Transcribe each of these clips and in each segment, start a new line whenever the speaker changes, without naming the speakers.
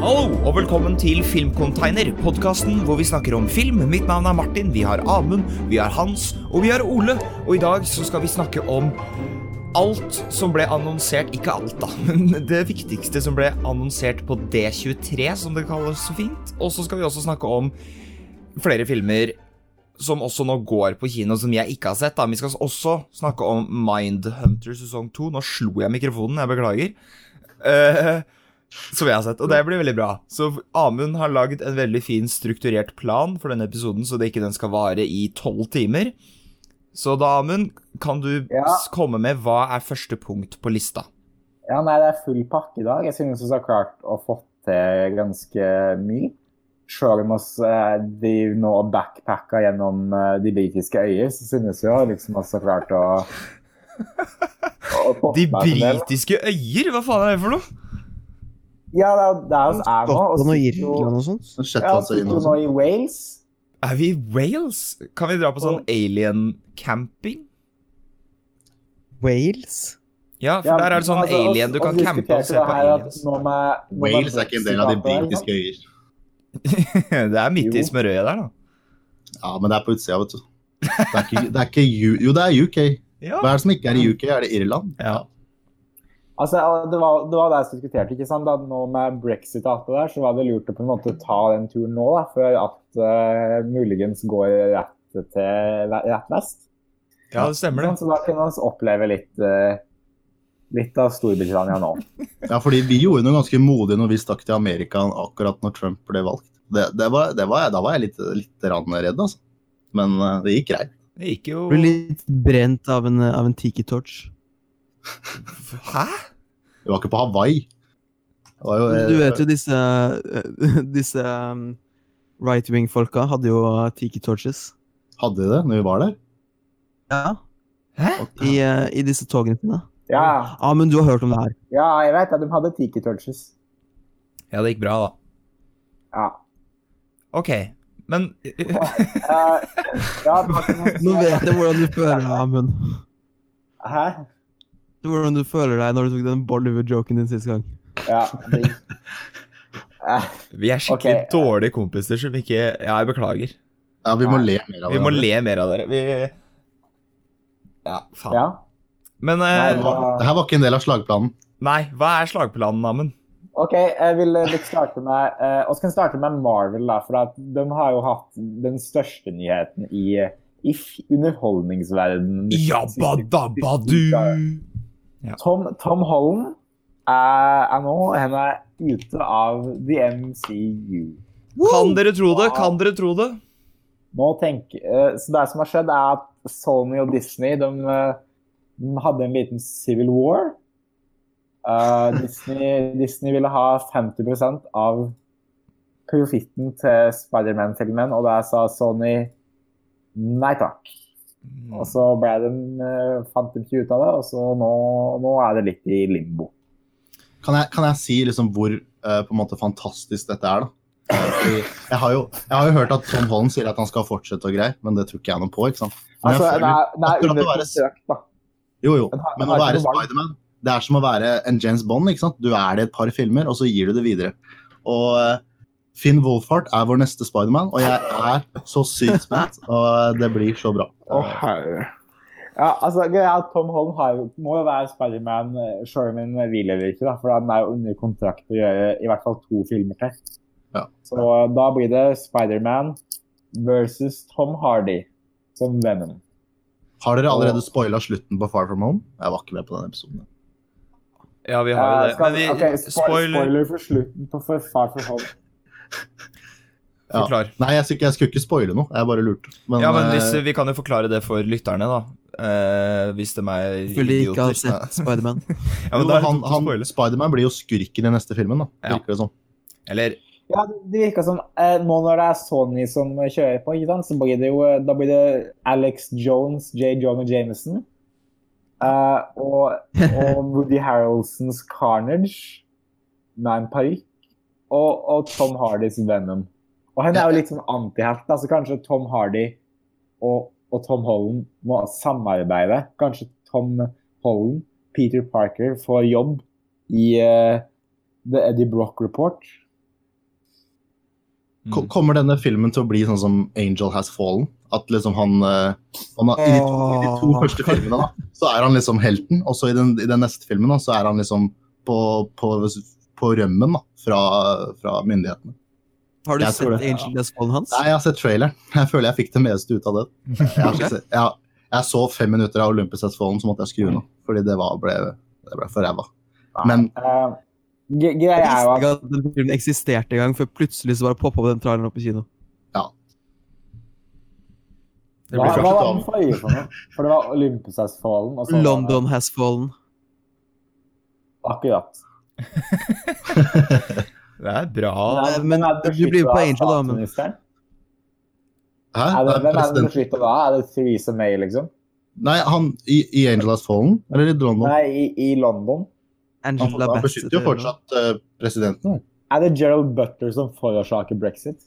Hallo, og velkommen til Filmcontainer, podkasten hvor vi snakker om film. Mitt navn er Martin, vi har Amund, vi har Hans, og vi har Ole. Og i dag så skal vi snakke om alt som ble annonsert Ikke alt, da, men det viktigste som ble annonsert på D23, som det kalles så fint. Og så skal vi også snakke om flere filmer som også nå går på kino, som jeg ikke har sett. da. Vi skal også snakke om Mindhunter sesong 2. Nå slo jeg mikrofonen, jeg beklager. Eh, som jeg har sett, og det blir veldig bra. Så Amund har laget en veldig fin strukturert plan for denne episoden, så det ikke den skal vare i tolv timer. Så da, Amund, kan du
Ja.
s- komme med hva er første punkt på lista?
Ja, nei, det er full pakke i dag. Jeg synes vi har klart å få til ganske mye. Selv om oss eh, driver nå og backpacker gjennom eh, de britiske øyer, så synes vi jo liksom oss har klart å, å få
De
til en del.
britiske øyer? Hva faen er det for noe?
Ja, det er der vi er nå. og
Skottland og
sitter jo-
Irland og sånt.
Så
Ja,
Shetlands
sitter
øyne
jo
og
nå
sånn.
i Wales.
Er vi i Wales? Kan vi dra på sånn alien-camping?
Wales.
Ja, for
Ja,
der er det sånn
altså, oss-
alien du kan
oss
campe og se på
diskuterte det her at
aliens.
nå med- nå med
Wales er ikke en del av de
Brexit-avtalen,
britiske øyer.
det er midt i
Jo.
smørøyet der, da.
Ja, men det er på utsida, vet du. Det er ikke, det er ikke U- Jo, det er UK.
Ja.
Hva er det som ikke er i UK? Er det Irland?
Ja.
Altså, det var, det var det jeg diskuterte, ikke sant? At nå med brexit og alt det der, så var det lurt å på en måte ta den turen nå, da, før at eh, muligens går rett til rett vest.
ja, det stemmer det.
Så da kunne vi oppleve litt, eh, litt av Storbritannia nå.
Ja, fordi vi gjorde noe ganske modig når vi stakk til Amerika akkurat når Trump ble valgt. Det, det var, det var, jeg- da var jeg litt, litt rann redd, altså. Men eh, det gikk greit.
Det gikk jo
Ble litt brent av en, av en tiki torch.
Hæ?
Vi var ikke på Hawaii. Det var jo, eh,
Du vet jo disse, disse um, right wing-folka hadde jo uh, tiki torches.
eh, Hadde vi det når vi var der?
Ja.
Hæ?
I, eh, I disse togene sine.
Ja,
Ja, men du har hørt om det her.
ja jeg vet at de hadde tiki torches.
Ja, det gikk bra, da.
Ja.
Ok, men
Eh, ja, det var ikke noe-
Nå vet jeg hvordan du føler deg, Amund.
Hæ?
Hvordan du føler deg når du tok den Bollywood-joken din sist gang.
Ja, det- Eh,
vi er skikkelig
Ok.
dårlige kompiser som ikke Ja, jeg beklager.
Ja, vi må
Nei.
le mer av
Vi må
hverandre.
le mer av dere. Vi Ja, faen.
ja.
Men
Nei,
eh,
Det var- det her var ikke en del av slagplanen.
nei, hva er slagplanen, Amund?
Ok, jeg vil eh, litt starte med eh, oss kan starte med Marvel, da, for at de har jo hatt den største nyheten i, i f- underholdningsverdenen.
Jabba dabba du!
Tom, Tom Holland er, er nå han er ute av The MCU.
Kan dere tro det? Kan dere tro det?
Nå tenk, eh, så det som har skjedd, er at Sony og Disney de, eh, de hadde en liten civil war. Eh, Disney, Disney ville ha 50 av profitten til Spiderman-filmen, og der sa Sony nei takk. Og så ble den, eh, fant de ikke ut av det, og så nå, nå er det litt i limbo.
kan jeg, kan jeg si liksom hvor eh, på en måte fantastisk dette er, da? Eh, fordi Jeg har, jo, jeg har jo hørt at Tom Holland sier at han skal fortsette og greier, men det tror ikke jeg noe på. ikke sant? Men jeg
Altså, det
føler,
er, det
akkurat
er
å
under
være-
kontrakt, da.
jo, jo,
den har- den
men
har
å
ikke
være
noe valg.
Spiderman, det er som å være en James Bond. ikke sant? Du er det et par filmer, og så gir du det videre. Og eh, Finn Wolfhart er vår neste Spiderman, og jeg er så sykt spent. Og det blir så bra.
Å, herre. Ja, altså, greia er at Tom Holland har, jo- må jo være Spiderman eh, Sherman vil eller ikke, da, for han er jo under kontrakt til å gjøre i hvert fall to filmer til.
Ja.
Så eh, da blir det Spiderman versus Tom Hardy som Venom.
Har dere allerede spoila slutten på Far From Home? Jeg var ikke med på den episoden.
Ja, vi har jo
Eh,
det.
skal-
Men vi
ok, spo-
Spoiler.
spoiler for slutten på for Far From Home.
Ja.
Forklar.
Nei, jeg skulle, ikke- jeg skulle ikke spoile noe. Jeg bare lurte. Men,
Ja, men
eh,
hvis, vi kan jo forklare det for lytterne, da. Eh, hvis de er
Føler ikke har
idioter.
sett Spiderman.
Ja, men
altså. Jo,
da er det
han,
dumt å
han,
spoile.
Spiderman blir jo skurken i neste filmen, da.
Ja.
Virker det som.
Eller
Ja, det virker som eh, nå når det er Sony som kjører på, ikke sant, så blir det jo eh, da blir det Alex Jones, J. Jonah Jameson eh, og, og Woody Harrelsons Carnage med en parykk og, og Tom Hardys Venom. Og han er jo litt sånn antihelt, da, så kanskje Tom Hardy og, og Tom Holland må samarbeide. Kanskje Tom Holland, Peter Parker, får jobb i eh, The Eddie Brock Report.
Ko- Kommer denne filmen til å bli sånn som Angel Has Fallen? At liksom han, eh, han har, i, de to, I de to
Åh.
første filmene da, så er han liksom helten, og så i den, i den neste filmen da, så er han liksom på, på, på rømmen da, fra, fra myndighetene.
Har du
Jeg
sett
tror det.
Angel Has Fallen hans?
Nei, jeg har sett traileren. Jeg føler jeg fikk det meste ut av det. Jeg, har ikke sett, jeg, har- jeg så fem minutter av Olympus Has Fallen, så måtte jeg skru den av. Fordi det, var, ble, det ble for ræva. Men
Eh, gre- greia
Jeg
er jo at
visste ikke at den filmen eksisterte engang, før plutselig så bare poppa den traileren opp i kino.
Det
Hva
blir
Ja,
hva
bra.
men-
var den forrige for noe? For det var Olympus-fallen. og så var det-
London Has Fallen.
Akkurat.
Det er bra.
Nei,
men
hvem er det
du blir
beskyttet
på
av
Angel, da, men-
statsministeren?
hæ?
Er det,
Det er
hvem er det
president-
beskyttet da? Er det Theresa May, liksom?
Nei, han i, i Angel Has Fallen, eller i London?
Nei, i, i London.
Han,
Angela Bassett
han beskytter jo
eller noe.
fortsatt eh, presidenten.
Er det Gerald Butler som forårsaker brexit?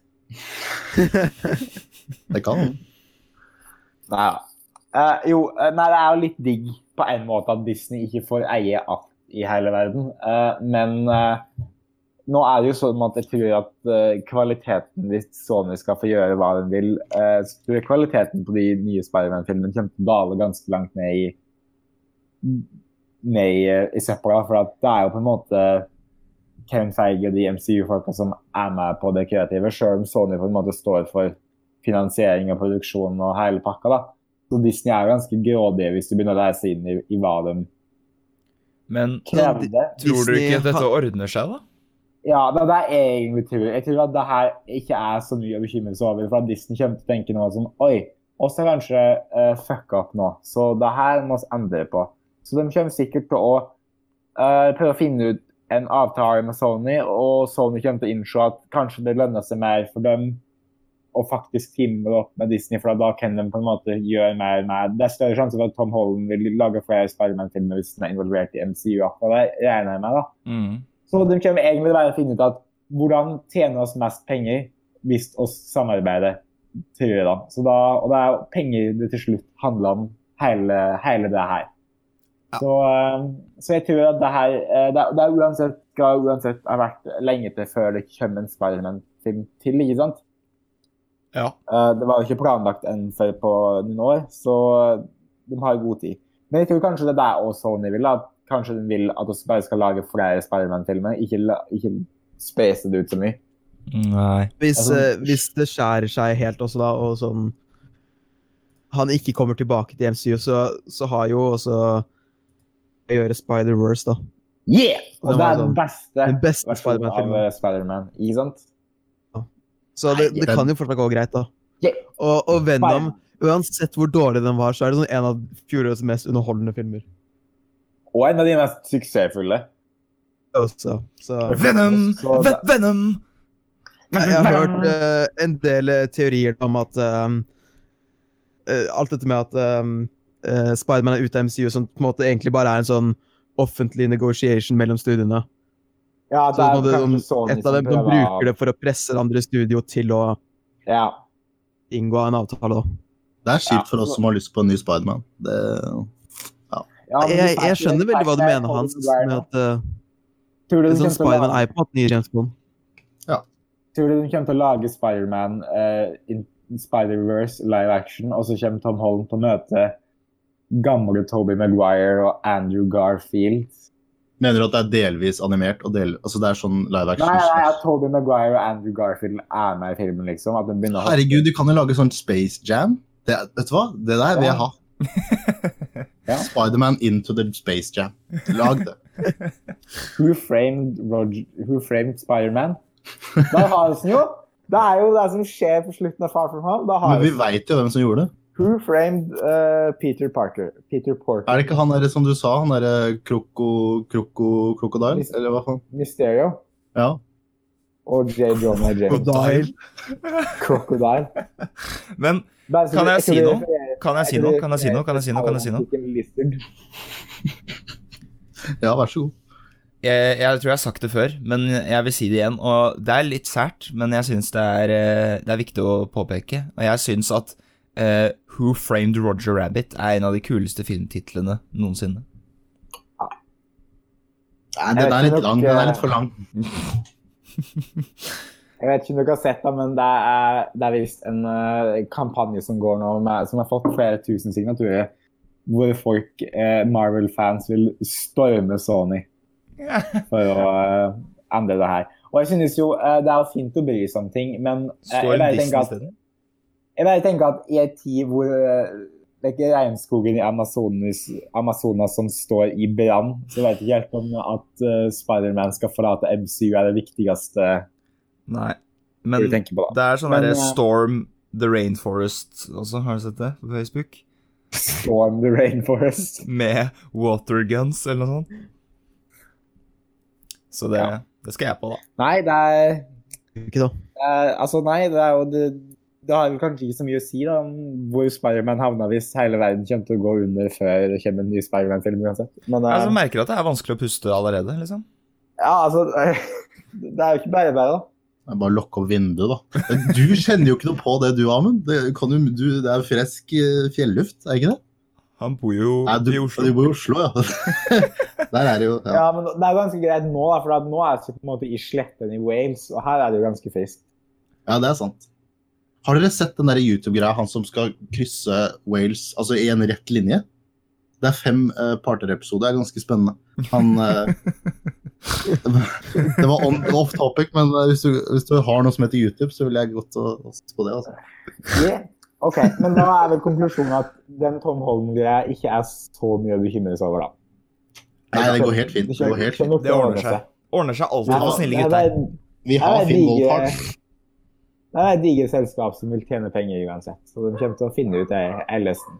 Det kan han.
Nei. Eh, jo, eh, nei, det er jo litt digg på en måte at Disney ikke får eie alt i hele verden. Eh, men eh, nå er det jo sånn at jeg tror at eh, kvaliteten hvis Sony skal få gjøre hva den vil, eh, så tror jeg kvaliteten på de nye Spiderman-filmene kommer til å dale ganske langt ned i ned i, eh, i søpla. For at det er jo på en måte Kevin Feige og de MCU-folka som er med på det kreative, sjøl om Sony på en måte står for finansiering og produksjon og hele pakka. da. Så Disney er jo ganske grådige hvis du begynner å reise inn i, i hva de
Men
krevde.
tror du
Disney
ikke dette
har-
ordner seg, da?
Ja, det, det er egentlig tror jeg. Jeg tror at det her ikke er så mye å bekymre seg over, for at Disney kommer til å tenke nå sånn Oi, oss har kanskje uh, fucka opp nå, så det her må vi endre på. Så de kommer sikkert til å eh, prøve å finne ut en avtale med Sony, og Sony kommer til å innse at kanskje det lønner seg mer for dem å faktisk teame opp med Disney, for da kan de på en måte gjøre mer med Det er større sjanse for at Tom Holland vil lage flere Spiderman-filmer hvis han er involvert i MCU, og det regner jeg med, da.
Mm.
Så de kommer egentlig bare å finne ut at hvordan tjener oss mest penger hvis oss samarbeider, tror jeg da. Så da og det er jo penger det til slutt handler om, hele, hele det her. Så, eh, så jeg tror at det her eh, det, er- det er uansett, skal uansett ha vært lenge til før det kommer en Spiderman-film til, ikke sant?
Ja.
Eh, Det var jo ikke planlagt enn før på noen år, så de har god tid. Men jeg tror kanskje det er der også Sony vil. At kanskje de vil at vi bare skal lage flere Spiderman-filmer. Ikke, la- ikke space det ut så mye.
Nei.
Hvis,
Altså-
eh, hvis det skjærer seg helt også, da, og sånn Han ikke kommer tilbake til MCU, så, så har jo også å gjøre Spider-Verse, da.
Yeah! Og
Det
det er
var
den
sånn-
beste
Den beste
versjonen av
Spider-Man-filmen.
eh, Spider-Man, ikke sant?
Så det, det
Nei,
kan jo fortsatt gå greit, da.
Yeah.
Og, og Venom, uansett hvor dårlig den var, så er det sånn en av fjorårets mest underholdende filmer.
Og en av de mest suksessfulle.
Også. Så
Venom!
Så
Ve- Venom!
Nei, jeg har hørt eh, en del eh, teorier om at ehm, eh, Alt dette med at ehm, eh, Spiderman er ute av MCU, som på en måte egentlig bare er en sånn offentlig negotiation mellom studiene.
Ja,
Så nå det, om, et av
liksom,
dem som bruker det for å presse det andre studio til å
Ja.
inngå en avtale. Da.
Det er
Ja.
kjipt for oss som har lyst på en ny Spiderman. Det...
Ja, men
Jeg,
de
jeg
snakker-
skjønner veldig hva du
snakker
mener, Hans.
Hollywood
Med
nå.
at eh,
Tror du de
en
kommer
sånn
til å
Spiderman
lage-
er på en måte nye James Bond.
Tror du de kommer til å lage Spider-Man eh, in Spider-Verse live action, og så kommer Tom Holland til å møte gamle Toby Maguire og Andrew Garfield?
Mener du at det er delvis animert? Og del... altså, det er sånn live
Nei, nei, at
action?
Toby Maguire og Andrew Garfield er med i filmen, liksom. At de begynner å hoppe.
Herregud, du kan jo lage sånn Space Jam. Det, er- vet du hva? Det der vil jeg ha.
Ja.
Spiderman into the Space Jam. Lag det.
Who framed, Roger, who framed Spider-Man? Da har vi den jo! Det er jo det som skjer på slutten av Far From Home. Da har
Men vi
vi den.
veit jo hvem som gjorde det.
Who framed eh, Peter Parker? Peter Porter.
Er det ikke han der som du sa, han derre kroko... kroko... krokodil? Eller hva faen?
Mysterio
Ja.
og J. Jonah James. Crocodile.
Men
Bare så
Kan
du-
jeg si
tror du
noe?
refererer-
kan jeg si noe? Kan jeg si noe? Kan jeg si noe? Kan jeg si noe?
ja, vær så god.
Jeg, jeg tror jeg har sagt det før, men jeg vil si det igjen. Og det er litt sært, men jeg syns det, er, eh, det er viktig å påpeke. Og jeg syns at eh, Who Framed Roger Rabbit er en av de kuleste filmtitlene noensinne.
Nei, den
Jeg
er
vet
litt
ikke
lang.
nok,
Den
eh,
er litt for lang.
Jeg vet ikke om dere har sett det, men det er, det er visst en eh, kampanje som går nå, med, som har fått flere tusen signaturer, hvor folk, eh, Marvel-fans, vil storme Sony for å eh, endre det her. Og jeg synes jo eh, det er jo fint å bry seg om ting, men eh, jeg
Står
bare
Disney
tenker at
isteden?
jeg bare tenker at i en tid hvor eh, det er ikke regnskogen i Amazonas, Amazonas som står i brann, så vet jeg ikke helt om at eh, Spider-Man skal forlate MCU er det viktigste
Nei.
du
Men
tenker på. da.
det er sånn
Men,
derre
eh,
Storm the Rainforest også, har du sett det på Facebook?
Storm the Rainforest.
Med waterguns eller noe sånt. Så det, det skal jeg på, da.
Nei, det er,
Ikke da.
det er Altså, nei, det er jo det, det har vel kanskje ikke så mye å si da, om hvor Spiderman havna hvis hele verden kommer til å gå under før det kommer en ny Spiderman-film uansett. Men eh,
Jeg Altså, merker at det er vanskelig å puste allerede, liksom.
ja, altså Det er jo ikke bare bare, da.
Det er bare å lukke opp vinduet, da. Du kjenner jo ikke noe på det du, Amund. Det, kan jo- du, det er frisk eh, fjelluft, er ikke det?
Han bor jo
Nei, du,
i Oslo.
du bor i Oslo, ja. Der er det jo ja.
Ja, men det er jo ganske greit nå, da, for at nå er det på en måte i sletten i Wales, og her er det jo ganske friskt.
ja, det er sant. Har dere sett den der YouTube-greia, han som skal krysse Wales altså i en rett linje? Det er fem uh, parter-episoder, det er ganske spennende. Han eh, Det var on, off topic, men eh, hvis du, hvis du har noe som heter YouTube, så vil jeg godt å, å se på det. Altså.
Yeah. Ok, men da er vel konklusjonen at den Tom Holm-greia ikke er så mye å bekymre seg over, da.
Nei, det går helt fint. Det går helt fint.
Det ordner seg. Ordner seg alltid
Ja,
for snille
Det
gutter.
er-
Vi
Ja, det
har
er
Finn
digre-
Wolfhard.
det er et digert selskap som vil tjene penger uansett, så de kommer til å finne ut det jeg leste.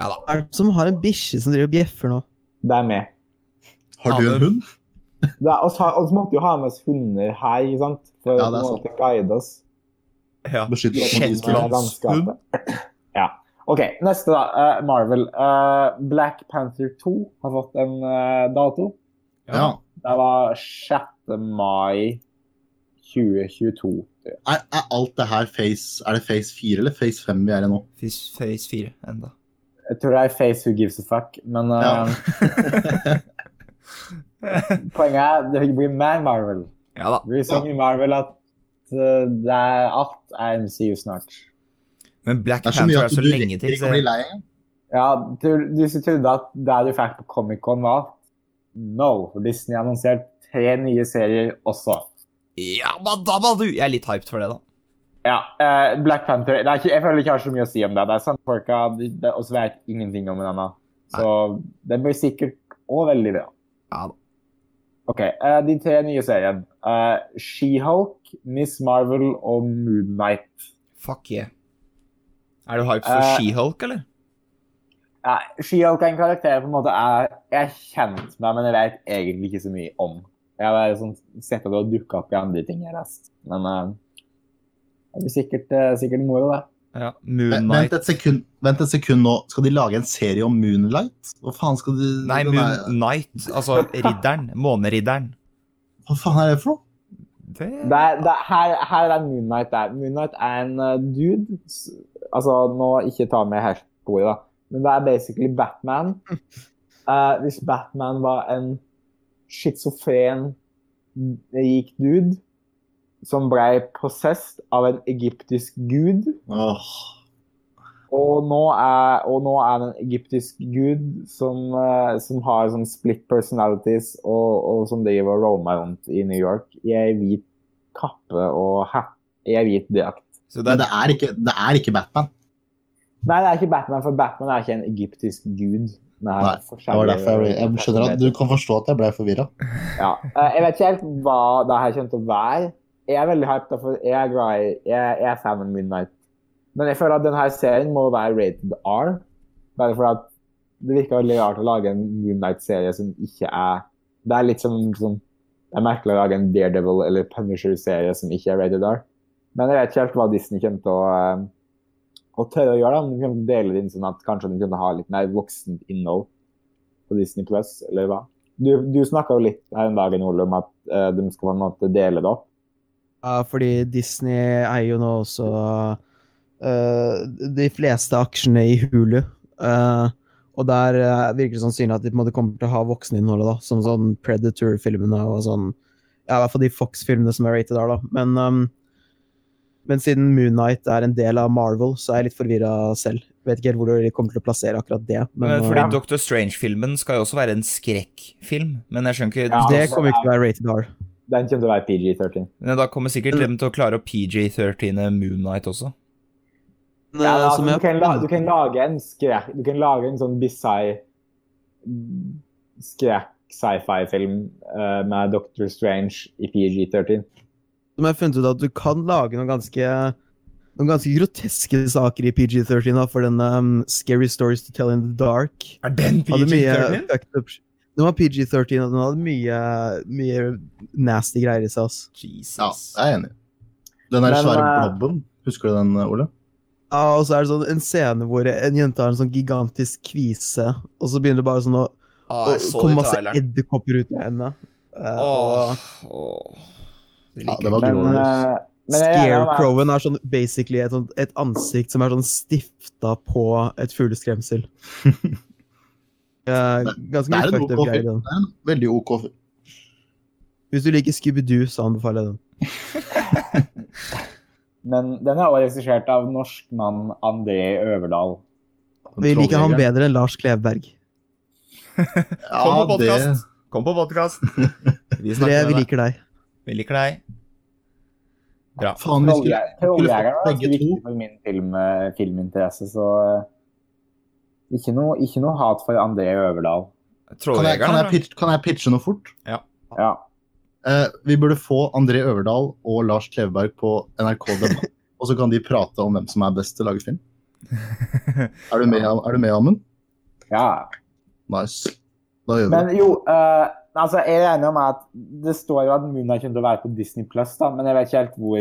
Ja da.
Hva er det som har en bikkje som driver og bjeffer nå?
Det er med.
Har du en hund?
Vi måtte jo ha med oss hunder her, ikke sant? For
Ja,
å på
det er
en måte guide oss. Sånn
Ja.
Beskytter oss mot
Shetland.
isbjørn.
Shetlandshund.
Ja. OK, neste, da. eh, Marvel. Eh, Black Panther 2 har fått en eh, dato.
Ja.
Det var 6. mai 2022.
Er, er alt det her face Er det face 4 eller face 5 vi er i nå?
Face, face 4 enda.
Jeg tror det er Face Who Gives a Fuck, men eh,
Ja.
poenget er det blir mer Marvel.
ja da.
Det blir så mye Marvel at eh, det er alt er MCU snart.
Men Black
Det er så mye
Panther er
at
så
du
lenge
rekker
til.
ikke
Så
å bli
jeg,
lei engang.
Ja, du, du som trodde at det du fikk på Comic-Con var No, for Disney har annonsert tre nye serier også.
ja, madamma, du! Jeg er litt hyped for det, da.
Ja, eh, Black Panther det er ikke, Jeg føler ikke jeg har så mye å si om det. Det er samme folka, de- de- og så vet jeg ingenting om den ennå. Så den blir sikkert òg veldig bra.
Ja da.
OK, eh, de tre nye seriene. Eh, She-Hulk, Miss Marvel og Moon Knight.
Fuck yeah. Er du hyped for
Eh,
She-Hulk, eller?
Ja, She-Hulk er en karakter jeg på en måte er, jeg er kjent med, men jeg vet egentlig ikke så mye om. Jeg har bare sånn, sett at det har dukket opp i andre ting jeg har lest. Men eh, det blir sikkert, eh, sikkert moro, det.
Ja. Moon
Vent- Vent
Knight.
et sekund Vent et sekund nå. Skal de lage en serie om Moonlight? Hva faen skal de
Nei,
den
Moon
er-
Knight. Altså Ridderen. Måneridderen.
Hva faen er det for noe?
Det
det, er, det er- her, her er Moon Knight der. Moon Knight er en eh, dude s- Altså, nå ikke ta med helt på ordet, da. Men det er basically Batman. Eh, hvis Batman var en schizofren, rik dude som ble possessed av en egyptisk gud.
Åh.
Og nå er, og nå er det en egyptisk gud som, eh, som har sånn split personalities, og, og som driver og roamer rundt i New York i ei hvit kappe og hat, i ei hvit drakt.
Så det er,
Men det er, ikke, det er ikke Batman.
Nei, det er ikke Batman, for Batman er ikke en egyptisk gud. Det er
Nei, Det var derfor jeg, jeg skjønner at Du kan forstå at jeg ble forvirra.
Ja. eh, Jeg vet ikke helt hva det her kommer til å være. Jeg er veldig hyped, da, for jeg er glad i Jeg, jeg er fan av Midnight. Men jeg føler at denne serien må være rated R. Bare fordi at det virker veldig rart å lage en Midnight-serie som ikke er Det er litt som, som Det er merkelig å lage en Daredevil- eller Punisher-serie som ikke er rated R. Men jeg vet ikke helt hva Disney kommer til å eh, å tørre å gjøre da, om de kommer til å dele det inn sånn at kanskje de kunne ha litt mer voksent innhold på Disney Plus, eller hva? Du, du snakka jo litt her en dag Ole, om at eh, de skal på en måte dele det opp.
Ja, fordi Disney eier jo nå også eh, de fleste aksjene i Hulu. Eh, og der eh, virker det sannsynlig at de på en måte kommer til å ha vokseninnholdet, da. Som sånn Predator-filmene og sånn Ja, I hvert fall de Fox-filmene som er rated R, da. Men, um, men siden Moonnight er en del av Marvel, så er jeg litt forvirra selv. Vet ikke helt hvor de kommer til å plassere akkurat det.
Men
Men,
fordi
uh,
Dr. Strange-filmen skal jo også være en skrekkfilm. Men jeg skjønner ikke
Ja.
eh, det kommer ikke til å være rated R.
Den kommer til å være PG-13.
Men Da kommer sikkert
Mm.
dem til å klare å PG-13 Moonlight også.
Ja,
Eh,
altså,
som
du,
jeg-
kan la, du kan lage en skrek, du kan lage en sånn bisai skrek sci-fi-film eh, med Dr. Strange i PG-13.
som jeg har funnet ut at du kan lage noen ganske noen ganske groteske saker i PG-13 da, for denne um, Scary Stories to Tell in the Dark.
Er den
Hadde mye fucked up sh- Den var PG-13, og den hadde mye, mye nasty greier i seg. ass.
Ja,
Jesus.
jeg er enig. Den der
Men,
svære
eh,
blobben, husker du den, Ole?
Ja, og så er det sånn en scene hvor en jente har en sånn gigantisk kvise, og så begynner det bare sånn å
Ah,
å
jeg så det
komme
i
masse
traileren.
edderkopper ut av henne. Eh, og
Åh, åh. Det
Ja,
liker
det
jeg
var
ikke.
Men,
glorious.
eh, men jeg er enig med-
Scarecrowen er sånn basically et, sånt, et ansikt som er sånn stifta på et fugleskremsel. Eh, ganske
Det
mye
er en
fucked up
OK
greier i den.
film. Det er en veldig OK film.
Hvis du liker Scooby-Doo, så anbefaler jeg den.
men den er også regissert av norsk mann André Øverdal.
Vi liker han bedre enn Lars Kleveberg.
Kom på
Ja, det
podcast. Kom på podkast! Vi
Tre,
snakker
vi
med deg.
liker deg.
Vi liker deg. Bra.
Faen, vi skulle
Trolljegeren Trolljegeren var
begge
ganske viktig
to.
for min film, eh, filminteresse, så eh, ikke noe, ikke noe hat for André Øverdal.
Kan jeg, kan, jeg
Trolljegeren.
pitche, kan jeg pitche noe fort?
Ja.
Eh, vi burde få André Øverdal og Lars Kleveberg på NRK Debatt. og så kan de prate om hvem som er best til å lage film. Er du med, er du med Amund?
ja.
Nice. Da gjør vi det.
Men jo, eh, altså jeg er enig om at det står jo at Muna kommer til å være på Disney Plus, da, men jeg vet ikke helt hvor.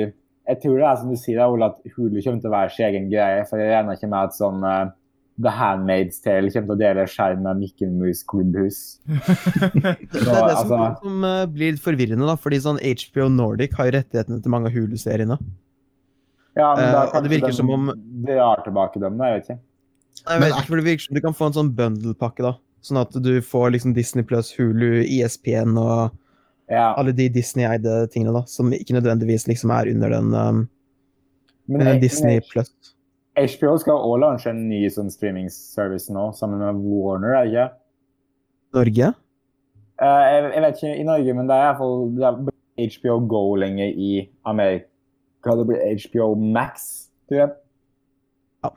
Jeg tror det er som du sier, da, Ole, at Hulu kommer til å være sin egen greie. For jeg regner ikke med at sånn eh, The Handmaid's Tale kommer til å dele skjerm med Mickey Mouse Clubhus.
Det er det som,
altså-
som eh, blir litt forvirrende, da, fordi sånn HBO Nordic har jo rettighetene til mange av Hulu-seriene.
Ja, men da
Eh, og det virker
kanskje de
som om-
drar tilbake dem, da, jeg vet ikke.
Jeg
Men
vet ikke, for det virker som du kan få en sånn bundle-pakke, da. Sånn at du får liksom Disney pluss Hulu, E ISPN og
Ja.
alle de Disney-eide tingene, da. Som ikke nødvendigvis liksom er under den, um,
Men,
under den
men
Disney pluss.
HBO skal også lansere en ny sånn streaming-service nå, sammen med Warner, er det ikke?
Norge?
Eh, jeg, jeg vet ikke i Norge, men det er i hvert fall det er HBO Go lenge i Amerika. Det blir HBO Max, tror jeg.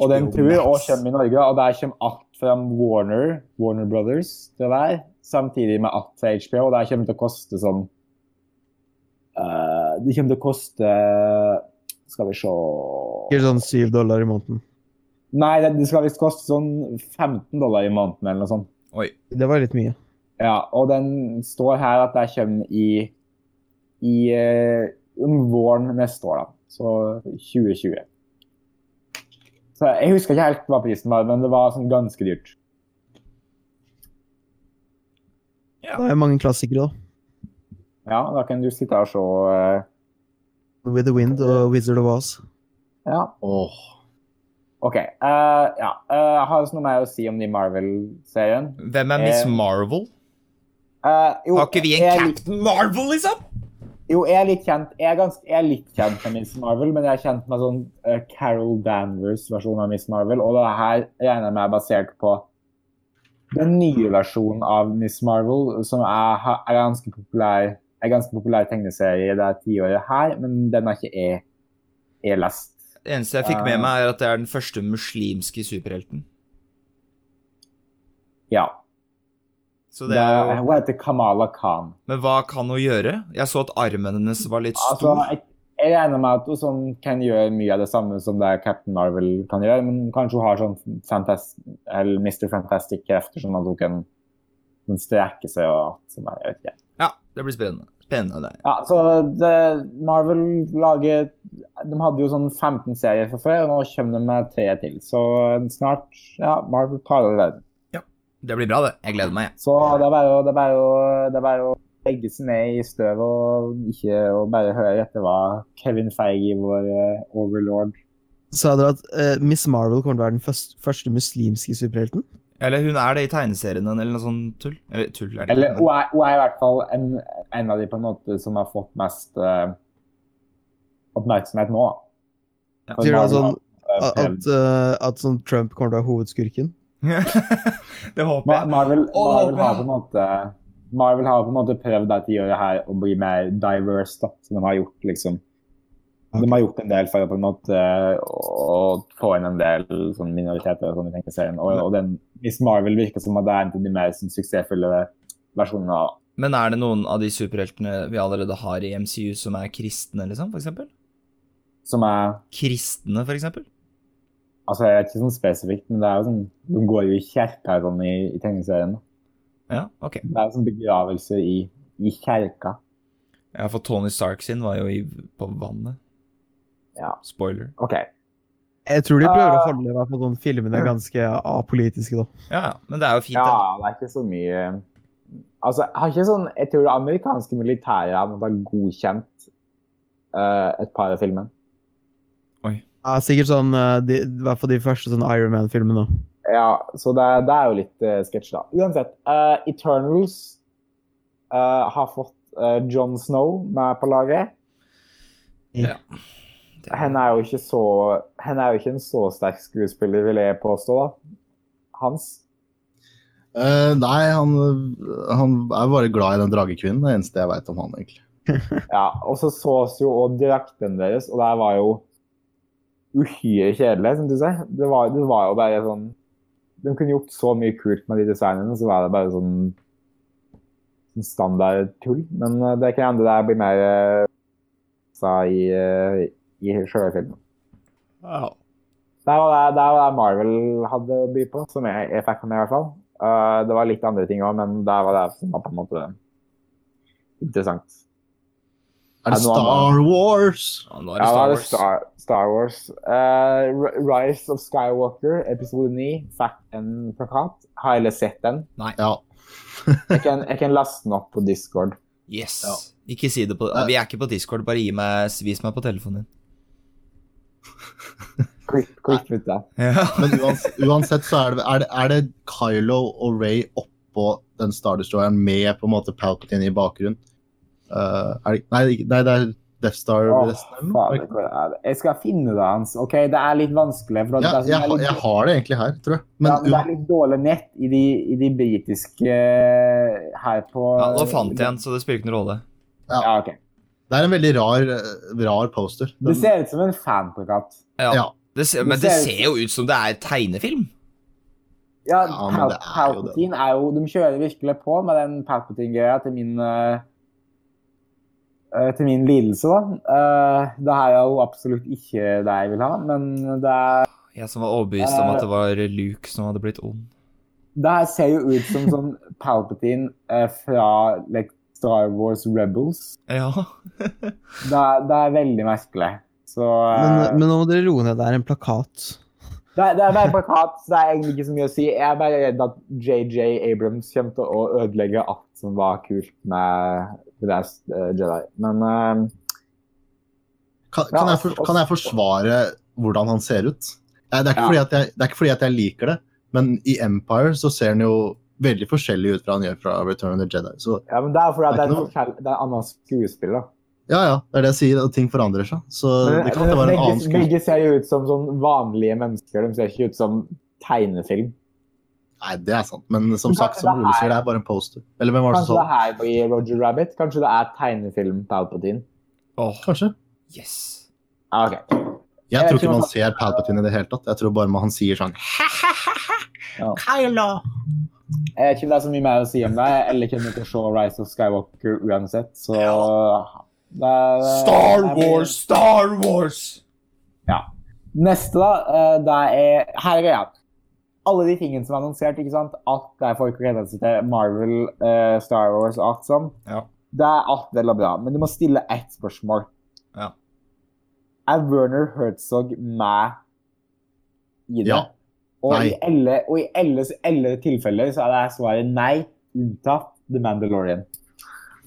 Og den tror jeg også kommer i Norge. Og der kommer alt fra Warner, Warner Brothers til hver, samtidig med alt fra HBO. Og det kommer til å koste sånn eh, Det kommer til å koste Skal vi se
Ikke sånn syv dollar i måneden.
Nei, det, det skal visst koste sånn 15 dollar i måneden eller noe sånt.
Oi.
Det var litt mye.
Ja, og den står her at det kommer i, i eh, om våren neste år, da. Så 2020. Så jeg husker ikke helt hva prisen var, men det var sånn ganske dyrt.
Ja.
Det er jo mange klassikere, da.
Ja, da kan du sitte her og se. eh,
With the Wind og Wizard of Oz.
Ja,
Åh.
OK. eh, ja. eh, har vi noe mer å si om de Marvel-serien?
Hvem er Miss
Eh,
Marvel?
Eh, jo,
Har ikke vi
jeg
en
er litt-
Captain Marvel, liksom?
Jo, jeg er litt kjent Jeg er, ganske, jeg er litt kjent med Miss Marvel, men jeg er kjent med sånn eh, Carol Danvers versjon av Miss Marvel, og det her regner jeg med er basert på den nye versjonen av Miss Marvel, som er, ha- er ganske populær er ganske populær tegneserie det er tiåret her, men den har ikke E, jeg, jeg lest.
Det eneste jeg fikk med meg, er at det er den første muslimske superhelten.
Ja.
Så
Det
det er
er,
jo...
hun heter Kamala Khan.
Men hva kan hun gjøre? Jeg så at armen hennes var litt
Altså,
stor.
jeg, jeg regner med at hun sånn kan gjøre mye av det samme som det Captain Marvel kan gjøre, men kanskje hun har sånn fantas- eller Mr. Fantastic-krefter, sånn at hun kan kan strekke seg og alt sånt der. Jeg vet ikke.
Ja, det blir spennende. Spennende.
Ja, så det, Marvel lager De hadde jo sånn 15 serier fra før, og nå kommer de med tre til. Så eh, snart Ja, Marvel tar over verden.
Det blir bra, det. Jeg gleder meg.
Så det er bare å- det er bare å- det er bare å legge seg ned i støv og ikke og bare høre etter hva Kevin Feige, vår eh, overlord,
Sa dere at eh, Miss Marvel kommer til å være den først, første muslimske superhelten?
Eller hun er det i tegneseriene, eller noe sånt tull. Eller tull er det.
Eller
ikke,
hun er, hun er i hvert fall en, en av de på en måte som har fått mest eh, oppmerksomhet nå.
Ja.
For
Sier du
Marvel
da sånn
har,
at,
eh,
at, eh, at sånn Trump kommer til å være hovedskurken?
det håper
Ma-
jeg.
Marvel,
Å,
Marvel
ja.
har på en måte Marvel har på en måte prøvd at de gjør det her å bli mer diverse, da, som de har gjort, liksom. De har gjort en del for å på en måte å å få inn en del sånn, minoriteter og sånne ting i serien. Og, og den, hvis Marvel virker som at det er en av de mer sånn, suksessfulle versjonene av
Men er det noen av de superheltene vi allerede har i MCU som er kristne, liksom, for eksempel?
som er
Kristne, for eksempel?
Altså, jeg er ikke sånn spesifikt, men det er jo sånn De går jo i kjerka og sånn i, i tegneserien. da.
Ja, ok.
Det er jo sånn begravelser i, i kjerka.
Ja, for Tony Stark sin var jo i, på vannet.
Ja.
Spoiler.
OK.
Jeg tror de prøver å
Ah.
holde meg på sånn filmene ganske apolitiske, da.
Ja, ja, men det er jo fint.
Ja,
det.
det er ikke så mye Altså, jeg har ikke sånn Jeg tror det amerikanske militæret har måttet ha godkjent eh, et par av filmene.
Ja, sikkert sånn eh, de, I hvert fall de første sånn Iron Man-filmene.
Ja, så det, det er jo litt uh, sketsj, da. Uansett. eh, Eternals eh, har fått eh, Jon Snow med på laget.
Det er-
Hen er jo ikke så Hen er jo ikke en så sterk skuespiller, vil jeg påstå, da. Hans.
Eh, nei, han, han er bare glad i den dragekvinnen. Det er det eneste jeg veit om han, egentlig.
Ja, og så sås jo også drakten deres, og der var jo uhyre kjedelig, som du sier. Det var, det var jo bare sånn De kunne gjort så mye kult med de designene, så var det bare sånn sånn standard tull. Men eh, det kan hende det blir mer eh, sa i, eh, i sjølve filmen.
Wow.
Det var det, det var det Marvel hadde å by på, som jeg, jeg fikk med meg i hvert fall. Eh, det var litt andre ting òg, men det var det som var på en måte interessant.
Er det
Ja, det var
Star Wars?
Ja, nå er det
Ja, da
Star
er det
Wars.
Star, Star Wars. Eh, R- Rise of Skywalker, episode 9, fikk en plakat. Har jeg sett den?
Ja.
Jeg kan, jeg kan laste den opp på Discord.
Yes. Ikke si det på ja, Vi er ikke på Discord, bare gi meg, vis meg på telefonen din.
Klipp, klipp ut det.
Ja.
Men uansett, uansett så er det, er, det, er det Kylo og Ray oppå den Star Destroyeren med på en måte Palpatine i bakgrunnen? Eh, er det, nei, det er ikke- nei, det er Death Star
Åh,
resten eller noe?
fader, hvor er det? Jeg skal finne det hans. Ok, det er litt vanskelig. For det,
Ja,
er sånn-
jeg,
det er
har-
litt,
jeg har det egentlig her, tror jeg. Men,
ja, men det er litt dårlig nett i de, i de britiske eh, her på
ja, nå fant jeg en, så det spiller ikke noen rolle.
Ja, ok.
det er en veldig rar, eh, rar poster.
Det
Den,
ser ut som en fanplakat.
Ja.
Ja.
Det ser, men
Det
det
ser-
ser jo ut som det er tegnefilm.
Ja,
Ja, men
Pal
det er jo det.
Palpatine er jo De kjører virkelig på med den Palpatine-greia til min eh, eh, til min lidelse, da. Eh, det her er jo absolutt ikke det jeg vil ha, men det, er,
Jeg som var overbevist om at det var Luke som hadde blitt ond.
det her ser jo ut som sånn Palpatine eh, fra like, Star Wars Rebels.
Ja.
Det er, det er veldig merkelig. Så eh,
Men, men nå må dere roe ned. Det er en plakat.
Det er, det er bare plakat, så det er egentlig ikke så mye å si. Jeg er bare redd at JJ Abrams kommer til å ødelegge alt som var kult med The Last eh, Jedi. Men eh,
kan, kan,
Ja,
jeg for,
altså-
kan jeg forsvare hvordan han ser ut? Eh, Det er ikke,
Ja.
fordi at jeg, det er ikke fordi at jeg liker det, men i Empire så ser han jo veldig forskjellig ut fra han gjør fra Return of the Jedi. Så
ja, men det er jo fordi at det
Det er
er,
ikke noe-
forskjell- det er en annen skuespill, da.
ja, ja, det er det jeg sier, og ting forandrer seg. Så det kan ikke være en
Begge-
annen skuespill.
Begge ser jo ut som sånn vanlige mennesker. De ser ikke ut som tegnefilm.
Nei, det er sant, men som
Men
sagt,
kanskje
som
det
Ole
er-
sier, det er bare en poster. Eller hvem var det som
Kanskje det
sa det?
her blir Roger Rabbit? Kanskje det er tegnefilm Palpatine?
Åh,
Kanskje.
yes.
Ja, ok.
Jeg
Jeg
tror
tror
ikke man
man-
ser Palpatine i det hele tatt. Jeg tror bare man- han sier sånn
Ja.
Kylo!
Jeg vet ikke om det er så mye mer å si om det. Jeg eller kommer til å se Rise of Skywalker uansett, så det er, eh,
Star
det er-
Wars, Star Wars!
Neste, da, eh, det er Her er greia. Alle de tingene som er annonsert, ikke sant? alt det folk gleder seg til, Marvel, eh, Star Wars og alt sånn,
Ja.
det er alt vel og bra. Men du må stille ett spørsmål.
Ja.
Er Werner Herzog med i det?
Ja.
Og i
Nei.
alle, og i alle, alle tilfeller så er det svaret nei, unntatt The Mandalorian.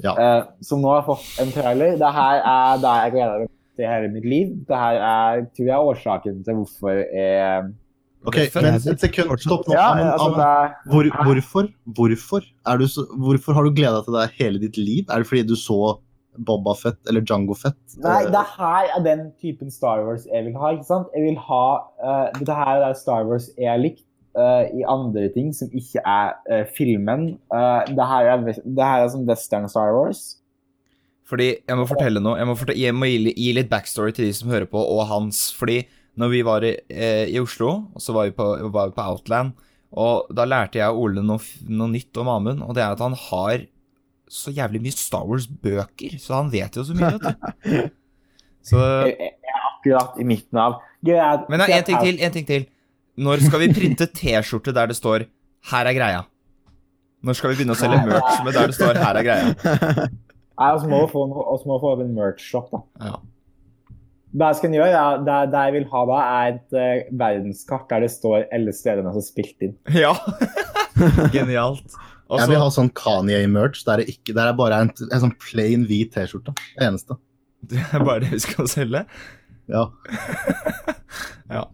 Ja.
Eh, som nå har fått en trailer. Det her er det jeg gleder meg til hele mitt liv. Det her er, tror jeg, årsaken til hvorfor jeg
Ok, men et sekund, stopp nå.
Ja,
Amund,
altså,
Amund,
det er
hvor, hvorfor hvorfor, er du så, hvorfor har du gleda til det hele ditt liv? Er det fordi du så Boba Fett eller Django Fett?
Nei,
Eh,
det her er den typen Star Wars jeg vil ha. ikke sant? Jeg vil ha, eh, Dette her er Star Wars jeg har likt eh, i andre ting som ikke er eh, filmen. Eh, det, her er, ves- det her er som western Star Wars.
Fordi jeg må fortelle noe. Jeg må, fortelle, jeg må gi, gi litt backstory til de som hører på, og Hans. Fordi når vi var i, eh, i Oslo, så var vi, på, var vi på Outland, og da lærte jeg Ole noe, f- noe nytt om Amund, og det er at han har så jævlig mye Star Wars-bøker, så han vet jo så mye, vet du. Så,
Jeg, jeg er akkurat i midten av Greia er at-
Eh, men ja, en ting til, en ting til. Når skal vi printe T-skjorte der det står 'Her er greia'? Når skal vi begynne å selge merch med der det står 'Her er greia'?
Nei, oss må få, noe- oss må få opp en merch-shop, da.
Ja.
Det jeg skal gjøre, er, det, det jeg vil ha da, er et eh, verdenskart der det står alle stedene som er spilt inn.
ja. Genialt. Og
jeg
så-
vil ha sånn Kanye-merch der det ikke, der det bare er en, en sånn plain hvit T-skjorte. Det eneste.
Det er bare det vi skal selge.
Ja.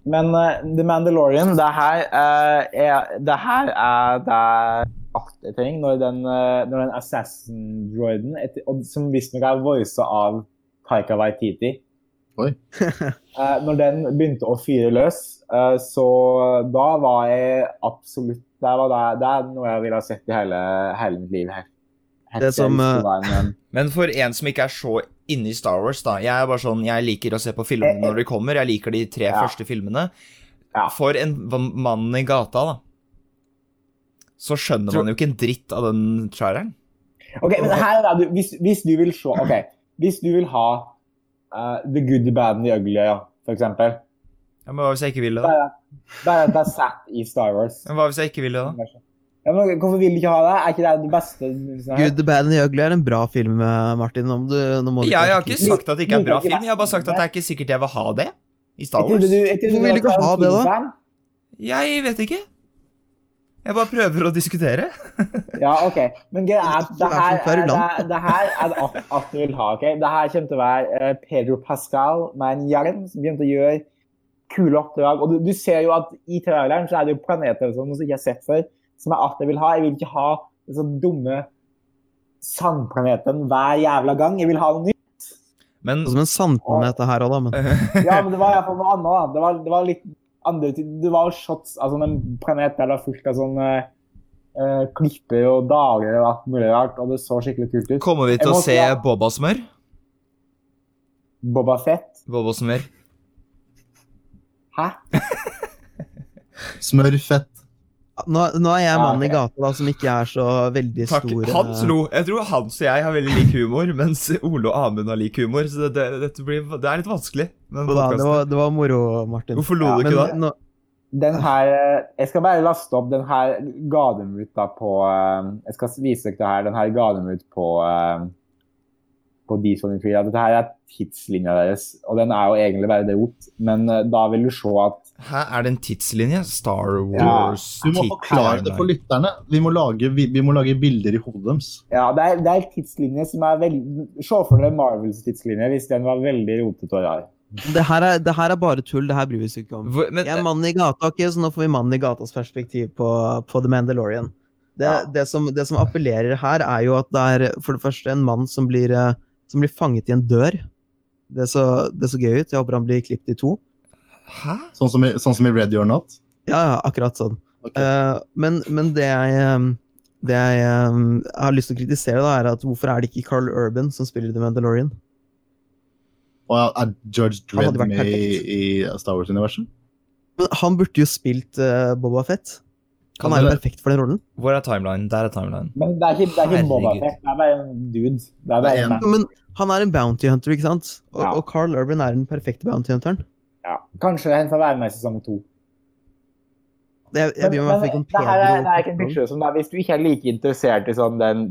Men eh, The Mandalorian, det her, eh, er, det her er det jeg trenger når den, eh, når den Assassin-droiden, et- og som visstnok er voisa av Taika Waititi
Oi.
Eh, Når den begynte å fyre løs, eh, så da var jeg absolutt Det, var det, det er noe jeg ville ha sett i hele, hele mitt liv. Her.
Det som, eh,
Men for en som ikke er så inne i Star Wars, da. Jeg er bare sånn, jeg liker å se på filmene når de kommer. Jeg liker de tre
Ja.
første filmene.
Ja.
For en v- mann i gata, da. Så skjønner
Tror-
man jo ikke en dritt av den traileren.
Ok, men her er det, hvis, hvis du vil se Ok, hvis du vil ha eh, The Good, The Bad and The Ugly, ja, for eksempel.
Ja, men hva hvis jeg ikke vil det, da?
Bare, bare at det er satt i Star Wars.
Men hva hvis jeg ikke vil det, da?
Ja, men hvorfor vil du ikke ha det? Er ikke det det beste? Liksom?
Good, the bad and the ugly er en bra film, eh, Martin. Om du, nå må du
Jeg har ikke sagt at det ikke er en bra
Liker ikke
film, jeg har bare sagt at det er ikke sikkert jeg vil ha det i Star
Jeg
Wars.
trodde du- jeg trodde
Hvorfor vil du ikke
var
ha det, da?
Tarantino-fan.
Jeg vet ikke. Jeg bare prøver å diskutere.
Ja, OK. Men greia er at
Du
det
er
her, er,
så
det,
kverulant.
det her er det alt, alt du vil ha. ok? Det her kommer til å være eh, Pedro Pascal med en hjelm som begynte å gjøre kule oppdrag. Og du, du ser jo at i traileren så er det jo planeter og sånn som jeg ikke har sett før, som er alt jeg vil ha. Jeg vil ikke ha disse dumme sandplaneten hver jævla gang. Jeg vil ha noe nytt.
Men
Som en sandplanet, det her òg, da. Men
Ja, men det var iallfall noe annet. da. Det var, det var litt andre ting. Det var shots av sånn en planet der det var fullt av sånn eh, eh, klipper og dager og alt mulig rart, og det så skikkelig kult ut.
kommer vi
Jeg
til å
må
se
også-
Bobasmør?
Boba Fett.
Bobasmør.
Hæ?
Smørfett.
nå, nå er jeg
Ja,
mannen i
ok.
gata da, som ikke er så veldig
Takk.
stor eh,
Hans lo. Jeg tror Hans og jeg har veldig lik humor, mens Ole og Amund har lik humor. Så det, det, dette blir, det er litt vanskelig. med den
på da. Det
podcasten.
var, det var moro, Martin.
Hvorfor lo
Ja,
du ikke da?
Men nå,
Den her eh, Jeg skal bare laste opp. Den her ga dem ut da på eh, Jeg skal vise dere det her. Den her ga dem ut på eh, på D23. Ja, Dette her er tidslinja deres, og den er jo egentlig bare det rot, men eh, da vil du se at
Hæ, er det en tidslinje? Star
Ja.
Wars
Du må forklare det for lytterne. Vi må lage, vi, vi må lage bilder i hodet deres.
Ja, det er, det er en tidslinje som er veldig Se for dere Marvels tidslinje hvis den var veldig rotete og rar.
det, her er, det her er bare tull. Det her bryr vi oss ikke om.
Hvor, men,
Jeg er mannen i gata, ok, så nå får vi mannen i gatas perspektiv på, på The Mandalorian. Det,
Ja.
det, som, det som appellerer her, er jo at det er for det første en mann som blir, eh, som blir fanget i en dør. Det så, det så gøy ut. Jeg håper han blir klippet i to.
hæ?
Sånn som, i- sånn som i Ready or Not.
Ja, ja, akkurat sånn.
Ok.
Eh, men, men det jeg, eh, det jeg eh, har lyst til å kritisere, da, er at hvorfor er det ikke Carl Urban som spiller The Mandalorian?
Og er George
Han
Dredd
hadde vært
med i, i Star Wars-universet?
Men han burde jo spilt eh, Boba Fett.
Kan
Han er jo
dere-
perfekt for den rollen.
Hvor er timelinen? Der er timelinen.
Men det er ikke, det er ikke Boba
Herregud.
Fett, det er bare en dude. Det er
Det er
bare
en-
en mann.
Men han er en bounty hunter, ikke sant? Og,
Ja.
og Carl Urban er den perfekte bounty hunteren.
Ja. Kanskje han får være med i sesong to.
Jeg, jeg bryr meg i hvert fall ikke om
det her er, det er ikke en
Pedro.
picture som det er, Hvis du ikke er like interessert i sånn den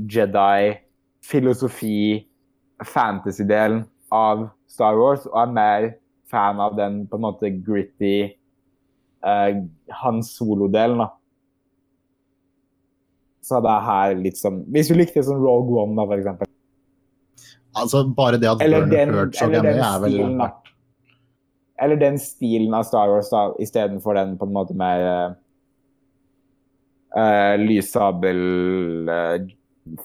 Jedi-filosofi-fantasy-delen av Star Wars, og er mer fan av den på en måte gritty eh, Han Solo-delen, da så det er her litt som Hvis du likte sånn Rogue One, da, for eksempel.
Altså, bare det at
Eller
Werner
den,
Herzog
eller
er med,
den
er vel
stilen, da. Eller den stilen av Star Wars, da, istedenfor den på en måte mer eh, eh, lyssabel eh,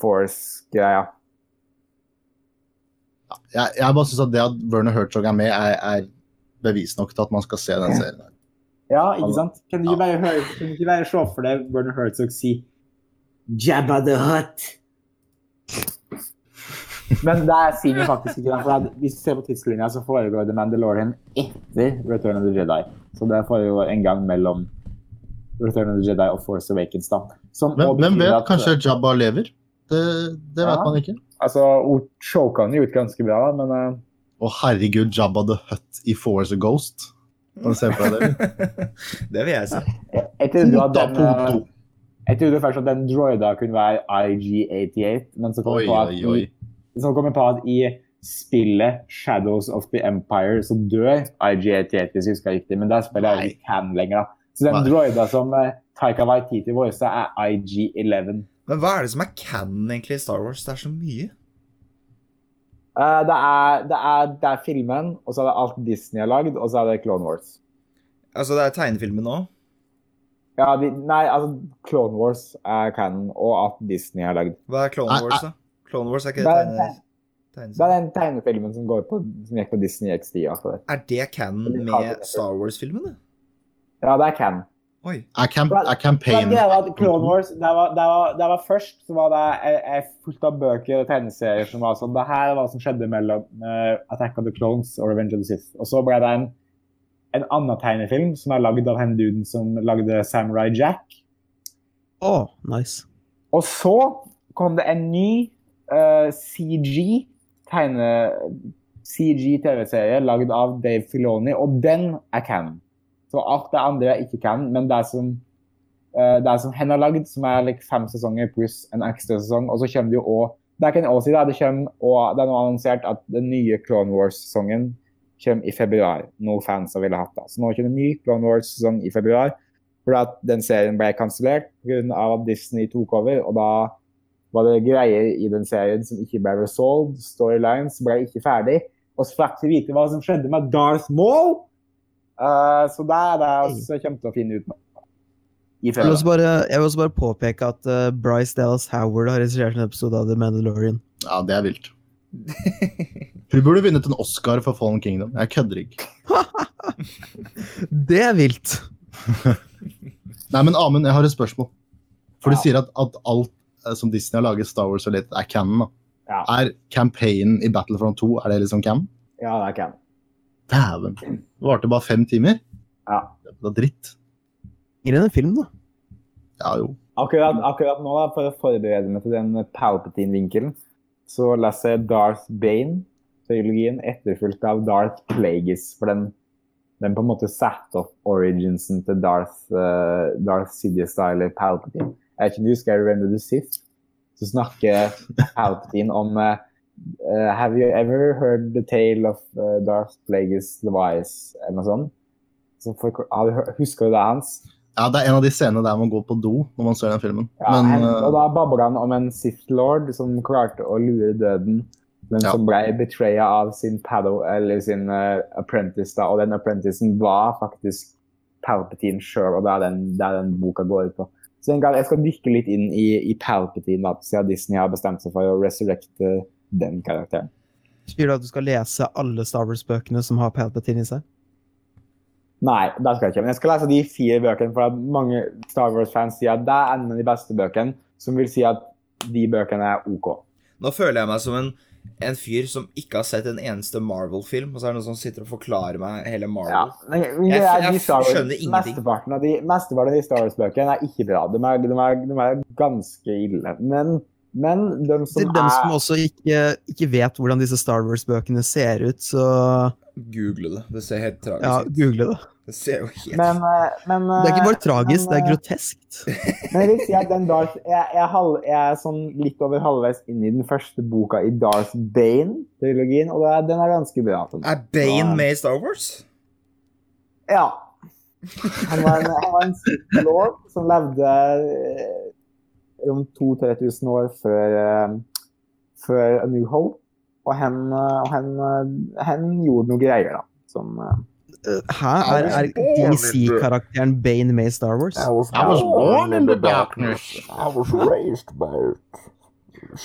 force-greia.
Jeg, jeg bare syns at det at Werner Herzog er med, er, er bevis nok til at man skal se den serien. her.
Ja, ikke sant? Kan du ikke bare, høre, kan du ikke bare se for deg Werner Herzog si Jabba the Hutt? Men der sier vi faktisk ikke det. For det er- hvis du ser på tidslinja, så foregår The Mandalorian etter Return of the Jedi. Så det foregår en gang mellom Return of the Jedi og Force Awakens. da. Som
Hvem,
også
hvem
betyr
vet?
at-
Kanskje Jabba lever? Det, det vet
Ja.
man ikke.
Altså, hun choka han jo ut ganske bra, da, men eh,
Å herregud, Jabba the Hutt i Force a Ghost. Kan du se for deg det?
det vil jeg si.
jeg- jeg trodde at
Puta
den, eh,
poto.
jeg trodde først at den droida kunne være IG-88, men så kom,
Oi,
jeg på at
oi, oi.
i, så kom jeg på at i spillet Shadows of the Empire så dør IG-88, hvis jeg husker riktig, men der spiller jeg
Nei.
ikke Can lenger. da. Så den
Nei.
droida som eh, Taika Waititi voicer, er IG-11.
Men hva er det som er canon egentlig i Star Wars? Det er så mye.
Eh, det, er, det, er, det er filmen, og så er det alt Disney har lagd, og så er det Clone Wars.
Altså, det er tegnefilmen òg.
Ja, de, nei, altså Clone Wars er canon, og alt Disney har lagd.
Hva er Clone
Nei,
Wars, da? Clone Wars er ikke
Det
det
er-
tegne...
Det er
tegneserie?
den tegnefilmen som, går på, som gikk på Disney XD. Altså.
Er det canon med Star Wars-filmene?
Ja, det er Ken.
Oi.
Er, camp, er
Men
campaign
det var at Clone Wars, det var, det var, det var først så var det jeg, jeg fullt av bøker og tegneserier som var sånn Det her var hva som skjedde mellom eh, Attack of the Clones og Revenge of the Sith. Og så ble det en, en annen tegnefilm som er lagd av han duden som lagde Samurai Jack.
Å, nice.
Og så kom det en ny eh, CG tegne... CG TV-serie lagd av Dave Filoni, og den er canon. Så alt det andre er ikke canon, men det er som eh, det er som hen har lagd, som er like fem sesonger pluss en ekstra sesong. Og så kommer det jo òg Det er ikke en år siden, det, kommer, og det er nå annonsert at den nye Clone Wars-sesongen kommer i februar. Noe fans har ville hatt da. Så nå kommer en ny Clone Wars-sesong i februar. Fordi at den serien ble kansellert pga. at Disney tok over. Og da var det greier i den serien som ikke ble resolved. Storylines ble ikke ferdig. Og så fikk vi vite hva som skjedde med Darth Maul. Eh, så det er det vi kommer til å finne ut nå. I
Jeg vil også
februar.
bare, jeg vil også bare påpeke at eh, Bryce Dallas Howard har regissert en episode av The Mandalorian.
Ja, det er vilt. Hun burde vunnet en Oscar for Fallen Kingdom. Jeg kødder ikke.
Det er vilt!
Nei, men Amund, jeg har et spørsmål. For
Ja.
du sier at, at alt eh, som Disney har laget Star Wars related, er canon. da.
Ja.
Er campaignen i Battlefront 2 er det liksom canon?
ja, det er Ken.
Dæven. Det varte bare fem timer.
Ja.
Det er dritt.
Gir en film, da.
Ja jo.
Akkurat, akkurat nå, da, for å forberede meg til den Palpatine-vinkelen, så leser jeg Darth Bane-trilogien etterfulgt av Darth Plagueis. For den, den på en måte satte opp originsen til Darth, eh, Darth Sidious-style Palpatine. Jeg vet ikke om du husker Remember the Sith? Så snakker Palpatine om eh, eh, Have you ever heard the tale of eh, Darth Plagueis device? Eller noe sånt. Så for, har du hø- husker du det hans?
Ja, Det er en av de scenene der man går på do når man ser den filmen.
Ja,
Men
hen- og
eh,
da babler han om en Sith Lord som klarte å lure døden, men
Ja.
som ble betraya av sin paddo, eller sin eh, apprentice, da, og den apprenticen var faktisk Palpatine sjøl, og det er, den, det er den boka går ut på. Så jeg, jeg skal dykke litt inn i, i Palpatine, da, siden Disney har bestemt seg for å resurrecte den karakteren.
Sier du at du skal lese alle Star Wars-bøkene som har Palpatine i seg?
Nei, det skal jeg ikke. Men jeg skal lese de fire bøkene, for at mange Star Wars-fans sier at det er en av de beste bøkene, som vil si at de bøkene er OK.
Nå føler jeg meg som en, en fyr som ikke har sett en eneste Marvel-film, og så er det noen som sitter og forklarer meg hele
Ja.
Marvel.
men- men
Jeg-
det er
jeg
de Star Wars-
skjønner ingenting.
Mesteparten av de, mesteparten av de Star Wars-bøkene er ikke bra. De er, de, er, de er ganske ille. Men, men de som
Til dem som
er
også ikke, ikke vet hvordan disse Star Wars-bøkene ser ut, så
Google det. Det ser helt tragisk
ja,
ut.
google det.
Det ser jo helt
men, eh, men,
Det er
eh,
ikke bare tragisk, det er
men, eh,
groteskt.
men jeg vil si at den Darth jeg, jeg, er halv, jeg er sånn litt over halvveis inn i den første boka i Darth Bane-trilogien, og det er, den er ganske bra. for meg.
Er Bane med i Star Wars?
Ja. Han var en, han var en Sith lord som levde eh, om 2000-3000 år før, eh, før A New Hope. Og han, eh, og han, eh, han gjorde noen greier, da. Som eh,
eh, Hæ? Er, er DC-karakteren Bane med i Star Wars?
I was,
I was born in the darkness.
I was raised by it.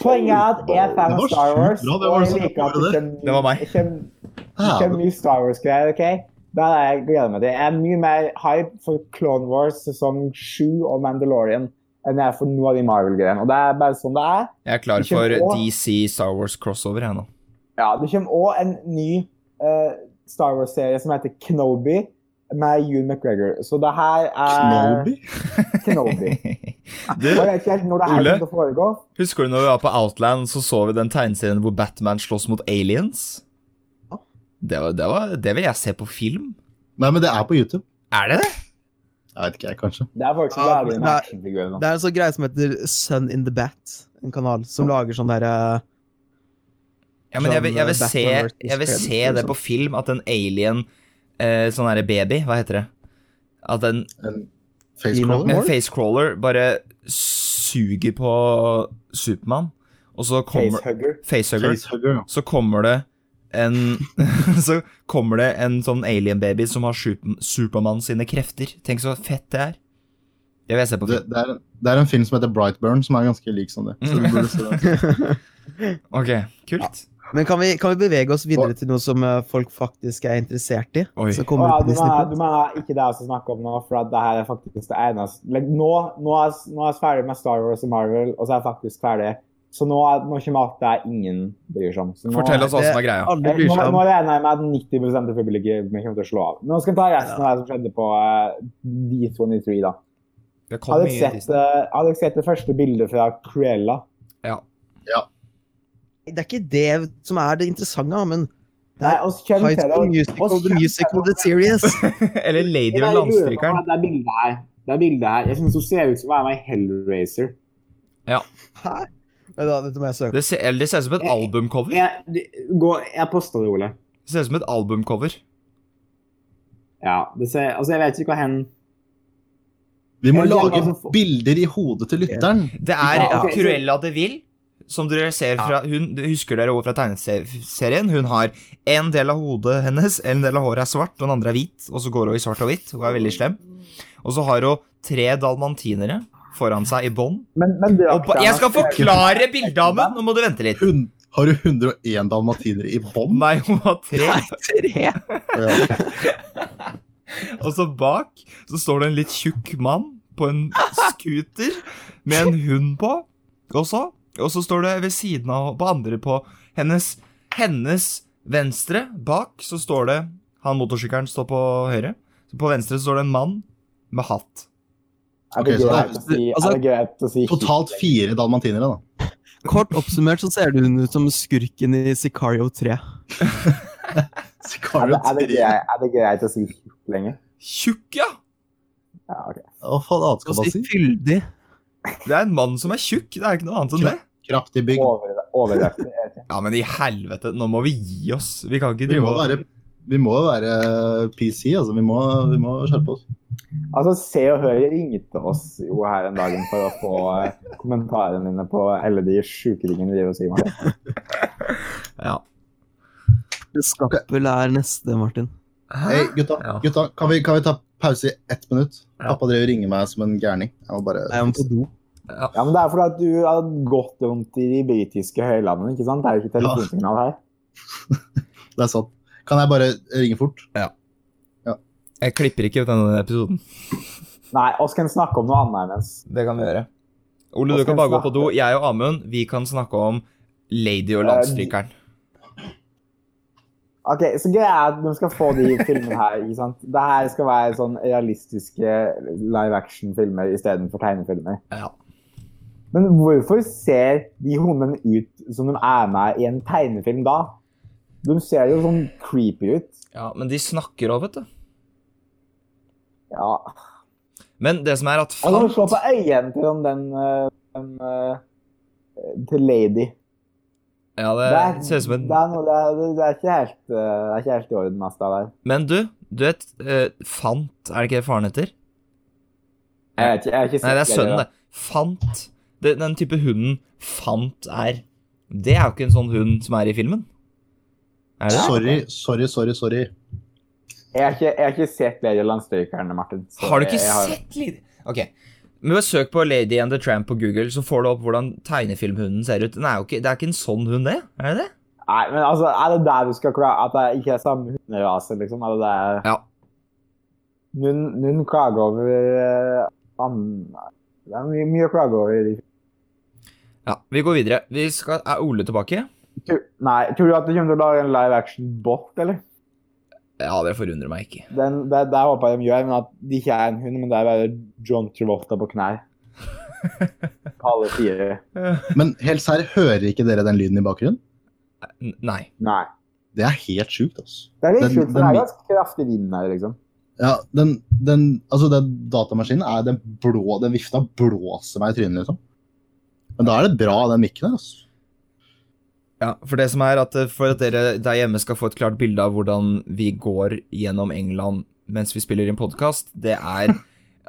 Poenget er at jeg er fan av
Det var
Star
sjukt
Wars.
bra, det
og
var
jeg
sånn-
liker at det kommer-
Det var meg.
det kommer-
eh,
det kommer mye Star Wars-greier, OK? Da er jeg gleder meg til. Jeg er mye mer hype for Clone Wars sesong 7 og Mandalorian enn jeg er for noe av de Marvel-greiene. Og det er bare sånn det er.
Jeg er klar for
Kjempe-
DC Star Wars crossover, jeg nå.
Ja, det kommer òg en ny eh, Star Wars-serie som heter Knoby, med Ewan McGregor. Så det her er
Kenobi?
Knoby.
Du,
Jeg vet ikke helt når det her
Ole?
kommer til å foregå.
husker du når vi var på Outland, så så vi den tegneserien hvor Batman slåss mot aliens? Det, var, det, var, det vil jeg se på film.
Nei, men det er på YouTube.
Er det det?
Jeg vet ikke, jeg, kanskje.
Det er faktisk
Ja,
jævlig
men
en
det er-
actionfigur nå.
Det er en sånn greie som heter Sun in the Bat, en kanal som lager sånn derre
Ja, men jeg vil, jeg vil,
uh,
Som, eh,
se,
Batman versus
jeg vil se
Predator,
det
liksom.
på film, at en alien eh, Sånn derre baby, hva heter det? At en,
En
en
Facecrawler?
facecrawler bare suger på Supermann, og så kommer
Facehugger.
Facehugger.
Facehugger. ja.
Så kommer det en Så kommer det en sånn alien-baby som har Sup- Supermann sine krefter. Tenk så fett det er. Det vil jeg se på
Det,
film.
det, er, det er en film som heter Brightburn, som er ganske lik som det. Så
Mm.
du burde se den.
Ok, kult.
eh, Men kan vi, kan vi bevege oss videre til noe som eh, folk faktisk er interessert i?
Oi.
Som
Å
kommer
ja,
ut på
du
Disney
mener, du mener ikke det jeg skal snakke om nå, for at det her er faktisk det eneste like, nå, nå, er, jeg- nå er jeg ferdig med Star Wars og Marvel, og så er jeg faktisk ferdig. Så nå, er, nå kommer alt det ingen bryr seg om. Så nå,
Fortell oss hva som er
Plus.
greia.
Alle
Eh,
bryr
Nå,
seg om
nå regner jeg med at 90 av publikum kommer til å slå av. Nå skal vi ta resten av det som skjedde på eh, D23. da.
Det kom
Har dere
mye
sett,
Disney.
eh, har dere sett det første bildet fra Cruella?
Det er ikke det som er det interessante, men
Nei, oss kjenner
High
til det.
School
oss-
Musical,
oss
The
kjenner
Musical,
til
The
det.
Series.
Eller Lady og
Nei, jeg lurer på
Landstrykeren.
at Det er bildet her. Det er bildet her. Jeg syns hun ser ut som hun er med i Hellraiser.
Hæ? Vent da, Dette må jeg søke.
Det ser, eller det ser ut som et albumcover.
Jeg, du- gå, jeg posta det, Ole.
Det ser ut som et albumcover.
Ja, det ser, altså, jeg vet ikke hva hen
Vi må
Jeg lurer på
lage
hva som-
bilder i hodet til lytteren.
Det er
Ja, ok.
Cruella de Vil, som dere ser fra hun, Husker dere også fra tegneserien? Hun har en del av hodet hennes, en del av håret er svart, og den andre er hvit, og så går hun i svart og hvitt. Hun er veldig slem. Og så har hun tre dalmantinere foran seg i bånd.
Men, men
Og ba- Jeg skal forklare bildedamen! Nå må du vente litt.
Hun, har du 101 dalmatiner i bånd?
Nei, hun har tre.
Tre?
Ja.
Og så bak så står det en litt tjukk mann på en scooter med en hund på. Og så, og så står det ved siden av på andre på hennes, hennes venstre bak så står det Han motorsykkelen står på høyre. Så på venstre så står det en mann med hatt.
Er det
Ok, så det er-
greit å si- er
altså,
det greit å si
Totalt fire dalmatinere, da.
Kort oppsummert så ser hun ut som skurken i Sicario 3.
Er
Sicario
det, er det,
3.
greit, er det greit å si lenge?
Tjukk, ja!
Ja, ok.
Hva faen
Og
annet skal man
si
si?
fyldig.
Det er en mann som er tjukk. Det er ikke noe annet enn det.
Kraftig bygd.
Over- Overdøftig. jeg vet ikke.
Ja, men i helvete, nå må vi gi oss. Vi kan ikke
Vi
drive
må
og
være, vi må være PC, altså. Vi må, vi må skjerpe oss.
Altså, Se og Hør ringte oss jo her en dag for å få eh, kommentarene dine på alle de sjuke tingene de driver og sier. Martin.
Ja.
Skappel er neste, Martin.
Hei, gutta,
Ja.
gutta kan, vi, kan vi ta pause i ett minutt?
Ja.
Pappa driver og ringer meg som en gærning. Jeg må bare
Jeg må på do.
Ja, men Det er fordi at du har gått rundt i de britiske høylandene. ikke sant? Det er jo ikke telefonsignal her.
Det er sant. Kan jeg bare ringe fort?
Jeg klipper ikke ut denne episoden.
Nei, oss kan snakke om noe annet mens.
Det kan vi gjøre. Ole,
Hva
du
skal
kan
vi
bare gå på
snakke
do.
om?
Jeg og Amund, vi kan snakke om Lady og
Eh,
landstrykeren.
Ok, Så greia er at de skal få de filmene her. ikke sant? Det her skal være sånn realistiske live action-filmer istedenfor tegnefilmer.
Ja.
Men hvorfor ser de hundene ut som de er med i en tegnefilm da? De ser jo sånn creepy ut.
ja, men de snakker òg, vet du.
Ja.
Men det som er at
Altså, se
fant
på øynene til den, den, eh, den eh, til lady.
Ja, Eh, det ser ut som en
det, er noe, det, er, det, er ikke helt, eh, det er ikke helt i orden, ass, det der.
Men du, du vet eh, Fant, er det ikke det faren heter?
Jeg vet ikke, jeg har ikke sett
Nei, det er sønnen,
heller.
det. Fant. Det, den type hunden Fant er. Det er jo ikke en sånn hund som er i filmen. Er det?
Sorry, sorry, sorry. sorry.
Jeg har ikke, jeg har ikke sett Lady og Landstrykerne, Martin. så
Har du ikke
jeg- jeg har-
sett Lady Ok. Men bare søk på Lady and the Tramp på Google, så får du opp hvordan tegnefilmhunden ser ut. Den er jo ikke, det er ikke en sånn hund, det? Er det det?
Nei, men altså, er det der du skal klage? At det ikke er samme hunderase, liksom? Er det der?
Ja.
Nun, nun klager over eh, an- Det er mye, mye å klage over. i de-
Ja, Vi går videre. Vi skal, er Ole tilbake?
Tu- Nei, tror du at du kommer til å lage en live action-bot, eller?
Ja, det forundrer meg ikke.
Den, det, det håper jeg de gjør, men at det ikke er en hund, men det er bare John Travolta på knær. På alle fire.
Men helt sær, hører ikke dere den lyden i bakgrunnen?
N nei.
Nei.
Det er helt sjukt, altså.
Det er litt
Den-
kult, for det
den-
er ganske kraftig vind her, liksom.
Ja, den, den, altså den datamaskinen er den blå, den vifta blåser meg i trynet, liksom. Men da er det bra, den mikken der, altså.
Ja, For det som er at eh, for at dere der hjemme skal få et klart bilde av hvordan vi går gjennom England mens vi spiller inn podkast, det er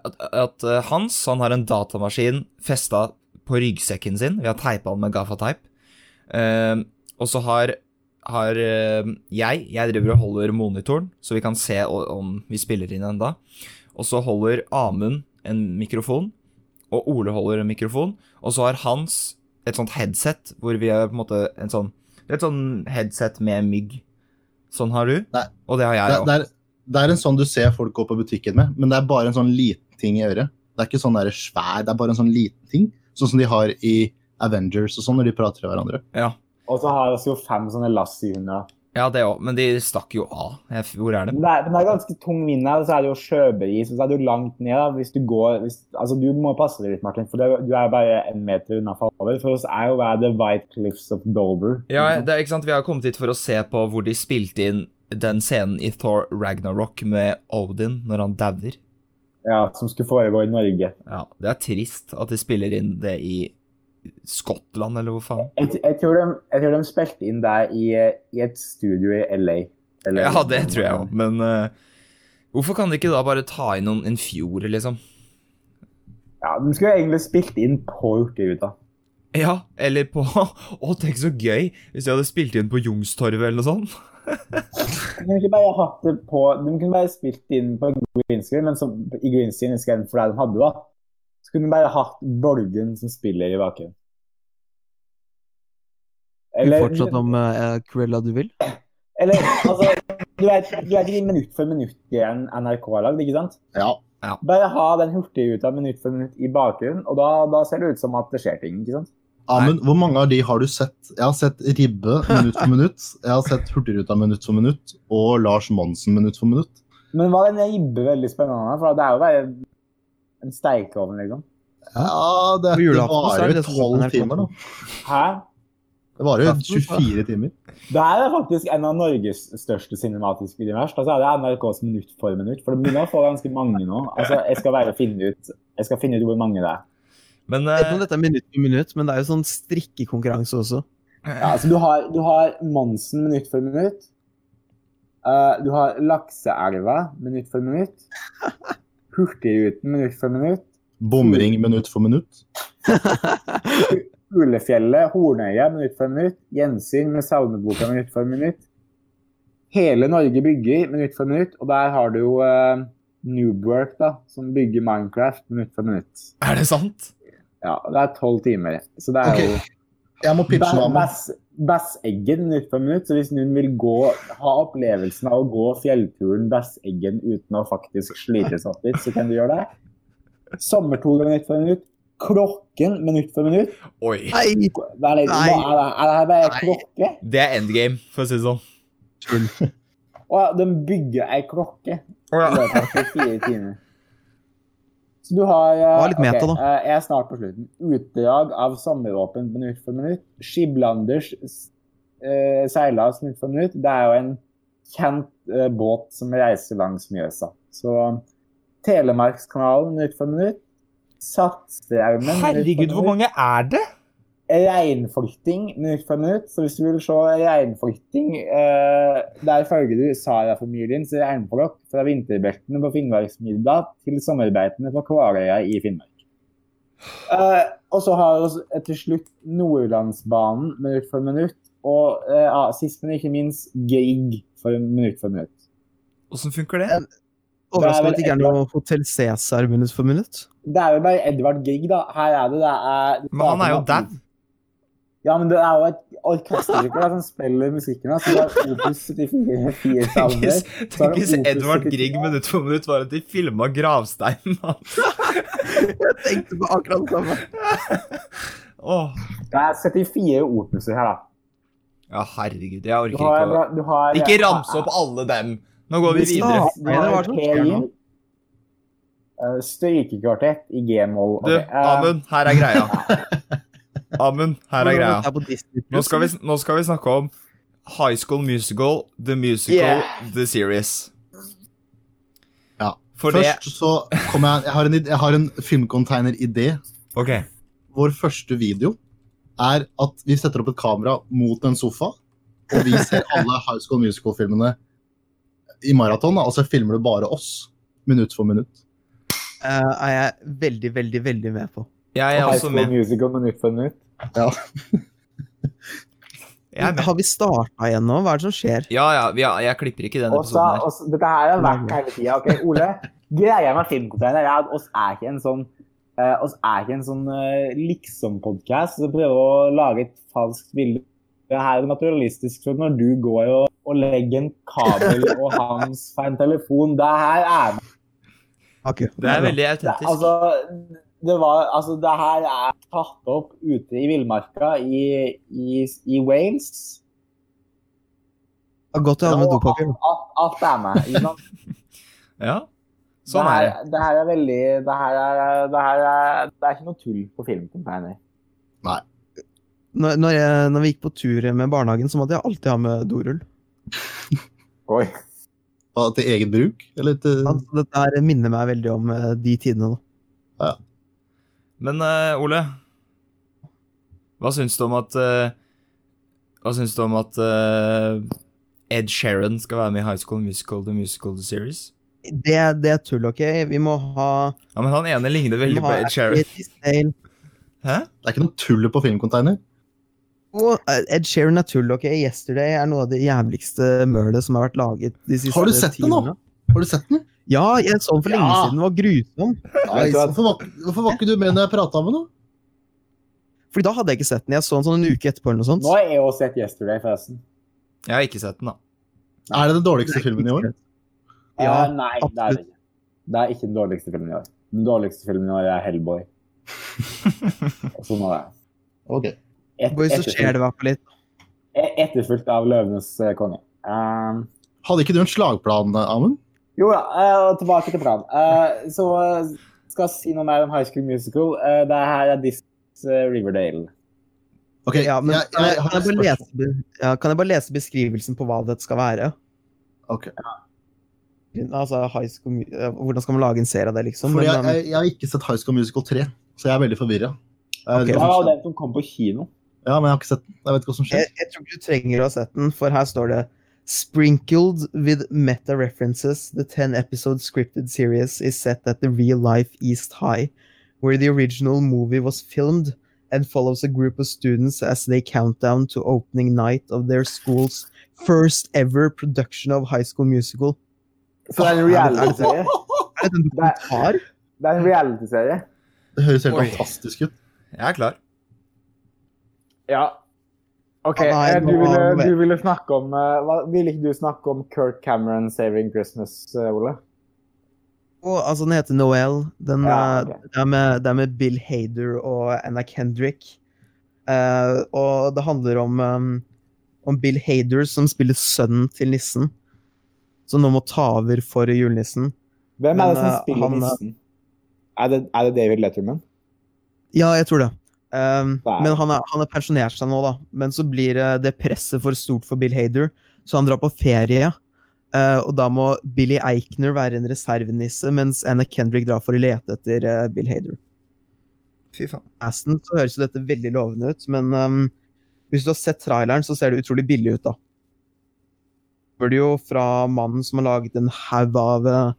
at, at eh, Hans han har en datamaskin festa på ryggsekken sin. Vi har teipa den med gaffateip. Eh, og så har, har eh, jeg Jeg driver og holder monitoren, så vi kan se o- om vi spiller inn enda. Og så holder Amund en mikrofon, og Ole holder en mikrofon, og så har Hans et sånt headset hvor vi har på en måte en sånn Et sånn headset med mygg. Sånn har du,
Nei.
og det har jeg
Det,
òg.
det, er, det er en sånn du ser folk gå på butikken med, men det er bare en sånn liten ting i øret. Det er ikke sånn der svær, det er bare en sånn liten ting. Sånn som de har i Avengers og sånn, når de prater med hverandre.
Ja.
Og så har vi jo fem sånne Lassie-hunder.
Ja, det òg, men de stakk jo av. Jeg, f- hvor er
Men
de?
det, er, men det er ganske tung vind her, og så er det jo sjøbeis. og Så er det jo langt ned. da, hvis Du går, hvis, altså du må passe deg litt, Martin, for det, du er bare en meter unna fallover. For oss er jo hva er The White Cliffs of Dover.
Ja, det er ikke sant, Vi har kommet hit for å se på hvor de spilte inn den scenen i Thor Ragnarok med Odin når han dauer.
Ja, Som skulle foregå i Norge.
Ja, det er trist at de spiller inn det i Skottland, eller hvor faen.
Jeg, jeg, tror, de, jeg tror de spilte inn der i, eh, i et studio i LA. eller-
Ja, det tror jeg òg, men eh, hvorfor kan de ikke da bare ta inn noen en fjord, liksom?
Ja, De skulle egentlig spilt inn på Hurtigruta.
Ja, eller på Å, tenk så gøy hvis de hadde spilt inn på Jungstorvet eller noe sånt.
De kunne ikke bare hatt det på, de kunne bare spilt inn på greenscreen, men som, i greenscreen istedenfor det de hadde, da. Så kunne de bare hatt Borgen som spiller i bakgrunnen.
Eller, fortsatt om uh, Cruella du vil.
eller altså Du vet du vet ikke minutt for minutt-greien NRK har lagd, ikke sant?
Ja,
Bare ha den hurtigruta minutt for minutt i bakgrunnen, og da, da ser det ut som at det skjer ting, ikke sant?
Amund, hvor mange av de har du sett? Jeg har sett Ribbe minutt for minutt. Jeg har sett Hurtigruta minutt for minutt. Og Lars Monsen minutt for minutt.
Men var den ribbe veldig spennende? For det er jo bare en steikeovn, liksom.
Ja, det,
På
det
julaften så er det
varer jo
det som går på
12
NRK.
timer, da.
Hæ?
Det varer jo
Aften, så-
24 timer.
Det her er faktisk en av Norges største cinematiske univers. Altså, det er NRKs minutt for minutt, for det begynner å få ganske mange nå. Altså, jeg skal være og finne ut, jeg skal finne ut hvor mange det er.
Men
Jeg vet ikke
eh,
om dette er minutt for minutt, men det er jo sånn strikkekonkurranse også.
Ja, altså, du har, du har Monsen minutt for minutt. Eh, du har Lakseelva minutt for minutt. Hurtigruten minutt for minutt.
Bomring minutt for minutt.
Ulefjellet, Hornøya minutt for minutt. Gjensyn med salmeboka minutt for minutt. Hele Norge bygger minutt for minutt, og der har du jo eh, Noobwork, da, som bygger Minecraft minutt for minutt.
er det sant?
Ja, det er tolv timer, så det er
Ok,
jo
Jeg må pitche
Ba-
noe, Amund.
Bass- Basseggen minutt for minutt, så hvis noen vil gå, ha opplevelsen av å gå fjellturen Basseggen uten å faktisk slite seg opp litt, så kan du gjøre det. Sommertoget minutt for minutt. Klokken minutt for minutt.
Oi.
Nei!
Hva er det,
Nei.
hva er det, er det her bare ei klokke?
Det er endgame, for å si det sånn.
Tull.
Å, ja, de bygger ei klokke
Å,
i
ja.
løpet av 24 timer. Så du har eh,
var litt meta,
ok,
da.
eh, Jeg er snart på slutten. Utdrag av sommeråpent minutt for minutt. Skiblanders uh, seilas minutt for minutt. Det er jo en kjent eh, båt som reiser langs Mjøsa. Så eh, Telemarkskanalen minutt for minutt. Satsstraumen minutt for
Herregud, hvor
minutt.
mange er det?
Reinflykting minutt for minutt. Så hvis du vil se reinflykting, eh, der følger du Sara-familiens reinflokk fra vinterbeltene på Finnmarksmidda til sommerbeitene på Kvarøya i Finnmark. Eh, og så har vi også til slutt Nordlandsbanen minutt for minutt. Og eh, ja, sist, men ikke minst, Grieg for minutt for minutt.
Åssen funker det?
Overraskende at det ikke er
Det er vel
noe Hotell Cæsar minutt for minutt.
Det er jo bare Edvard Grieg, da. eh, Her er det det er
Men han er jo dau.
Ja, men det er jo et orkesterstykke da, som spiller musikken hans. Det er Opus 74 fire salmer.
Tenkes,
Så er det
tenkes
Opus
Edvard
74.
Grieg minutt for minutt var at de filma gravsteinen hans.
Jeg tenkte på akkurat det samme.
Åh.
Det er 74 opuser her, da.
Ja, herregud, jeg orker
Du
ikke å
har, du har
Ikke ramse opp alle dem. Nå går vi videre.
Du har
sånn.
P-lim. Strykekvartett i G-moll.
Du,
Ok, eh,
Amund, her er greia. Amund, her er greia.
på Disney+.
Nå skal vi, nå skal vi snakke om High School Musical, The Musical, The Series.
Ja.
For det
Først så kommer jeg Jeg har en, id- jeg har en filmcontainer-idé.
Ok.
Vår første video er at vi setter opp et kamera mot en sofa, og vi ser alle High School Musical-filmene i maraton. da. Altså filmer du bare oss, minutt for minutt.
Eh, er jeg veldig, veldig, veldig med på.
Jeg er
High
også
School
med.
Musical minutt for minutt.
Jeg er med.
Har vi starta igjen nå? Hva er det som skjer?
Ja, ja, vi er, jeg klipper ikke i denne
Og så-
episoden her.
og så- dette her har vært hele tida. Ok, Ole. Greia med filmcontainer er at oss er ikke en sånn eh, oss er ikke en sånn eh, liksom-podkast som prøver å lage et falskt bilde. Det her er naturalistisk. For når du går og, og legger en kabel og Hans får en telefon Det her er
Ok,
Det er
bra.
veldig
Det,
autentisk.
altså, det var Altså, det her er tatt opp ute i villmarka i, i, i Wales.
Det er Godt å ha med dopapir.
Og Alt, alt er med. Ikke sant?
Ja. Sånn er det.
her, det her er veldig Det her er Det, her er, det er ikke noe tull på filmcontainer.
Når, når, jeg, når vi gikk på tur med barnehagen, så måtte jeg alltid ha med dorull.
Oi.
Hva, Til eget bruk? Eller til
Altså, Dette her minner meg veldig om eh, de tidene. da.
Men eh, Ole, hva syns du om at eh, Hva syns du om at eh, Ed Sheeran skal være med i High School Musical The Musical The Series?
Det, det er tull, OK? Vi må ha,
Ja, men han ene ligner
vi
veldig
må
på
ha
Ed Sheeran.
Ashley Tisdale.
Hæ?
Det er ikke noe tull på filmcontainer.
Og eh, Ed Sheeran er tull, OK? Yesterday er noe av det jævligste mølet som har vært laget de siste
Har du sett det nå?
tiårene.
Har du sett den?
Ja, jeg så den for lenge
Ja.
siden. Den var grusom.
Nei, så hvorfor, var, hvorfor var ikke du med når jeg prata med deg?
Fordi da hadde jeg ikke sett den. Jeg så den sånn en uke etterpå eller noe sånt.
Nå har jeg også sett 'Yesterday', forresten.
Jeg har ikke sett den, da.
Er det den
Det er
dårligste
ikke
filmen i år?
greit.
Eh,
Ja,
nei, det er det ikke. Det er ikke den dårligste filmen i år. Den dårligste filmen i år er 'Hellboy'. Og sånn var det.
Ok.
Et,
Boys, så
etterfulgt-
skjer det i hvert fall litt.
Et- Etterfulgt av 'Løvenes eh, konge'. Ehm,
Hadde ikke du en slagplan, eh, Amund?
jo da, eh, og tilbake til planen. Eh, så eh, skal jeg si noe mer om High School Musical. Eh, det her er Disney's eh, Riverdale.
Ok,
Ja, men
jeg,
kan, jeg,
jeg har
kan, jeg
et
bare
spørsmål.
lese, be- ja, kan jeg bare lese beskrivelsen på hva dette skal være?
Ok.
Altså, high school, mu- eh, hvordan skal man lage en serie av det, liksom?
Fordi jeg,
Men,
jeg, jeg har ikke sett High School Musical 3, så jeg er veldig forvirra.
Ok.
Det var jo den som kom på kino.
Ja, men jeg har ikke sett den. Jeg vet ikke hva som
eh, jeg,
skjer.
jeg tror ikke du trenger å ha sett den, for her står det Sprinkled with meta references, the 10 episode scripted series is set at the real life East High, where the original movie was filmed and follows a group of students as they count down to opening night of their school's first ever production of High School Musical.
Så det er en reality-serie.
Er det en dokumentar?
Det er en reality-serie.
Det høres helt
Oi.
fantastisk ut.
Jeg er klar.
Ja. OK,
Ja, nei,
eh, du
nå-
ville,
nå vet-
du ville snakke om eh, hva, Ville ikke du snakke om Kirk Cameron 'Saving Christmas', eh, Ole?
Og, altså, den heter Noel. Den,
Ja,
eh,
ok.
det, er med, det er med Bill Hader og Anna Kendrick. Eh, og det handler om, em, om Bill Hader som spiller sønnen til nissen. Som nå må ta over for julenissen.
Hvem
Men,
er det som
eh,
spiller
han, eh,
nissen? Er det, er det David Letterman?
Ja, jeg tror det. Em,
Wow.
Men han er- han har pensjonert seg nå, da. Men så blir eh, det presset for stort for Bill Hader, så han drar på ferie. eh, og da må Billy Eichner være en reservenisse, mens Anna Kendrick drar for å lete etter eh, Bill Hader.
Fy faen.
casten så høres jo dette veldig lovende ut, men ehm, hvis du har sett traileren, så ser det utrolig billig ut, da. Det er jo fra mannen som har laget en haug av eh,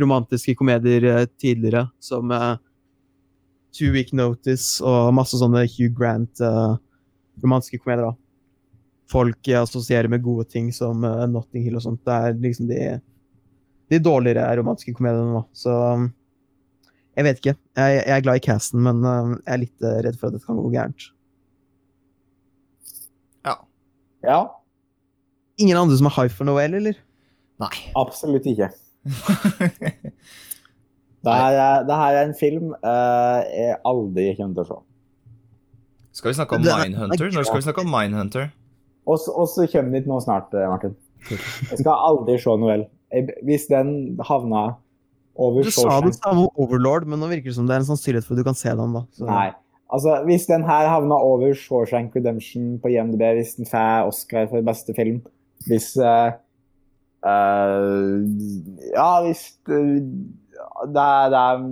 romantiske komedier eh, tidligere, som eh, Two Week Notice og masse sånne Hugh Grant-romantiske komedier, da. Folk eh, assosierer med gode ting som eh, Notting Hill og sånt. Det er liksom de de dårligere romantiske komediene nå. Så um, jeg vet ikke. Jeg, jeg er glad i casten, men um, jeg er litt eh, redd for at dette kan gå gærent.
Ja,
Ingen andre som er hype for noe, eller?
Nei.
absolutt ikke. Det her er, det her er en film eh, jeg aldri kommer til å se.
Skal vi snakke om
Det er-
Mindhunter? Når skal vi snakke om Mindhunter?
Og så og så kommer den hit nå snart, eh, Martin. Jeg skal aldri se Noel. Jeg- Hvis den havna over
Du sa det
Shawshank
samme om Overlord, men nå virker det som det er en sannsynlighet for at du kan se den. da. Så.
Nei. Altså, hvis den her havna over Shawshank Redemption på IMDb, hvis den får Oscar for beste film Hvis eh, eh, Ja, hvis eh, det, er, det, er,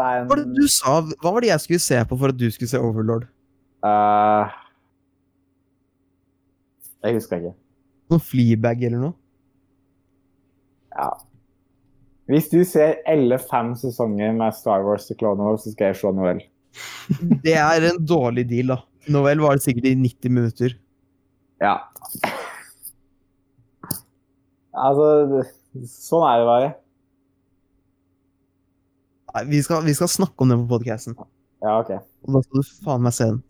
det er
Hva var
en
det du sa? Hva var det jeg skulle se på for at du skulle se Overlord?
eh, Jeg husker ikke.
Noen Fleabag eller noe?
Hvis du ser alle fem sesonger med Star Wars til Clone Wars, så skal jeg se Noel.
Det er en dårlig deal, da. Novell var det sikkert i 90 minutter.
Ja. Altså, det- sånn er det bare.
Nei, vi skal, vi skal snakke om den på podcasten.
Ja, OK.
Og da skal du faen meg se den.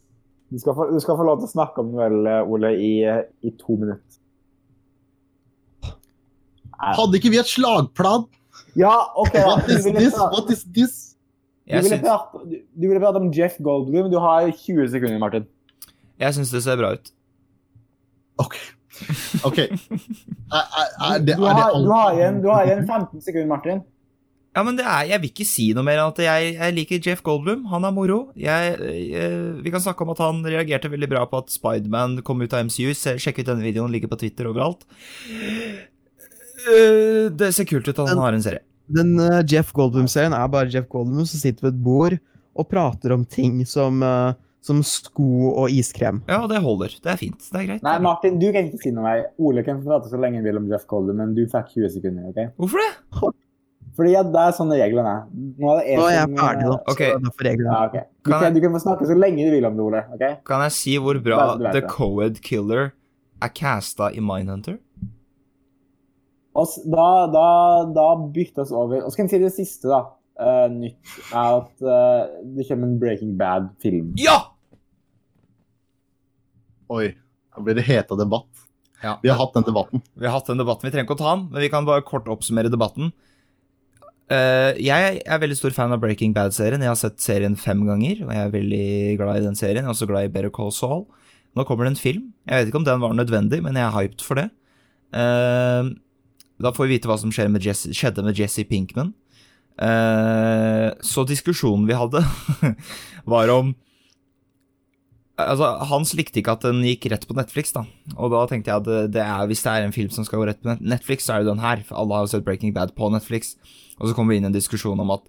Du skal få, du skal få lov til å snakke om Noel, eh, Ole, i, eh, i to minutter. Nei.
Hadde ikke vi et slagplan?
Ja, OK. da.
What
Du
is
ville
this?
prate,
What is this?
du
Jeg
ville
syns,
prate, du- du ville prate om Jeff Goldblum. Du har 20 sekunder, Martin.
jeg syns det ser bra ut.
OK. ok. Er, er, er det,
Du
er det
har,
alt?
du har, igjen, du har igjen 15 sekunder, Martin.
Ja, men det er, Jeg vil ikke si noe mer enn at jeg, jeg liker Jeff Goldblum. Han er moro. Jeg, eh, vi kan snakke om at han reagerte veldig bra på at Spiderman kom ut av MCU. Se, sjekk ut denne videoen, ligger på Twitter overalt. Eh, det ser kult ut at han har en serie.
Den eh, Jeff Goldblum-serien er bare Jeff Goldblum som sitter ved et bord og prater om ting som, eh, som sko og iskrem.
Ja, det holder. Det er fint. Det er greit.
Nei, Martin, du kan ikke si noe mer. Ole kan få prate så lenge han vil om Jeff Goldblum, men du fikk 20 sekunder. ok?
Hvorfor det?
Fordi at det er sånne reglene er. Nå er det jeg
Nå er jeg
som, eh,
ferdig, da.
Ok.
Så det er derfor reglene.
Ja, ok. Du
Kan
kan,
jeg-
du kan få snakke så lenge du vil om det, Ole. ok?
Kan jeg si hvor
Bare
bra
så du vet
The
det.
Coed Killer er casta i Mindhunter?
Og s- da, da, da byttes over. Og så kan jeg si det siste, da. eh, nytt er at eh, det kommer en Breaking Bad-film.
Ja!
Oi. Da blir det heta debatt.
Ja.
Vi har hatt den debatten.
Vi har hatt den debatten, vi trenger ikke å ta den, men vi kan bare kort oppsummere debatten. Eh, jeg er veldig stor fan av Breaking Bad-serien. Jeg har sett serien fem ganger, og jeg er veldig glad i den serien. Jeg er også glad i Better Call Saul. Nå kommer det en film. Jeg vet ikke om den var nødvendig, men jeg er hyped for det. Eh, da får vi vite hva som skjer med Jesse, skjedde med Jesse Pinkman. Eh, så diskusjonen vi hadde, var om Altså, Hans likte ikke at den gikk rett på Netflix, da. Og da tenkte jeg at det, det er, hvis det er en film som skal gå rett på net- Netflix, så er det den her. For alle har jo sett Breaking Bad på Netflix. Og så kommer vi inn i en diskusjon om at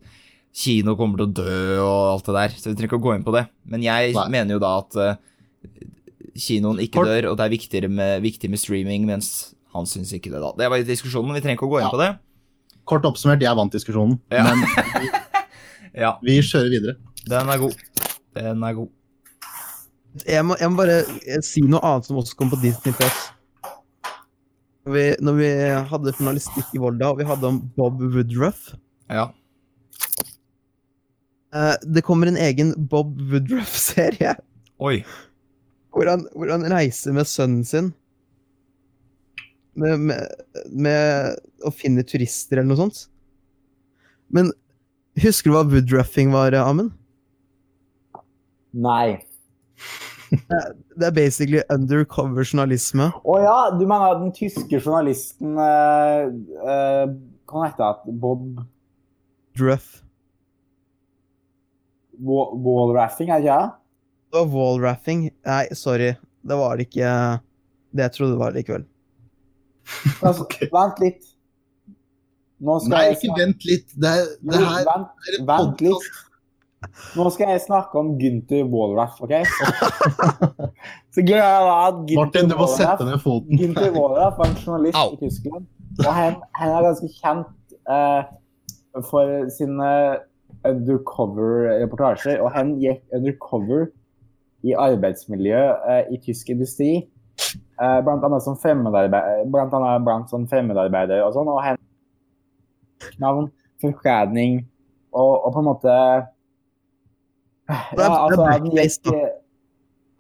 kino kommer til å dø og alt det der. Så vi trenger ikke å gå inn på det. Men jeg
Nei.
mener jo da at eh, kinoen ikke
Har-
dør, og det er viktigere med, viktig med streaming, mens han syns ikke det, da. Det var diskusjonen, vi trenger ikke å gå inn
Ja.
på det.
Kort oppsummert, jeg vant diskusjonen.
Ja.
Men
Ja,
vi kjører videre.
den er god. Den er god.
Jeg må, jeg må bare eh, si noe annet som også kom på Disney Plus. Når vi, når vi hadde journalistikk i Volda, og vi hadde om Bob Woodruff
Ja.
eh, Det kommer en egen Bob Woodruff-serie.
Oi.
hvor han, hvor han reiser med sønnen sin med, med, med å finne turister eller noe sånt. Men husker du hva woodruffing var, Amund?
Nei.
Det er basically undercover journalisme.
Å ja, du mener den tyske journalisten eh, eh, Hva heter han? Bob
Druff.
Wa- Wallraffing, er det ikke det?
Det var wallraffing. Nei, sorry. Det var ikke det jeg trodde det var likevel.
Altså,
Ok.
Vent litt. Nå skal
Nei,
jeg
ikke
snakke-
vent litt. Det, er- det
Jo,
her
vent,
er en
vent litt.
podcast.
Nå skal jeg snakke om Gunther Wallraff, OK? Så greia er at Günther
Martin, du må
Wallraff-
sette ned foten.
Günther Wallraff var en journalist
Au.
i Tyskland, og han, han er ganske kjent eh, for sine undercover-reportasjer. Og han gikk undercover i arbeidsmiljø eh, i tysk industri, eh, blant annet som fremmedarbeid- blant annet blant sånn fremmedarbeider og sånn. Og han navn, forkledning og, og på en måte eh, altså,
Det er- det er blackface, da.
gikk-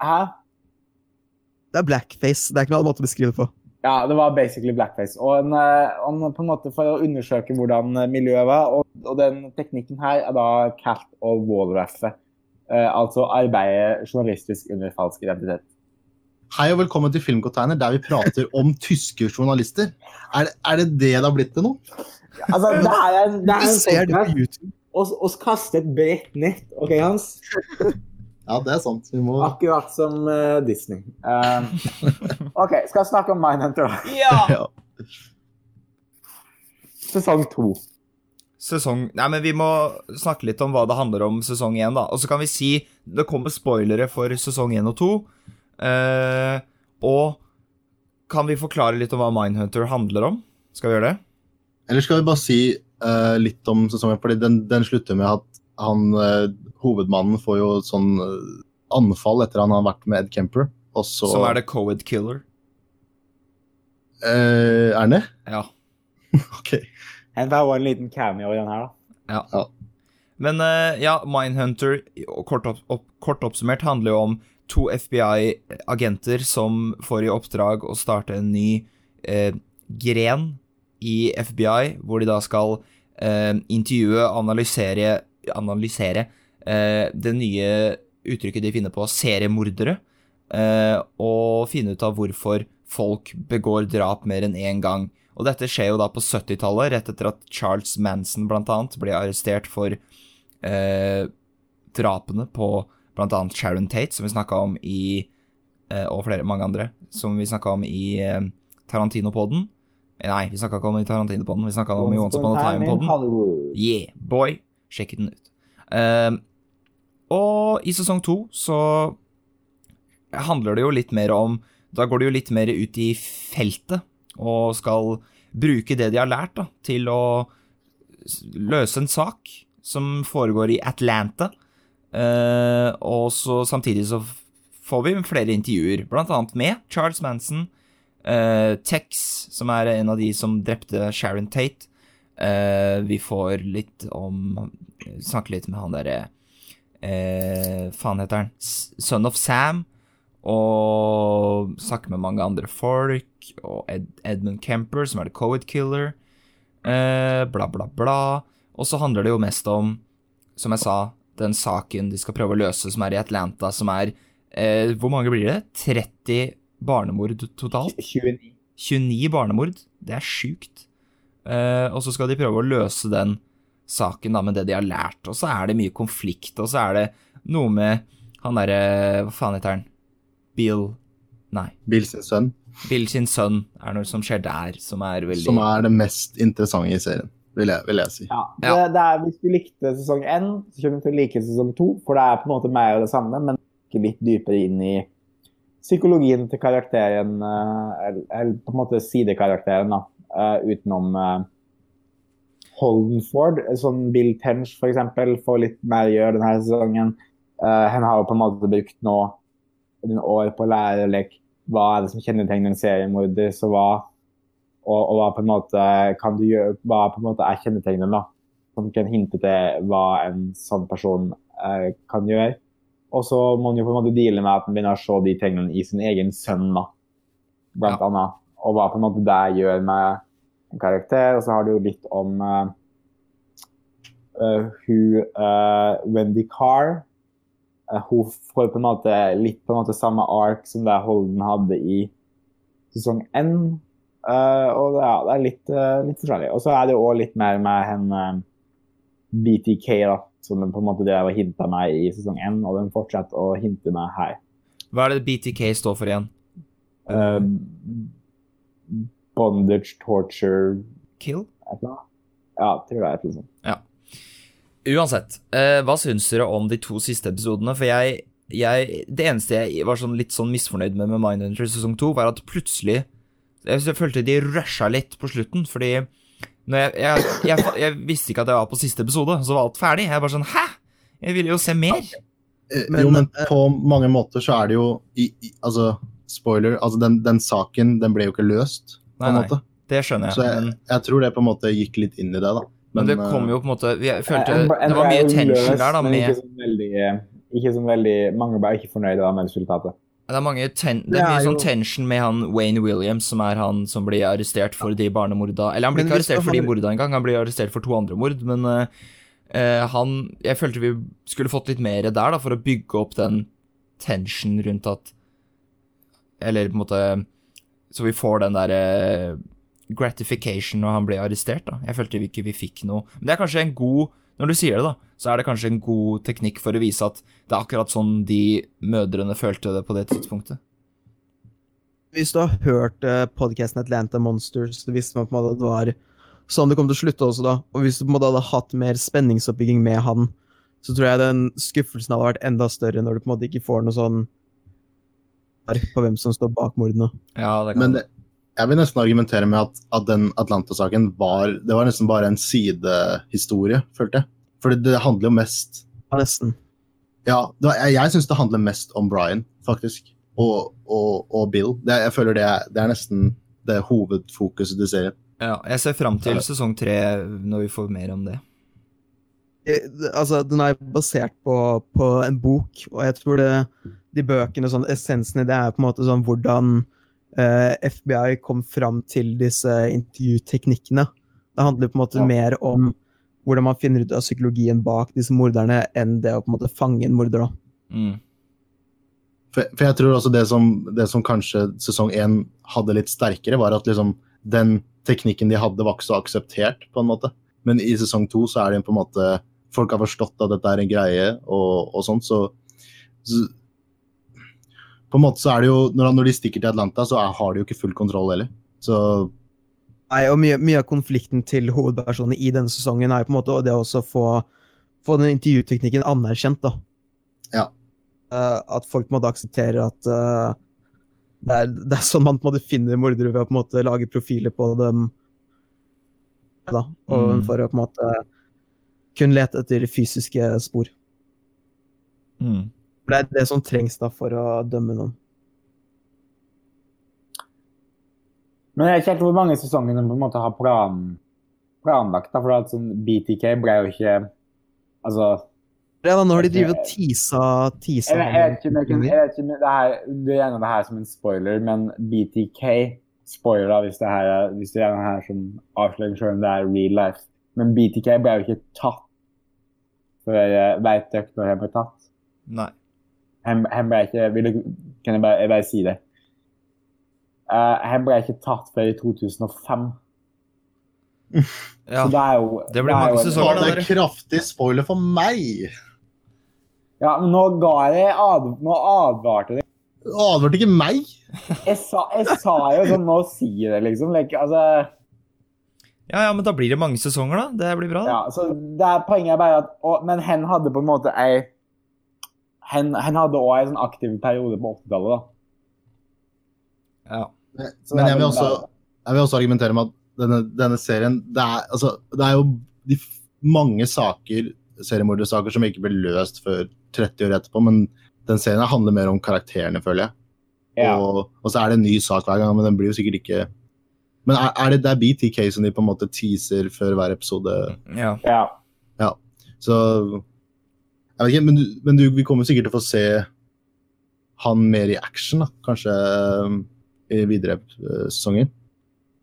Hæ?
Det er blackface. Det er ikke noen annen måte å beskrive det på.
Ja, det var basically blackface. Og en, eh, han på en måte for å undersøke hvordan eh, miljøet var, og, og den teknikken her er da cat og wallraffet. Eh, altså arbeide journalistisk under falsk identitet.
Hei og velkommen til Filmcontainer, der vi prater om tyske journalister. Er, er det det det har blitt til nå?
Altså, det er en, det er
Du
en
ser det på
statement.
YouTube.
Oss, oss kaste et bredt nett, OK, Hans?
Ja, det er sant. Vi må...
Akkurat som eh, Disney. Eh, OK, skal jeg snakke om Mindhunter, da?
Ja!
Ja.
Sesong to.
Sesong Nei, men vi må snakke litt om hva det handler om sesong én, da. Og så kan vi si det kommer spoilere for sesong én og to. Eh, og kan vi forklare litt om hva Mindhunter handler om? Skal vi gjøre det?
Eller skal vi bare si eh, litt om sesongen? Fordi den, den slutter med at han, eh, hovedmannen får jo sånn eh, anfall etter han har vært med Ed Kemper. Og så
Som er det Coed Killer.
Eh, er han det?
Ja.
Ok.
Hent deg også en liten cameo i den her, da.
Men eh, ja, Mindhunter, og kort, opp, opp, kort oppsummert, handler jo om to FBI-agenter som får i oppdrag å starte en ny eh, gren i FBI, hvor de da skal eh, intervjue, analysere, analysere eh, det nye uttrykket de finner på, seriemordere, eh, og finne ut av hvorfor folk begår drap mer enn én gang. Og dette skjer jo da på 70-tallet, rett etter at Charles Manson blant annet ble arrestert for eh, drapene på bl.a. Sharon Tate, som vi snakka om i eh, Og flere, mange andre, som vi snakka om i eh, Tarantino-poden. Nei, vi snakka ikke om i Tarantino-poden, vi snakka om i Once Upon a Time-poden.
Hollywood.
Yeah, boy. Sjekk den ut. Ehm, og i sesong to så handler det jo litt mer om Da går det jo litt mer ut i feltet og skal bruke det de har lært, da, til å s- løse en sak som foregår i Atlanta. Eh, og så samtidig så f- får vi flere intervjuer, blant annet med Charles Manson, eh, Tex, som er en av de som drepte Sharon Tate. Eh, vi får litt om Snakke litt med han derre eh, Faen heter han? S- Son of Sam. Og snakke med mange andre folk. Og Ed, Edmund Kemper, som er The Covid Killer. Eh, bla, bla, bla. Og så handler det jo mest om, som jeg sa, den saken de skal prøve å løse, som er i Atlanta, som er eh, Hvor mange blir det? 30 barnemord totalt?
29.
29 barnemord. Det er sjukt. Eh, og så skal de prøve å løse den saken da, med det de har lært. Og så er det mye konflikt, og så er det noe med han derre Hva faen heter han? Bill Nei.
Bill sin sønn,
Bill sin sønn er noe som skjer der, som er veldig
som er det mest interessante i serien, vil jeg, vil jeg si.
Ja.
Ja.
Det, det er, hvis du likte sesong én, så kommer du til å like sesong to. For det er på en måte mer av det samme, men ikke litt dypere inn i psykologien til karakteren. eh, Eller, eller på en måte sidekarakteren, da. eh, Utenom eh, Holdenford, eh, som Bill Tench f.eks. får litt mer å gjøre denne sesongen. Eh, Hun har jo på en måte brukt nå noen år på å lære like, hva er det som kjennetegner en seriemorder, så hva og, og hva på en måte kan du gjøre, hva på en måte er kjennetegnene da, som kan hinte til hva en sånn person eh, kan gjøre. Og så må man jo på en måte deale med at man begynner å se de tegnene i sin egen sønn, da, blant annet. Og hva på en måte det gjør med en karakter. Og så har du jo litt om eh, eh, hun eh, Wendy Carr. Eh, hun får på en måte litt på en måte samme ark som det Holden hadde i sesong N. Eh, og det, ja, det er litt, eh, litt forskjellig. Og så er det jo også litt mer med hen eh, BTK, da, som den på en måte drev og hinta meg i sesong 1, og den fortsetter å hinte meg her.
Hva er det BTK står for igjen?
Eh, bondage, torture,
Kill?
et eller annet. Ja, tror det er et eller annet sånt.
Uansett, eh, hva syns dere om de to siste episodene? For jeg, jeg Det eneste jeg var sånn litt sånn misfornøyd med med Mindhunter sesong to, var at plutselig Jeg, jeg følte de rusha litt på slutten, fordi når jeg, jeg, jeg, fa- jeg visste ikke at jeg var på siste episode, så var alt ferdig. Jeg bare sånn Hæ? Jeg ville jo se mer.
Eh,
Men-
jo, men på mange måter så er det jo i, i, Altså, spoiler, altså den, den saken den ble jo ikke løst, på
Nei,
en
nei,
måte.
det skjønner
Så
jeg.
jeg,
Men
jeg tror det på en måte gikk litt inn i det, da.
Men det
eh,
kom jo på en måte Jeg følte
En- en
det var mye
løs,
tension der, da,
men
med
ikke sånn veldig, ikke sånn veldig Mange var ikke fornøyde da, med resultatet.
Det er, mange ten, det
Det
er mye
er
sånn
jo-
tension med han Wayne Williams, som er han som blir arrestert for de barnemorda Eller han blir
Men
ikke
hvis
arrestert
du
for de
har-
morda engang, han blir arrestert for to andre mord, men eh, eh, han Jeg følte vi skulle fått litt mer der, da, for å bygge opp den tension rundt at Eller på en måte Så vi får den derre gratification når han ble arrestert, da. Jeg følte vi ikke vi fikk noe Men det er kanskje en god Når du sier det, da, så er det kanskje en god teknikk for å vise at det er akkurat sånn de mødrene følte det på det tidspunktet.
Hvis du har hørt uh, podkasten Atlanta Monsters, så visste man på en måte at det var sånn det kom til å slutte også, da. Og hvis du på en måte hadde hatt mer spenningsoppbygging med han, så tror jeg den skuffelsen hadde vært enda større når du på en måte ikke får noe sånn svar på hvem som står bak mordene.
Ja, det
eh, Men det, jeg vil nesten argumentere med at, at den Atlanta-saken var Det var nesten bare en sidehistorie, følte jeg. For det, det handler jo mest
Ja, nesten.
Ja, det, var- jeg, jeg syns det handler mest om Brian, faktisk. Og, og, og Bill. Det, jeg føler det, er- det er nesten det hovedfokuset i serien.
ja, jeg ser fram til sesong tre når vi får mer om det.
Eh, Altså, den er basert på, på en bok, og jeg tror det, de bøkene og sånn, essensen i det er på en måte sånn hvordan eh, FBI kom fram til disse intervjuteknikkene. Det handler på en måte
Ja.
mer om hvordan man finner ut av psykologien bak disse morderne, enn det å på en måte fange en morder. da.
Mm.
For, for jeg tror også det som, det som kanskje sesong én hadde litt sterkere, var at liksom den teknikken de hadde, var ikke så akseptert, på en måte. Men i sesong to så er det på en måte Folk har forstått at dette er en greie, og, og sånt, så, så På en måte så er det jo Når, når de stikker til Atlanta, så er, har de jo ikke full kontroll heller. Så
Nei, og mye, mye av konflikten til hovedpersonene i denne sesongen er jo på en måte og det å også få, få den intervjuteknikken anerkjent. da.
Ja.
Eh, at folk på en måte aksepterer at eh, det, er, det er sånn man på en måte finner mordere ved å på en måte lage profiler på dem. Da, og
Mm.
For å på en måte kun lete etter fysiske spor.
Mm.
For Det er det som trengs da for å dømme noen.
Men jeg vet ikke helt hvor mange sesonger de på en måte har plan, planlagt. Da, for at sånn BTK ble jo ikke Altså
Ja, da, nå har de drevet og tisa, tisa
Jeg, jeg vet ikke om jeg kan- jeg vet ikke om det her, du regner det her som en spoiler, men BTK Spoiler, da, hvis det her er, hvis det er den her som avslører selv om det er real life. Men BTK ble jo ikke tatt før jeg veit dere når han ble tatt.
Nei.
Han, han ble ikke vil dere, Kan jeg bare, jeg bare si det? Eh, han ble ikke tatt før i 2005.
Ja,
Så det er jo
det blir
er
mange
jo en-
Så sesonger, var det
var det
der.
kraftig spoiler for meg!
Ja, men nå ga jeg ad, Nå advarte jeg.
Du Advarte ikke meg!
Jeg sa, jeg sa jo sånn Nå sier jeg det, liksom. Like, altså
ja, ja men da blir det mange sesonger, da. Det blir bra. Da.
Ja, så det er poenget er bare at og, Men hen hadde på en måte ei Hen, hen hadde òg en sånn aktiv periode på 80-tallet, da.
Ja.
Men
Så
men
det er
jeg vil
vel
også,
bra.
jeg vil også argumentere med at denne, denne serien det er, altså, det er jo de f- mange saker, seriemordersaker som ikke ble løst før 30 år etterpå, men den serien her handler mer om karakterene, føler jeg.
Ja.
Og, og så er det en ny sak hver gang, men den blir jo sikkert ikke Men er, er det, det er BTK som de på en måte teaser før hver episode?
ja.
ja.
Så Jeg vet ikke, men, du- men du, vi kommer sikkert til å få se han mer i action, da. Kanskje eh, i videre eh, sesonger.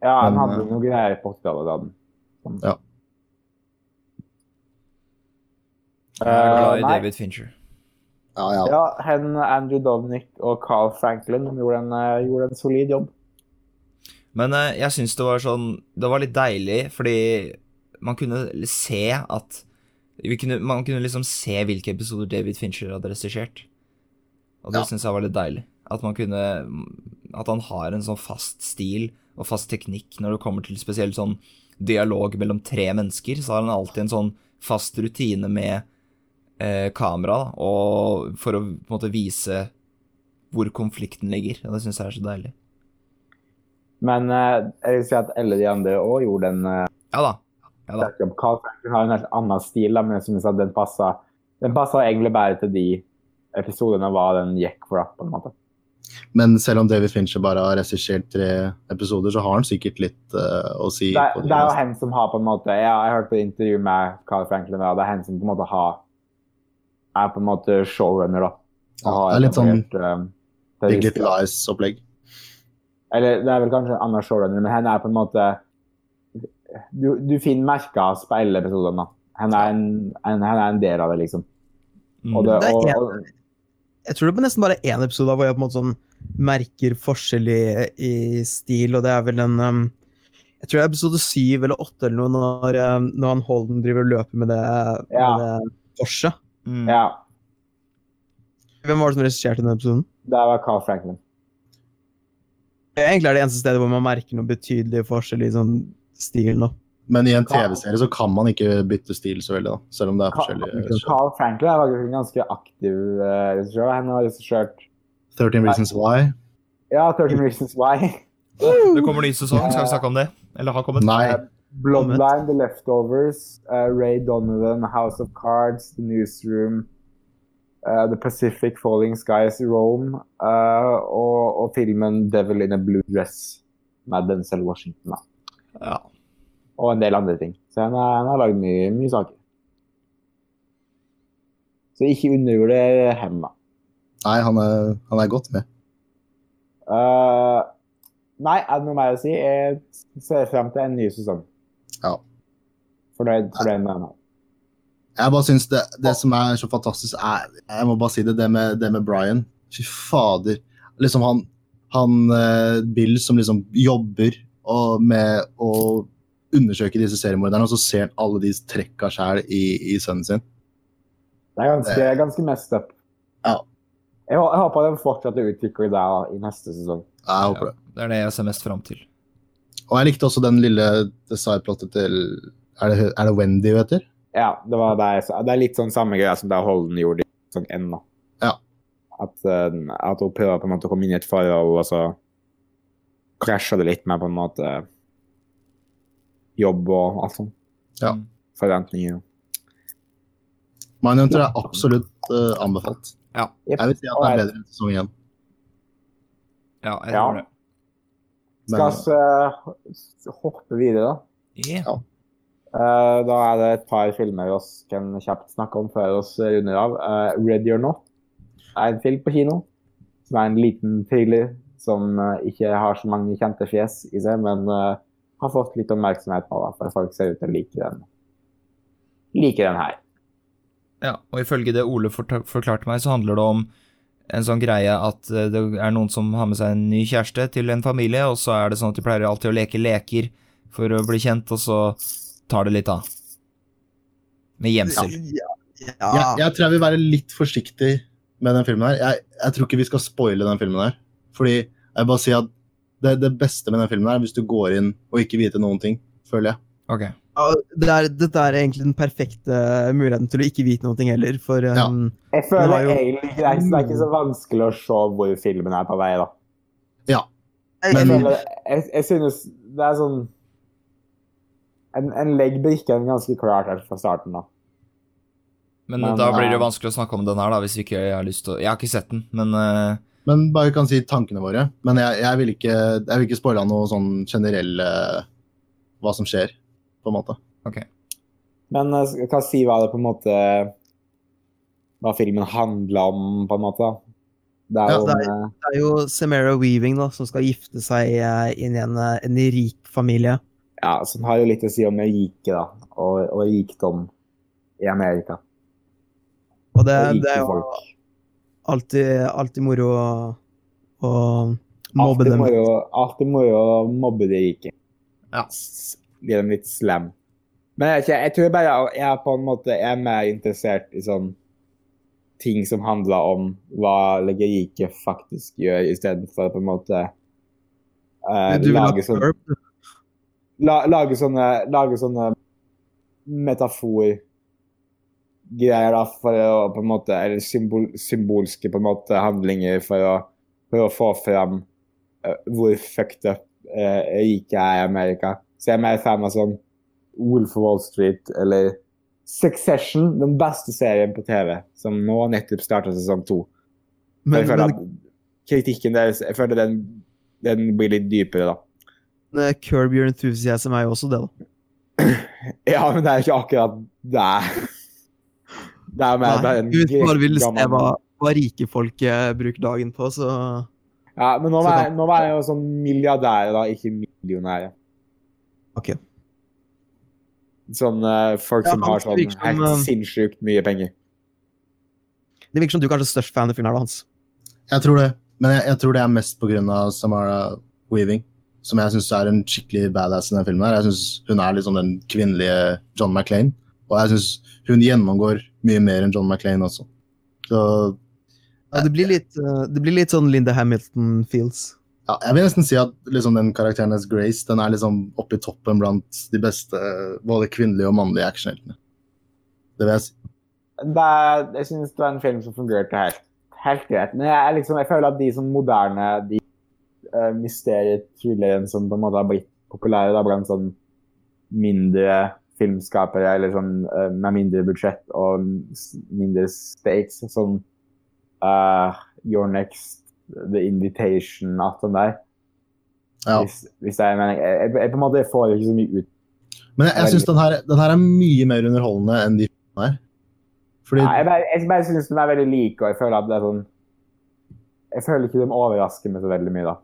ja han
Men,
hadde
eh,
noen greier på 80-tallet. da, den. Sånn.
Ja.
Jeg er glad
Eh,
i
nei.
David Fincher.
Ja, ja.
Ja, hen, Andrew Dovnik og Carl Franklin gjorde en, eh, gjorde en solid jobb.
Men eh, jeg syns det var sånn Det var litt deilig, fordi man kunne se at vi kunne, Man kunne liksom se hvilke episoder David Fincher hadde regissert. Og det
Ja.
synes syns jeg var litt deilig. At man kunne At han har en sånn fast stil og fast teknikk når det kommer til spesielt sånn dialog mellom tre mennesker. Så har han alltid en sånn fast rutine med eh, kamera, da, og for å på en måte vise hvor konflikten ligger. Og det syns jeg er så deilig.
Men eh, jeg vil si at alle de andre òg gjorde en eh,
Ja da. Ja da.
sterk jobb. Carl Franklin har en helt annen stil, da, men jeg synes at den passa den passet egentlig bare til de episodene hva den gikk for, da, på en måte.
Men selv om David Fincher bare har regissert tre episoder, så har han sikkert litt eh, å si.
Det,
på de
det er jo
neste.
hen som har på en måte Ja, jeg hørte på intervju med Carl Franklin, og det er hen som på en måte har Er på en måte showrunner, da. Og
Ja,
har
det er litt sånn
etablert, eh, det
Big
riktige.
Little Lies-opplegg.
Eller det er vel kanskje en annen showrunner, men henne er på en måte Du, du finner merka hans på alle episodene. da. Henne er, en, en, henne er en del av det, liksom.
Mm.
Og det,
Det er
og,
en-
og,
Jeg tror det er nesten bare én episode da, hvor jeg på en måte sånn merker forskjell i, i stil, og det er vel den um, Jeg tror det er episode syv eller åtte eller noe, når, um, når han Holden driver og løper med det,
Ja.
med det korset.
Mm.
ja,
Hvem var det som regisserte den episoden?
det var Carl Franklin.
Egentlig er det eneste stedet hvor man merker noe betydelig forskjell i sånn stil. Da.
Men i en TV-serie så kan man ikke bytte stil så veldig, da. Selv om det er forskjellige show.
Carl Franklin er faktisk en ganske aktiv eh, regissør. da. Henne har regissert
13 Reasons Why.
Ja, 13 Reasons Why.
Det kommer ny sesong, skal vi snakke om det? Eller har kommet?
Nei.
Bloodline, The Leftovers, eh, Ray Donovan, House of Cards, The Newsroom, eh, The Pacific Falling Skies, Rome, eh, og, og filmen Devil in a Blue Dress med Denzel Washington. Da.
Ja.
Og en del andre ting. Så han, har- han har lagd mye, mye saker. Så ikke undervurder hem, da.
Nei, han er, han er godt med.
Eh, nei, er det noe mer å si? Jeg ser frem til en ny sesong.
Ja.
Fornøyd for den med meg.
Jeg bare synes det, det som er så fantastisk, er Jeg må bare si det, det med, det med Brian. Fy fader. Liksom han, han eh, Bill som liksom jobber og, med å undersøke disse seriemorderne, og så ser han alle de trekka sjæl i, i sønnen sin.
Det er ganske, det er ganske messed up.
Ja.
Jeg, hå- jeg håper den fortsetter å utvikle deg i neste sesong.
Jeg håper det.
Det er det jeg ser mest fram til.
Og jeg likte også den lille sideplottet til er det, er det Wendy hun heter?
Ja, det, var det, jeg sa. det er litt sånn samme greia som det Holden gjorde i sesong én nå.
Ja.
At, eh, at hun prøver på en måte å komme inn i et forhold, og så krasjer det litt med på en måte jobb og alt sånt.
Ja.
Forventninger.
Mindhunter er absolutt eh, anbefalt.
Jep.
Jeg vil si at det er bedre enn sesong én.
Ja, jeg
Ja.
tror det.
Men-
Skal vi eh, hoppe videre, da?
Yeah.
Eh, da er det et par filmer vi også kan kjapt snakke om før vi runder av. Eh, Ready or Not er en film på kino. Som er en liten thriller som eh, ikke har så mange kjente fjes i seg, men eh, har fått litt oppmerksomhet nå, da, for folk ser ut til å like den. Like den her.
Ja, og ifølge det Ole fort- forklarte meg, så handler det om en sånn greie at eh, det er noen som har med seg en ny kjæreste til en familie, og så er det sånn at de pleier alltid å leke leker for å bli kjent, og så tar det litt av. Med gjemsel.
ja.
Jeg, jeg tror jeg vil være litt forsiktig med den filmen her. Jeg, jeg tror ikke vi skal spoile den filmen her. Fordi jeg vil bare si at det, det beste med den filmen her er hvis du går inn og ikke vite noen ting, føler jeg.
Ok.
Ja, det er, dette er egentlig den perfekte eh, muligheten til å ikke vite noe heller, for
Ja.
um,
Jeg
Den
føler
har jo-
egentlig ikke det er, det er ikke så vanskelig å se hvor filmen er på vei, da.
Men-
Jeg, føler- jeg, jeg synes det er sånn En, en legg brikken ganske klart helt fra starten, da.
Men,
Men,
da blir det
eh,
vanskelig å snakke om den her, da, hvis vi ikke har lyst til å Jeg har ikke sett den, men eh,
Men bare kan si tankene våre. Men jeg, jeg vil ikke, jeg vil ikke spoile noe sånn generelle hva som skjer, på en måte.
Men eh, jeg kan si hva det på en måte Hva filmen handler om, på en måte. da. Det er
Ja,
jo
det
en, eh,
Det er jo Samara Weaving da, som skal gifte seg eh, inn i en, eh, en rik familie.
ja, som har jo litt å si om rike, da. Og, og rikdom i Amerika.
Og det,
Og rike
det er jo
folk.
alltid, alltid moro å, å mobbe
Alltid
dem.
moro- Alltid moro å mobbe de rike.
Ja.
S- Gi dem litt slam. Men jeg, vet ikke, jeg tror bare jeg- jeg er på en måte jeg er mer interessert i sånn ting som handler om hva legge rike faktisk gjør, istedenfor på en måte eh,
Du vil ha
lage, sånn,
blurb, du.
la, lage sånne Lage sånne metaforgreier da, for å på en måte Eller symbol, symbolske på en måte handlinger for å, for å få fram eh, hvor fucked up uh, riket er i Amerika. Så jeg er mer fan av sånn Wolf of Wall Street eller Succession, den beste serien på TV, som nå nettopp starta sesong to. Men,
Men,
jeg føler
men
at kritikken deres Jeg føler den, den blir litt dypere, da.
Eh, Curb your enthusiasm er jo også det, da.
Ja, men det er ikke akkurat det. Det er mer
Nei,
en
du bare vil se
gammel-
hva, hva rike folk eh, bruker dagen på, så
Ja, men nå
Så
er,
da-
nå er jeg jo sånn milliardær, da, ikke millionær.
Ok.
Sånn eh, folk
Ja,
som
han
har sånn
virker som,
helt
eh,
sinnssykt mye penger.
Det virker som du kanskje er størst fan av filmen her, da, Hans.
Jeg tror det. Men jeg, jeg tror det er mest på grunn av Samara Weaving, som jeg syns er en skikkelig badass i den filmen. her. Jeg synes Hun er liksom den kvinnelige John McClain, og jeg syns hun gjennomgår mye mer enn John McClain også. Så
Ja, det, blir litt, eh, det blir litt sånn Linda Hamilton-feels.
ja, jeg vil nesten si at liksom den karakteren hennes Grace den er liksom oppe i toppen blant de beste eh, både kvinnelige og mannlige actionheltene. Det vil jeg si.
Det er, jeg synes det var en film som fungerte helt, helt greit. Men jeg, er liksom, jeg føler at de som moderne, de uh, mysteriethrillerne som på en måte har blitt populære da, blant sånn mindre filmskapere, eller sånn eh, med mindre budsjett og s- mindre stakes, sånn eh, Your Next, The Invitation, alt sånt der.
Ja.
Hvis, hvis det er en mening. Jeg, jeg, jeg på en måte får ikke så mye ut.
Men jeg, jeg syns den, her- den her er mye mer underholdende enn de filmene her. Fordi
Nei, jeg, bare, jeg bare synes den er veldig lik, og jeg føler at det er sånn Jeg føler ikke de overrasker meg så veldig mye, da.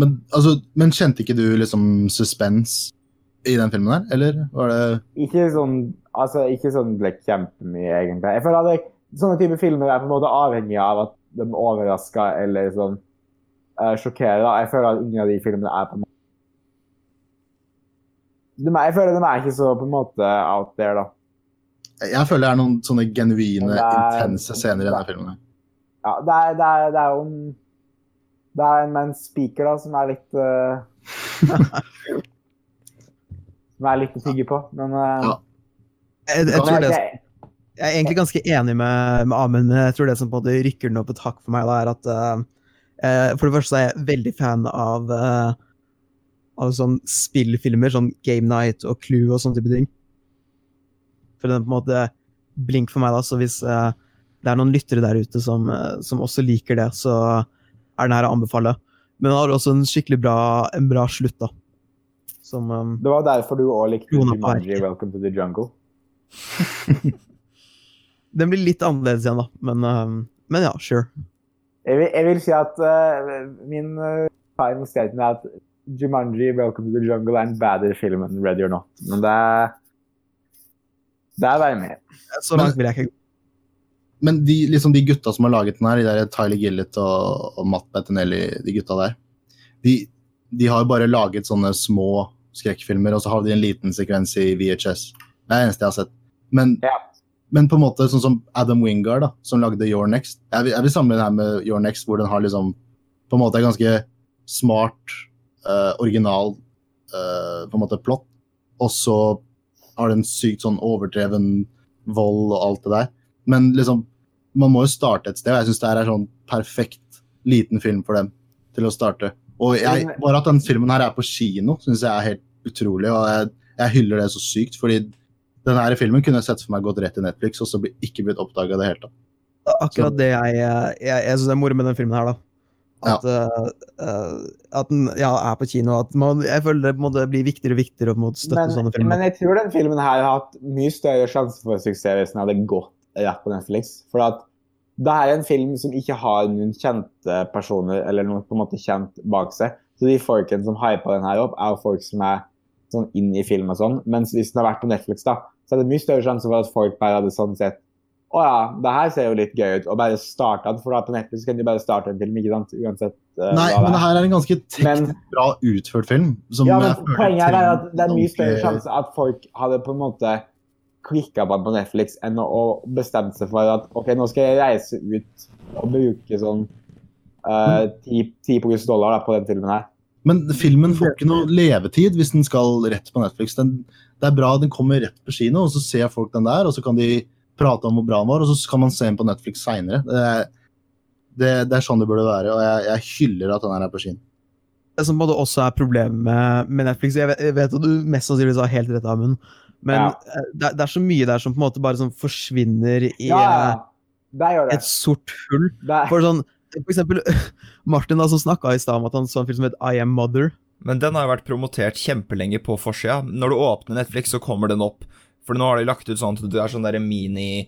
Men, altså, men kjente ikke du liksom suspens i den filmen her, eller var det
Ikke sånn altså, ikke sånn like, kjempemye, egentlig. Jeg føler at jeg, sånne type filmer er på en måte avhengig av at de overrasker eller sånn eh, sjokkerer. da. Jeg føler at ingen av de filmene er på en måte de er, Jeg føler de er ikke så på en måte out there, da.
Jeg føler det er noen sånne genuine,
Det er-
intense scener i denne filmen. her.
Ja, det er, det er, det er jo en Det er en med en speaker, da, som er litt eh, Som er litt å tygge på, men eh,
Ja.
Jeg, jeg,
Ja,
tror
men
det,
jeg-
jeg er egentlig ganske enig med, med Amund, men jeg tror det som på en måte rykker den opp et hakk for meg, da, er at eh, eh, for det første så er jeg veldig fan av, eh, av sånn spillfilmer, sånn Game Night og Clue og sånne type ting. For den er på en måte blink for meg, da, så hvis eh, det er noen lyttere der ute som, eh, som også liker det, så er den her å anbefale. Men den har også en skikkelig bra, en bra slutt, da. Som eh,
Det var derfor du òg likte
Jonah
Jumanji, Welcome to the Jungle.
Den blir litt annerledes igjen, da. Men, eh, men ja, sure.
Jeg vil, jeg vil si at eh, min uh, time statement er at Jumanji, Welcome to the Jungle er en bedre film enn Ready or Not. Men det er Det er bare med.
Så langt vil jeg ikke gå.
Men de, liksom de gutta som har laget den her, de der Tyler Gillett og, og Matt Bettinelli, de gutta der, de, de har jo bare laget sånne små skrekkfilmer, og så har de en liten sekvens i VHS. Det er det eneste jeg har sett. Men,
Ja.
men på en måte sånn som Adam Wingard, da, som lagde Your Next. Jeg vil, jeg vil samle den her med Your Next, hvor den har liksom på en måte en ganske smart, eh, original eh, på en måte plott, og så har den sykt sånn overdreven vold og alt det der. Men liksom, man må jo starte et sted, og jeg syns det her er sånn perfekt liten film for dem til å starte. Og jeg, bare at den filmen her er på kino, syns jeg er helt utrolig, og jeg, jeg hyller det så sykt, fordi den her filmen kunne jeg sett for meg gått rett i Netflix, og så bli- ikke blitt oppdaga i det hele tatt.
Akkurat det jeg Jeg, jeg syns er moro med den filmen her, da. At, eh, eh, at den ja, er på kino. At man, jeg føler det på en måte blir viktigere og viktigere å på en måte støtte sånne
Men,
filmer.
men jeg tror den filmen her har hatt mye større sjanse for suksess hvis den hadde gått rett på Netflix. For at det her er en film som ikke har noen kjente personer eller noe på en måte kjent bak seg. Så de folkene som hyper den her opp, er jo folk som er sånn inn i film og sånn. Mens hvis den har vært på Netflix, da, så er det mye større sjanse for at folk bare hadde sånn sett Å ja, det her ser jo litt gøy ut. Og bare starta den, for da på Netflix kan du bare starte en film, ikke sant? Uansett. eh,
Nei,
hva
men det her er en ganske
Men-
teknisk bra utført film. Som
ja,
jeg
men
føler
poenget her er at
trenger
det er mye større
ordentlig-
sjanse at folk hadde på en måte klikka på den på Netflix enn å å bestemme seg for at OK, nå skal jeg reise ut og bruke sånn eh, 10 10 000 dollar da, på den filmen her.
Men filmen får ikke noe levetid hvis den skal rett på Netflix. Den, det er bra den kommer rett på kino, og så ser folk den der, og så kan de prate om hvor bra den var, og så kan man se den på Netflix seinere. Det, er- det, det er sånn det burde være, og jeg, jeg hyller at den her er på kino.
Det som på en måte også er problemet med, med Netflix Jeg vet, jeg vet at du mest sannsynligvis har helt rett, Amund, men
Ja.
eh, det, er- det er så mye der som på en måte bare sånn forsvinner i
Ja, ja, ja. Der gjør
eh,
det.
et sort hull.
Der.
For sånn, For eksempel Martin da, som snakka i stad om at han så en film som het I Am Mother.
Men den har jo vært promotert kjempelenge på forsida. Når du åpner Netflix, så kommer den opp. For nå har de lagt ut sånn at det er sånne der mini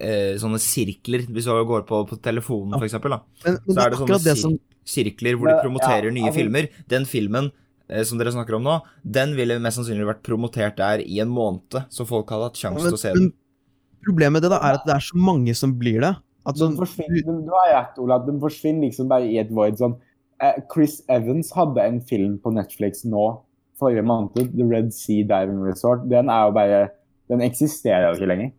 eh, Sånne sirkler, hvis du går på, på telefonen, for eksempel. Da.
Men, men
Så
det
er
er
det sånne
akkurat det som
Sirkler hvor de
Ja,
promoterer
ja,
nye
altså-
filmer. Den filmen eh, som dere snakker om nå, den ville mest sannsynlig vært promotert der i en måned, så folk hadde hatt sjanse til å se den.
men Problemet med det da er at det er så mange som blir det. At
De
sånn,
forsvinner, de, du har rett, Ola. De forsvinner liksom bare i et void. Sånn. Eh, Chris Evans hadde en film på Netflix nå forrige måned, The Red Sea Diving Resort. Den er jo bare Den eksisterer jo ikke lenger.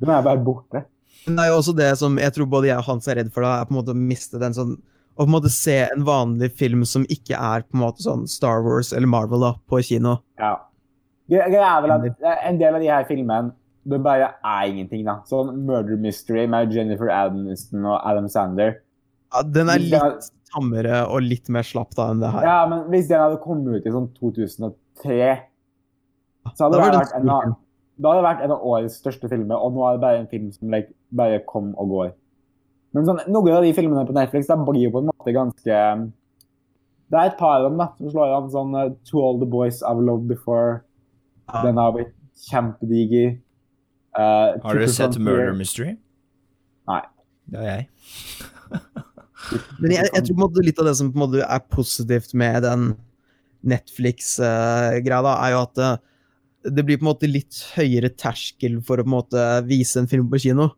Den er bare borte.
Men det er jo også det som jeg tror både jeg og Hans er redd for, da, er på en måte å miste den sånn Å på en måte se en vanlig film som ikke er på en måte sånn Star Wars eller Marvel da, på kino.
Ja. Gre- Greia er vel at eh, en del av de her filmene det bare er ingenting, da. Sånn Murder Mystery med Jennifer Aniston og Adam Sander.
Ja, den er
Ja.
litt tammere og litt mer slapp da enn det her.
Ja, men hvis den hadde kommet ut i sånn 2003, så hadde
Da
det
var
bare
det
vært en av Da hadde det vært en av årets største filmer, og nå er det bare en film som like, bare kom og går. Men sånn, noen av de filmene på Netflix da blir jo på en måte ganske um, Det er et par av dem da, som slår an sånn eh, To All The Boys I've Loved Before.
Ja.
Den har blitt kjempediger. Eh,
Har dere
Triple
sett
Frontier-
Murder Mystery?
Nei.
Det har jeg.
Men jeg, jeg tror på en måte litt av det som på en måte er positivt med den Netflix-greia, da, er jo at eh, det blir på en måte litt høyere terskel for å på en måte vise en film på kino.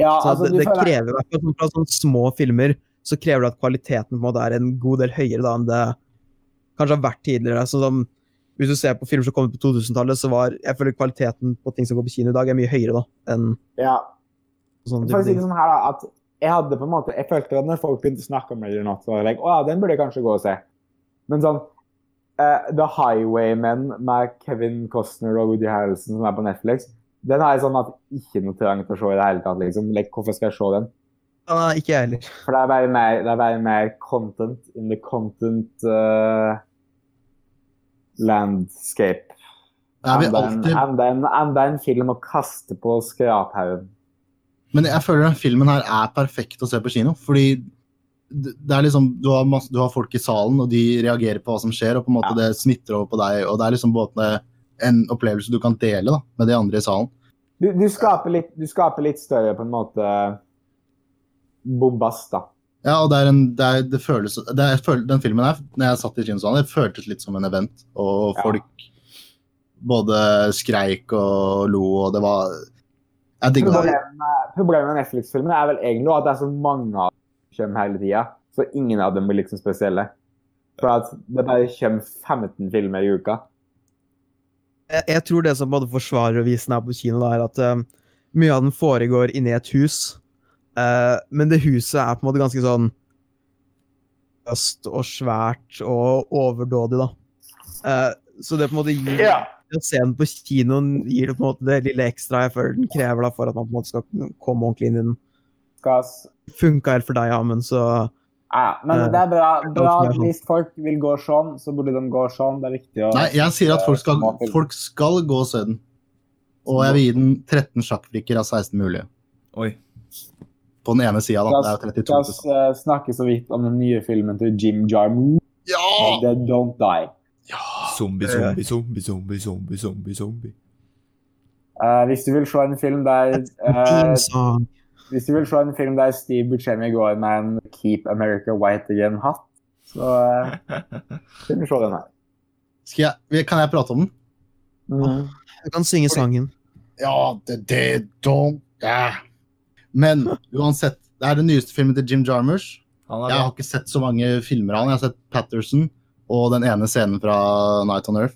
Ja,
Så
altså,
det,
du
det
føler-
krever, i hvert fall fra sånne små filmer, så krever det at kvaliteten på en måte er en god del høyere da enn det kanskje har vært tidligere. Sånn som, hvis du ser på filmer som kom ut på 2000-tallet, så var jeg føler kvaliteten på ting som går på kino i dag, er mye høyere da enn
ja.
sånne
For å
type
si det
ting.
sånn her, da, at jeg hadde på en måte Jeg følte at når folk begynte å snakke om Raider Not, så var jeg like, å ja, den burde jeg kanskje gå og se. Men sånn eh, The Highwaymen med Kevin Costner og Woody Harrelson som er på Netflix, den har jeg sånn at ikke noe trang til å se i det hele tatt, liksom. Like, hvorfor skal jeg se den?
Nei, ikke jeg heller.
For det er bare mer, det er bare mer content in the content eh, landscape.
Jeg vil
Enda en-
alltid,
enda en- enda en film å kaste på skraphaugen.
men jeg føler den filmen her er perfekt å se på kino, fordi det det er liksom, du har, masse, du har folk i salen, og de reagerer på hva som skjer, og på en måte det smitter over på deg. og Det er liksom både en opplevelse du kan dele da, med de andre i salen.
Du, du, skaper litt, du skaper litt større på en måte bombast, da.
Ja, og det er en, det er, det føles, det er, jeg føl- Den filmen her, når jeg satt i kinosalen, det føltes litt som en event. Og
Ja.
folk både skreik og lo, og det var Jeg digga det.
Problemet med- problemet med Netflix-filmene er vel egentlig at det er så mange av dem som kommer hele tida. Så ingen av dem blir liksom spesielle. For at det bare kommer 15 filmer i uka.
Jeg, jeg tror det som på en måte forsvarer å vise den her på kino, da, er at eh, mye av den foregår inni et hus, eh, men det huset er på en måte ganske sånn øst og svært og overdådig, da. Eh, så det på en måte gir det å se den på kinoen gir det på en måte det lille ekstra jeg føler den krever da, for at man på en måte skal komme ordentlig inn i den.
Skal s-
Funka helt for deg, Amund, så
Ja, men det er bra. bra
Ja.
at Hvis folk vil gå sånn, så burde de gå sånn. Det er viktig å
Nei, jeg sier at folk skal, folk skal gå og se den. Og jeg vil gi den 13 sjakkbrikker av 16 mulige.
Oi.
På den ene sida, da. Det er jo
skal
32 til
s- eh, snakke så vidt om den nye filmen til Jim Jarmuth,
Ja!
The Don't Die.
Zombie, zombie, zombie, zombie, zombie, zombie, zombie.
Eh, hvis du vil se en film der eh,
Team song.
Hvis du vil se en film der Steve Buscemi går med en Keep America White Again-hatt, så eh, skal vi se den her.
Skal jeg, kan jeg prate om den?
Du
eh,
kan synge sangen.
Ja, det, det don't ja. Men uansett, det er den nyeste filmen til Jim Jarmers.
Han er
Jeg har
bra.
ikke sett så mange filmer av han. Jeg har sett Patterson og den ene scenen fra Night on Earth.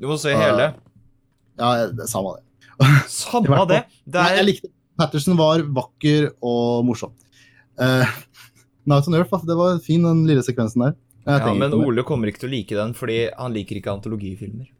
Du må se hele.
Ja, jeg- det er samme det.
Samme av det. Det
Nei, jeg
er
likte Patterson var vakker og morsom. Eh, Night on Earth, altså, det var fin den lille sekvensen der. Jeg
ja,
trenger
Men
ikke mer.
Ole kommer ikke til å like den, fordi han liker ikke antologifilmer.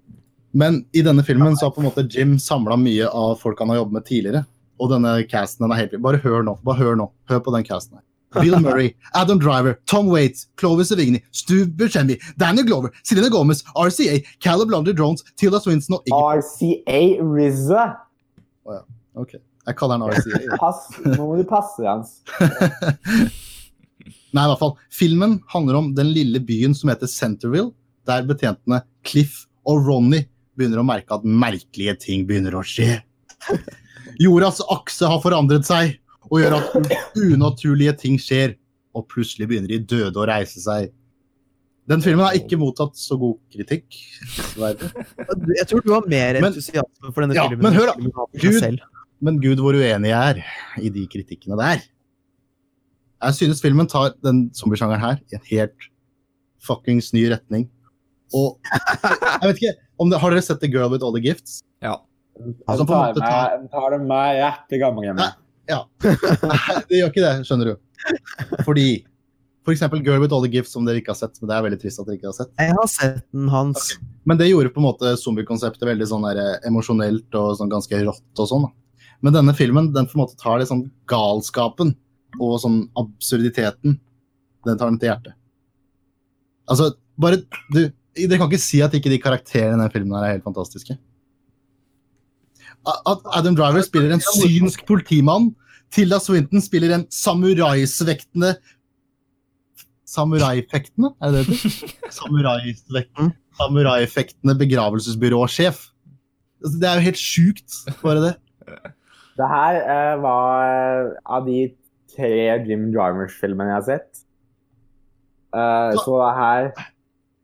men i denne filmen så har på en måte Jim samla mye av folk han har jobbet med tidligere. Og denne casten den er helt Bare hør nå. bare Hør nå, hør på den casten her. Bill Murray, Adam Driver, Tom Waits, Clovis Sevigny, Stu Buscemi, Daniel Glover, Selena Gomez, RCA,
Ah.
eh,
Caleb London Jones, Tilda Swinson og Iggy
RCA RZA.
Ok. Jeg kaller den RCA.
Pass. Nå må du passe, Jens.
Nei, i hvert fall. Filmen handler om den lille byen som heter Centerville, der betjentene Cliff og Ronny begynner å merke at merkelige ting begynner å skje. Jordas akse har forandret seg og gjør at u- unaturlige ting skjer, og plutselig begynner de døde å reise seg. Den filmen har ikke mottatt så god kritikk. dessverre.
Jeg tror du har mer
Men-
entusiasme for denne
Ja,
filmen.
men
enn
hør da,
filmen har for
Gud-
seg selv.
Men gud hvor uenig jeg er i de kritikkene der. Jeg synes filmen tar den zombiesjangeren her i en helt fuckings ny retning. Og jeg vet ikke om det, Har dere sett The Girl With All The Gifts?
Ja.
Altså,
Den
på
tar,
en måte tar-
meg, den tar det meg rett i gamlehjemmet.
Nei, det gjør ikke det, skjønner du. Fordi for eksempel Girl With All The Gifts, som dere ikke har sett. Men det er veldig trist at dere ikke har sett.
Jeg har sett den hans.
Men det gjorde på en måte zombiekonseptet veldig sånn der, eh, emosjonelt og sånn ganske rått. og sånn. da. Men denne filmen den på en måte tar litt sånn galskapen og sånn absurditeten den tar den til hjertet. Altså, bare du, Dere kan ikke si at ikke de karakterene i denne filmen her er helt fantastiske. A- At Adam Driver spiller en synsk politimann. Tilda Swinton spiller en samuraisvektende Samuraifektende, er det det det heter? Samuraisvektende samuraifektende begravelsesbyråsjef. Altså, Det er jo helt sjukt, bare det.
Det her eh, var eh, av de tre Jim Jarmers-filmene jeg har sett. Eh, så det her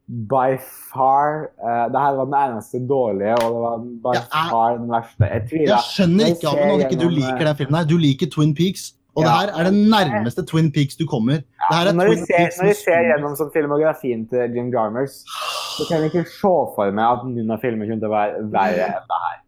By far eh, Det her var den eneste dårlige, og det var by
Jeg er-
far den verste. Jeg
Jeg
tviler.
skjønner
Jeg
ikke Amund, at
ser
ikke du
gjennom, eh,
liker den filmen her. Du liker Twin Peaks, og det
Ja.
her er det nærmeste Twin Peaks du kommer. Det her er
Når
Twin
jeg ser,
Peaks
når
med
jeg ser
stor-
gjennom sånn filmografien til Jim Jarmers, så kan jeg ikke se for meg at noen av filmene kunne til å være verre. enn det her.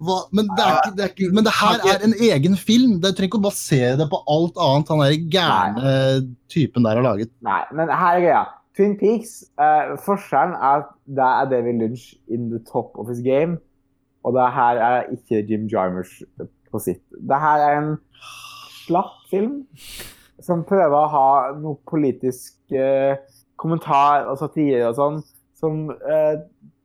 Hva? Men, det er ikke, det er ikke, men det her er en egen film. Du trenger ikke å basere det på alt annet han der gærne typen der har laget.
Nei, men her er greia. Twin Peaks, eh, forskjellen er at det er David Lynch in the top of his game, og det her er ikke Jim Jarmers på sitt. Det her er en slapp film som prøver å ha noe politisk eh, kommentar og satire og sånn, som, eh,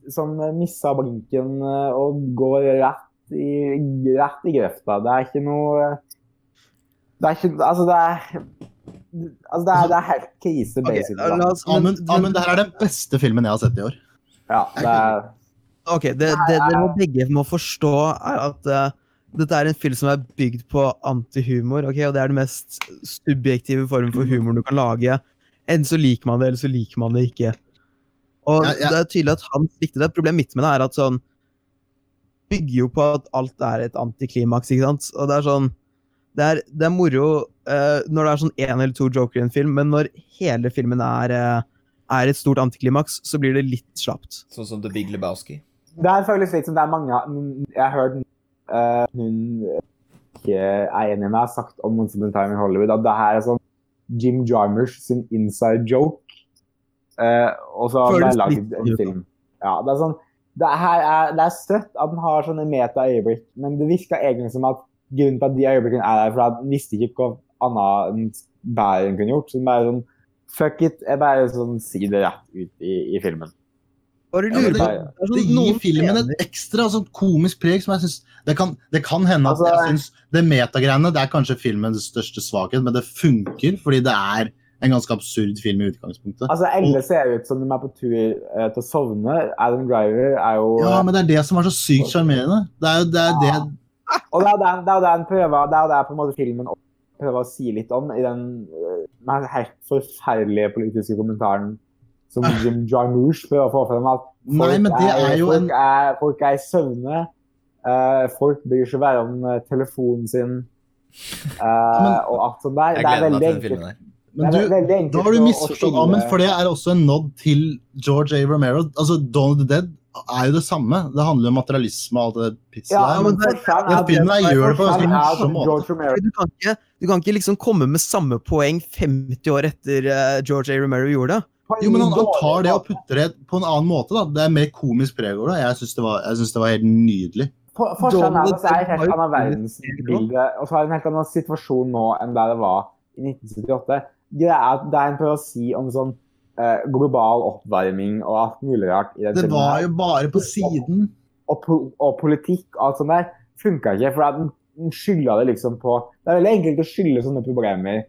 som misser blinken eh, og går rett i, rett i grøfta. Det er ikke noe Det er ikke Altså, det er Altså, det er, det er helt krise,
Ok,
basically. da.
la oss, men,
Amund, Amund, det her er den beste filmen jeg har sett i år.
Ja, det er,
ok, det, det dere begge må forstå, er at eh, dette er en film som er bygd på antihumor. ok, Og det er den mest subjektive formen
Mm.
for humor du kan lage. Enten så liker man det, eller så liker man det ikke. Og
Ja, ja.
det er tydelig at han likte det. Problemet mitt med det er at sånn Bygger jo på at alt er et antiklimaks, ikke sant. Og det er sånn Det er, det er moro eh, når det er sånn én eller to joker i en film, men når hele filmen er, eh, er et stort antiklimaks, så blir det litt slapt.
Sånn som The Big Lebowski.
det her føles litt som det er mange mm, Jeg har hørt eh, noen eh, ikke er enig med meg sagt om Once Upon a Time in Hollywood at det her er sånn Jim Jarmers sin inside joke. eh, og så har
Føles
han bare
litt
lagd en
ut, da.
film. Ja, det er sånn det, her er, det er søtt at den har sånne meta-øyeblikk, men det virka egentlig som at grunnen til at de øyeblikkene er der, for at den visste ikke hva annet enn bedre enn kunne gjort. Så den bare sånn Fuck it. Jeg bare sånn si det rett ut i, i filmen.
Bare
Ja,
lurer
men
på
det-
er sånn
Det gir
noen
filmen
scener-
et ekstra sånn komisk preg som jeg synes, det, kan, det kan hende at
Altså-
jeg synes det metagreiene det er kanskje filmens største svakhet, men det funker fordi det er en ganske absurd film i utgangspunktet.
Altså, Alle ser ut som de er på tur eh, til å sovne. Adam Driver er jo eh,
Ja, men det er det som er så sykt sjarmerende. Det er jo det, er det
Ah, Og det er jo det- det er jo det han prøver Det er jo det på en måte filmen også prøver å si litt om i den, eh, den helt forferdelige politiske kommentaren som Jim Jarmusch prøver å få frem. At folk,
Ah. Nei, men det er jo en
folk, er, folk er i søvne. eh, folk bryr seg bare om eh, telefonen sin eh,
men-
og alt sånt der.
Jeg
Det er
gleder meg til
veldig
den
enkelt.
filmen der.
Men
det er
du,
veldig enkelt
da har du
å- å
misforstått
skille-
Amund, for det er også en nod til George A. Romero. Altså, Dawn of the Dead er jo det samme. Det handler om materialisme og alt det pisset
ja, men
der. Men
det-
forskjellen er
den
at-
filmen her gjør det på en ganske
forskjellen er at
morsom måte.
altså, George Romero
Du kan, ikke, du kan ikke liksom komme med samme poeng 50 år etter eh, George A. Romero gjorde det.
på en
Jo, men han, han
dårlig
tar det og
måte.
putter det på en annen måte. da. Det er mer komisk preg over det. Jeg syns det, var- jeg synes det var helt nydelig.
For- Forskjellen er at det er et helt
Donald
annet
Trump har jo
verdensbilde, og så er det en helt annen situasjon nå enn der det var i 1978. Greia er at det er en prøver å si om sånn eh, global oppvarming og alt mulig rart i den
Det
filmen
var
her.
jo bare på siden.
Og, po og politikk og alt sånt der funka ikke, for at den skylda det liksom på Det er veldig enkelt å skylde sånne problemer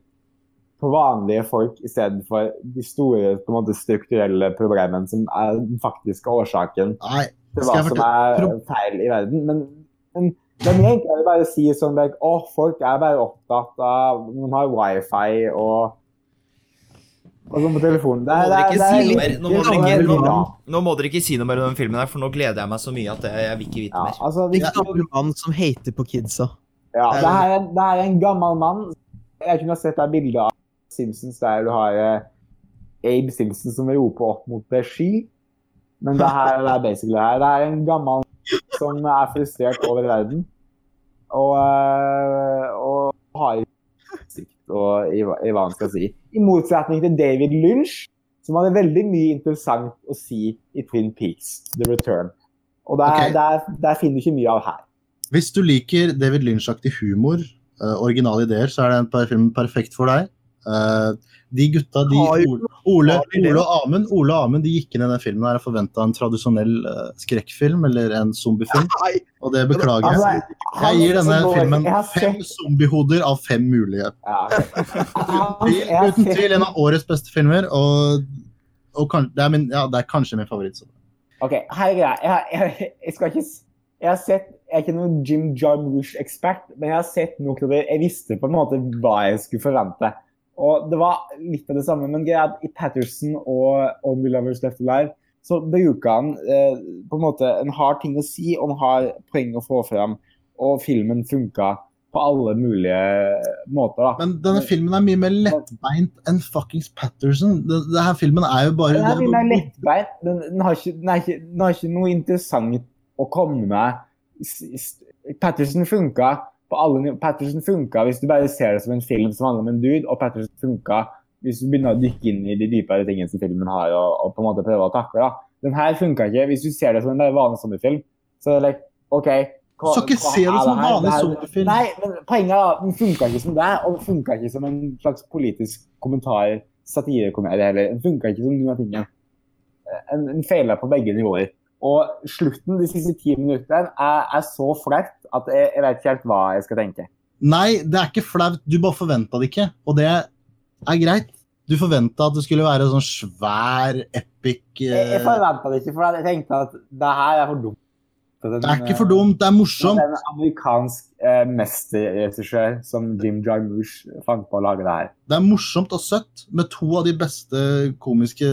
på vanlige folk istedenfor de store på en måte, strukturelle problemene som er den faktiske årsaken
Nei,
til hva
Skal jeg
som er
fortelle-
feil i verden. Men, men det er mye enklere å bare si sånn like, Å, folk er bare opptatt av De har wifi og Og sånn på telefonen.
Nå
Det er-
må dere ikke
det er-
si noe
det er
mer. Nå må
litt-
dere ikke,
litt
nå,
bra.
nå må dere ikke si noe mer om den filmen her, for nå gleder jeg meg så mye at jeg, jeg vil ikke vite
Ja,
mer.
altså, hvis
Ikke gammel mann som hater på kidsa.
Ja, det her, er, det her er en gammel mann. Jeg kunne ha sett deg bildet av Simpsons der du har eh, Abe Simpson som roper opp mot eh, sky. Men det her det er basically det her. Det her er en gammel mann som er frustrert over verden. Og, eh, og har ikke sikt og i, hva- i hva han skal si. I motsetning til David Lynch, som hadde veldig mye interessant å si i Twin Peaks, The Return. Og der,
Ok.
der, der finner du ikke mye av her.
Hvis du liker David Lynch-aktig humor, eh, originale ideer, så er den per- filmen perfekt for deg. Eh, de gutta, de,
Har jo
Ole, Ole,
ideer.
Ole og Amund, Ole og Amund de gikk inn i den filmen her og forventa en tradisjonell eh, skrekkfilm eller en zombiefilm,
Nei,
og det beklager
Altså,
jeg. Jeg gir denne
han-
filmen
jeg har
fem
sett-
zombiehoder av fem mulige.
Ja, ok. Jeg har
Uten
sett-
tvil en av årets beste filmer, og, og kan, det, er min, ja, det er kanskje min favoritt. så.
Ok, her er greia. Jeg, har- jeg, jeg skal ikke s- Jeg har sett Jeg er ikke noen Jim Jarmusch-ekspert, men jeg har sett nok til det. Jeg visste på en måte hva jeg skulle forvente. Og det var litt av det samme, men greia er at i Patterson og On The Lovers Left Alive så bruker han eh, på en måte En har ting å si, og en har poeng å få fram. Og filmen funka på alle mulige måter, da.
Men denne filmen er mye mer lettbeint enn fuckings Patterson. Den- Denne filmen er jo bare
Den er
det
mye
er
mer
bare-
lettbeint. Den, den, har ikke, den, er ikke, den har ikke noe interessant å komme med. S- s- Patterson funka på alle niv- Patterson funka hvis du bare ser det som en film som handler om en dude, og Patterson funka hvis du begynner å dykke inn i de dypere tingene som filmen har, og, og på en måte prøve å takle. da. Den her funka ikke. Hvis du ser det som en bare vanlig sommerfilm, så er det like, OK
Du skal ikke se det
er
som en
her?
vanlig
Det her-
zombiefilm.
Nei, men poenget er at den funka ikke som det, og den funka ikke som en slags politisk kommentar, satirekomedie heller. Den funka ikke som noen av tingene. En, en feila på begge nivåer. Og slutten, de siste ti minuttene, er, er så flaut at jeg, jeg vet ikke helt hva jeg skal tenke.
Nei, det er ikke flaut. Du bare forventa det ikke, og det er greit. Du forventa at det skulle være sånn svær, epic
Jeg, jeg
eh,
forventa det ikke, for jeg tenkte at det her er for dumt.
Det er ikke for dumt, det er morsomt.
Det er en amerikansk eh, mesterregissør som Jim Jarmusch fant på å lage det her.
Det er morsomt og søtt med to av de beste komiske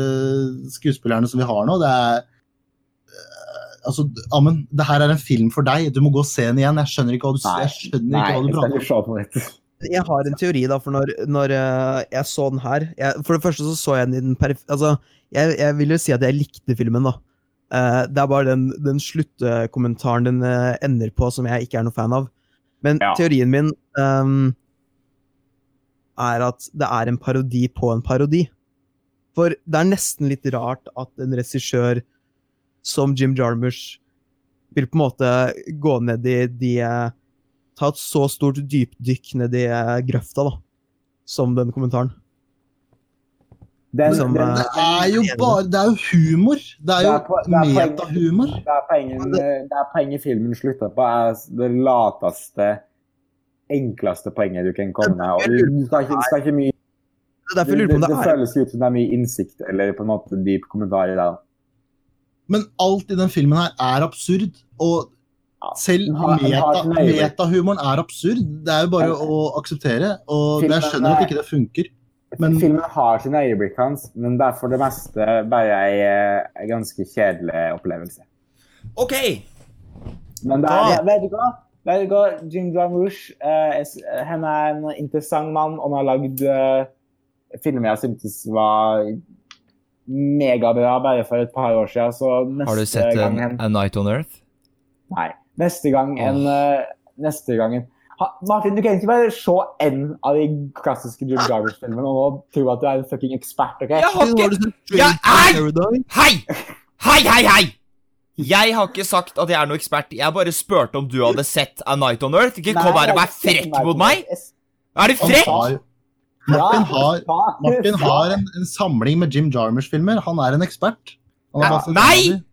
skuespillerne som vi har nå. Det er eh, Altså, Amund, det her er en film for deg. Du må gå og se den igjen. Jeg skjønner ikke hva du,
Nei,
jeg skjønner
Nei,
ikke hva
jeg
du
skal
prater om.
ikke se på nytt.
Jeg har en teori, da, for når, når eh, jeg så den her jeg, For det første så så jeg den i den perif... Altså, jeg, jeg vil jo si at jeg likte filmen, da. Eh, det er bare den, den sluttkommentaren den eh, ender på, som jeg ikke er noe fan av. Men
Ja.
teorien min ehm, er at det er en parodi på en parodi. For det er nesten litt rart at en regissør som Jim Jarmusch vil på en måte gå ned i de eh, Ta et så stort dypdykk ned i eh, grøfta, da. Som den kommentaren.
Den,
Som,
den,
eh,
Det er jo bare Det er jo humor. Det
Det
er jo
er på- det er på-
metahumor.
Det er poenget, det er poenget filmen slutter på, er det lateste, enkleste poenget du kan komme med. Og du, du skal, ikke, du skal ikke mye,
Det er derfor jeg
det,
lurer på om
det
det er
føles ut som det er mye innsikt eller på en måte dyp kommentar i det. da.
Men alt i den filmen her er absurd. Og
Ja,
selv
den har- den har
meta,
sin øyeblikk.
metahumoren er absurd. Det er jo bare
Ja.
å akseptere. Og
Filmen
jeg skjønner
er-
at ikke det funker. Men
Filmen har sine øyeblikk hans, men det er for det meste bare ei eh, ganske kjedelig opplevelse.
Ok!
Men det er, vet du hva? Vet du hva? Jim Jarmusch, eh, es- eh, han er en interessant mann, og han har lagd eh, filmer jeg syntes var megabra bare for et par år siden. Så neste
Har du sett
gang
en,
en,
A Night on Earth?
Nei. Neste gang en eh, Neste gang en ha, Martin, du kan ikke bare se en av de klassiske Jim Jarmusch-filmene og nå tro at du er en fucking ekspert, OK?
Jeg har ikke Jeg er Hei! Hei, hei, hei! Jeg har ikke sagt at jeg er noe ekspert. Jeg bare spurte om du hadde sett A Night on Earth. Ikke kom
Nei,
her og vær
jeg-
frekk mot meg! Er du
han
frekk?
har Martin har- Martin har en, en samling med Jim Jarmers-filmer. Han er en ekspert. Han har
Ja,
masse-
nei!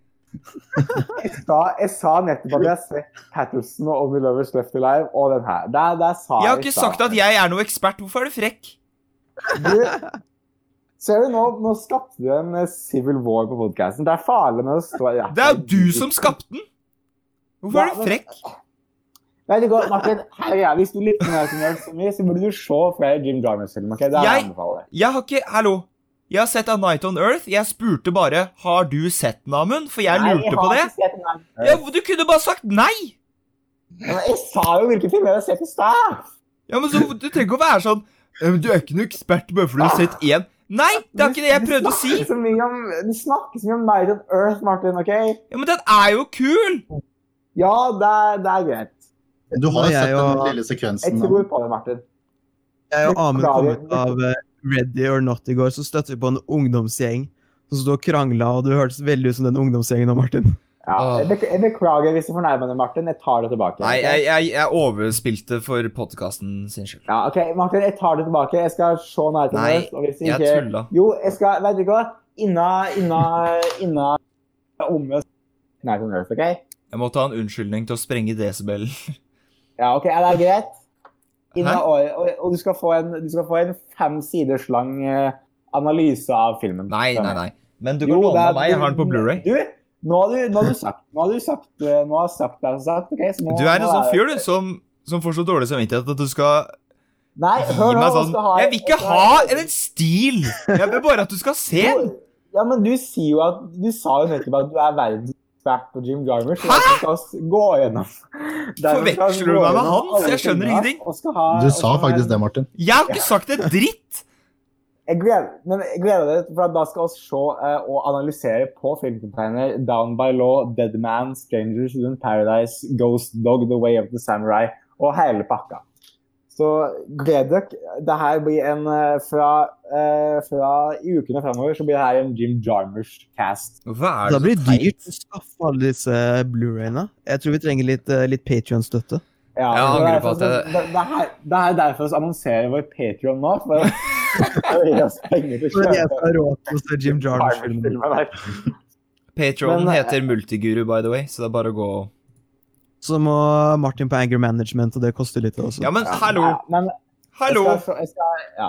Jeg sa, jeg sa nettopp at jeg har sett Patterson og Only Lovers Left Alive og den her. Der, der sa
Jeg har ikke sagt at jeg er noe ekspert. Hvorfor er du frekk?
Du, ser du, nå, nå skapte du en eh, civil war på podcasten. Det er farlig når det står
Det er jo du som skapte den! Hvorfor er du frekk?
Nei, det går, Martin, her er jeg. Hvis du lytter mer til meg så mye, så burde du se flere Jim Jarmers-filmer. Okay? Det er det jeg
Jeg-
anbefaler.
Jeg har ikke Hallo. Jeg har sett A Night On Earth. Jeg spurte bare har du sett den, Amund, for jeg
Nei,
lurte på
har
det.
ikke sett den her.
Ja, du kunne bare sagt nei!
Men Jeg sa jo hvilke filmer jeg har sett i stad!
Ja, men så, Du trenger ikke å være sånn «Ja, men Du er ikke noen ekspert bare fordi du har sett én. Nei, det er ikke det jeg prøvde å si.
Du snakker så mye om, du snakker så mye om Night on Earth, Martin. ok?
Ja, Men den er jo kul!
Ja, det er, det er greit.
Du har
Nei,
jo
jeg
sett den
var-
lille
Jeg
sekvensen. da.
tror på det, Martin.
Jeg og Amund kom
Beklager.
ut av eh, Ready or Not i går, så støtte vi på en ungdomsgjeng som sto og krangla, og du hørtes veldig ut som den ungdomsgjengen nå, Martin.
Ja,
Åh.
jeg, bek jeg beklager hvis du fornærmer deg, Martin. Jeg tar det tilbake.
Nei,
ok?
jeg, jeg, jeg overspilte for podkasten sin skyld.
Ja, ok, Martin, jeg tar det tilbake. Jeg skal se Night on
Nei,
Earth. og hvis
Jeg
ikke...
tulla.
Jo, jeg skal Vet du hva? Inna Inna Inna omme Night on Earth, OK?
Jeg måtte ha en unnskyldning til å sprenge desibelen.
Ja, OK, er det greit? Inna
Hæ?
året, og, og du skal få en, du skal få en fem siders lang eh, analyse av filmen.
Nei, nei, nei. Men du kan
Jo, det
låne
er-
av meg. Jeg har den på Blu-ray.
Du, nå har du, nå har du sagt Nå har du sagt, eh, nå har jeg sagt det jeg har sagt. ok? så nå,
Du er en
nå
sånn
det-
fyr, du, som, som får så dårlig samvittighet at du skal
Nei,
gi
hør nå.
meg
nå
sånn
skal jeg ha-
Jeg vil ikke
jeg skal
ha en stil! Jeg vil bare at du skal se den!
Jo, Ja, men du sier jo at Du sa jo nettopp at du er verdensekspert på Jim Jarmers.
Hæ?!
Hæ?! Skal oss gå gjennom. Derfor skal oss
Forveksler du
gå
meg med
gjennom
Hans?
alle
Jeg skjønner
filmene,
ingenting.
og skal ha-
Du
og
sa
skal ha
faktisk
en-
det, Martin.
Jeg har ikke sagt en dritt!
Jeg gleder, men jeg gleder deg, for at da skal vi se eh, og analysere på filmcontainer Down by Law, Dead Man, Strangers in Paradise, Ghost Dog, The Way of the Samurai og hele pakka. Så gled dere. Det her blir en eh, fra, eh, fra i ukene fremover så blir det her en Jim Jarmers-cast.
Hva er
Da
det så
blir det
teit?
dyrt å skaffe alle disse eh, Blu-rayene. Jeg tror vi trenger litt, eh, litt Patrion-støtte.
Jeg
men
angrer
det er
på at jeg-
derfor- det, det, er, det er derfor vi annonserer vår Patreon nå. For å gi oss penger til å
Men jeg
kjøpe
skal ha råd til å se Jim Jarmusch-filmen.
Jarmers-filmer.
Patron
Men, eh,
heter Multiguru, by the way, så det er bare å gå
Så må Martin på Anger Management, og det koster litt også.
Ja, men hallo!
Ja, men jeg
Hallo!
skal, så- jeg skal, ja.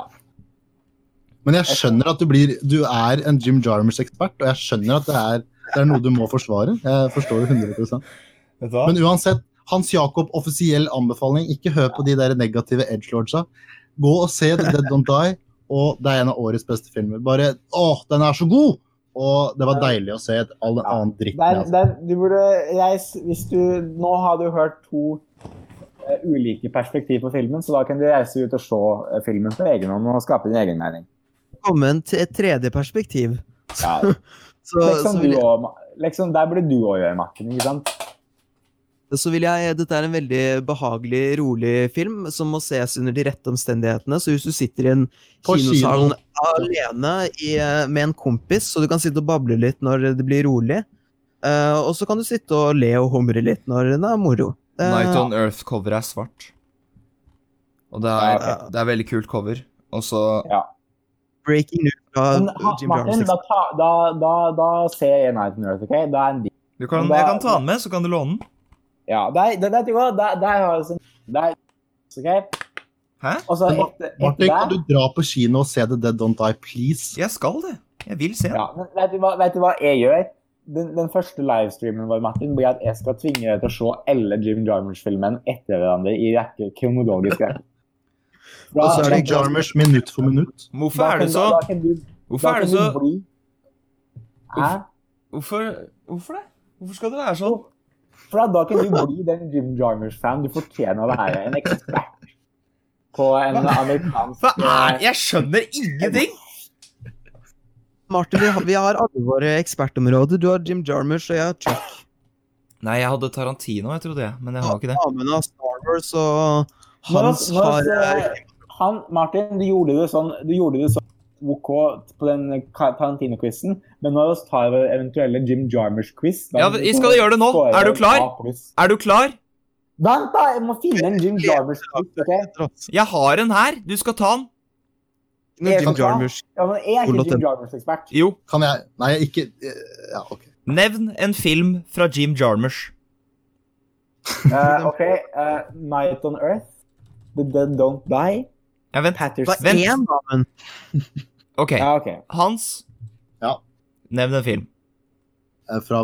Men jeg skjønner at du blir Du er en Jim Jarmers-ekspert, og jeg skjønner at det er, det er noe du må forsvare. Jeg forstår det 100
Vet du hva?
Men uansett, Hans Jakob, offisiell anbefaling, ikke hør på de der negative edgelordsa. Gå og se The Dead Don't Die, og det er en av årets beste filmer. Bare åh, den er så god! Og det var deilig å se et all den annen dritt.
Der,
med, altså.
der, du burde jeg, s- hvis du, Nå har du hørt to eh, ulike perspektiv på filmen, så da kan du reise ut og se eh, filmen på egen hånd og skape din egen mening.
Komme til et tredje perspektiv.
Ja.
Så, så,
Liksom
vil,
du også, Ma- liksom, der burde du òg gjøre, Martin. ikke sant?
så vil jeg Dette er en veldig behagelig, rolig film som må ses under de rette omstendighetene. Så hvis du sitter i en
På kino.
kinosal alene i, eh, med en kompis, så du kan sitte og bable litt når det blir rolig, eh, og så kan du sitte og le og humre litt når det er moro. Eh,
Night on Earth-coveret er svart. Og det er,
Ja,
det er veldig kult cover. Og så
Breaking news fra
Men, ha,
Jim
Martin,
Jarmusch.
da, ta- da, da, da ser jeg Night on Earth. ok? Da er en deal.
du kan,
Men da-
Jeg kan ta den med, så kan du låne den.
Ja, der, der, der, der, der, der har vi Der, ok?
Hæ?
Og så
Men Mar-
etter, etter
Martin, kan
der
du dra på kino og se The Dead Don't Die, please?
Jeg skal det. Jeg vil se den.
Ja, men vet du hva, vet du hva jeg gjør? Den, den første livestreamen vår Martin, blir at jeg skal tvinge deg til å se alle Jim Jarmusch-filmene etter hverandre i rekke kronologisk rekke. Da-
Og så er det
Jim
da-
Jarmers minutt for minutt.
Hvorfor
da
er
kan
det
du-
så
da kan du- da
Hvorfor er
kan
det
du
så
bli- Hæ?
Hvorfor, hvorfor det? Hvorfor skal det være sånn?
For da- da kan du bli den Jim Jarmusch-fan du fortjener å være. En ekspert på en amerikansk
Hva er Jeg skjønner ingenting!
Martin, vi har, vi har alle våre ekspertområder. Du har Jim Jarmusch, og jeg har Chuck
Nei, jeg hadde Tarantino, jeg trodde jeg, men jeg har ikke det.
Amund har Star Wars, og
Nå-
Hans
nå-
har eh,
han, Martin, du gjorde det sånn, du gjorde det sånn OK på den Ka- Tarantino-quizen, men når vi tar vår eventuelle Jim Jarmers-quiz da-
Ja, men vi skal gjøre det nå.
scorer
Er du klar?
A pluss.
Er du klar?
Vent, da! Jeg må finne en Jim Jarmers-quiz. ok?
Jeg har en her. Du skal ta den.
Jim Jarmusch.
Ja, men jeg er ikke
Olaten.
Jim Jarmers-ekspert.
Jo.
Kan jeg Nei, ikke Ja, OK.
Nevn en film fra Jim Jarmusch.
Eh, OK. eh, Night on Earth. The Dead Don't Die.
Ja, vent.
Patterson.
Vent.
én, da, men
Ok,
Ja, OK.
Hans.
Ja.
Nevn en film.
Eh, Fra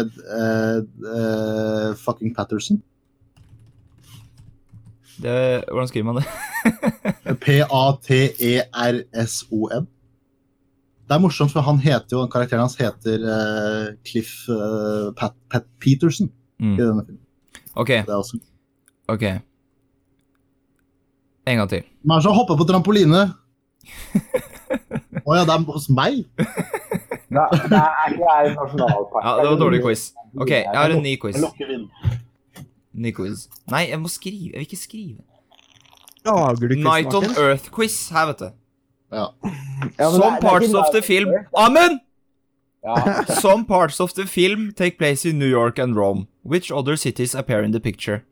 eh, eh, eh, fucking Patterson.
Det, hvordan skriver man det?
E P-A-T-E-R-S-O-N. Det er morsomt, for han heter jo, karakteren hans heter eh, Cliff eh, Pat, Pat Peterson.
Mm.
I denne filmen.
Ok,
Det er også.
ok. En gang til.
Hvem er det som hopper på trampoline? Å ja, det er hos meg?
Da, det er ikke det her i nasjonalparken.
Ja, det var en dårlig quiz. Ok, jeg har en ny quiz.
Lukker inn.
Ny quiz. Nei, jeg må skrive. Jeg vil ikke skrive.
Lager du ikke
Night on
smaken?
Earth-quiz her, vet du.
Ja, men det er-
Some
det er
parts
ikke
of the
Night on
film
Earth.
Amen!
Ja.
Some parts of the film take place in New York and Rome. Which other cities appear in the picture?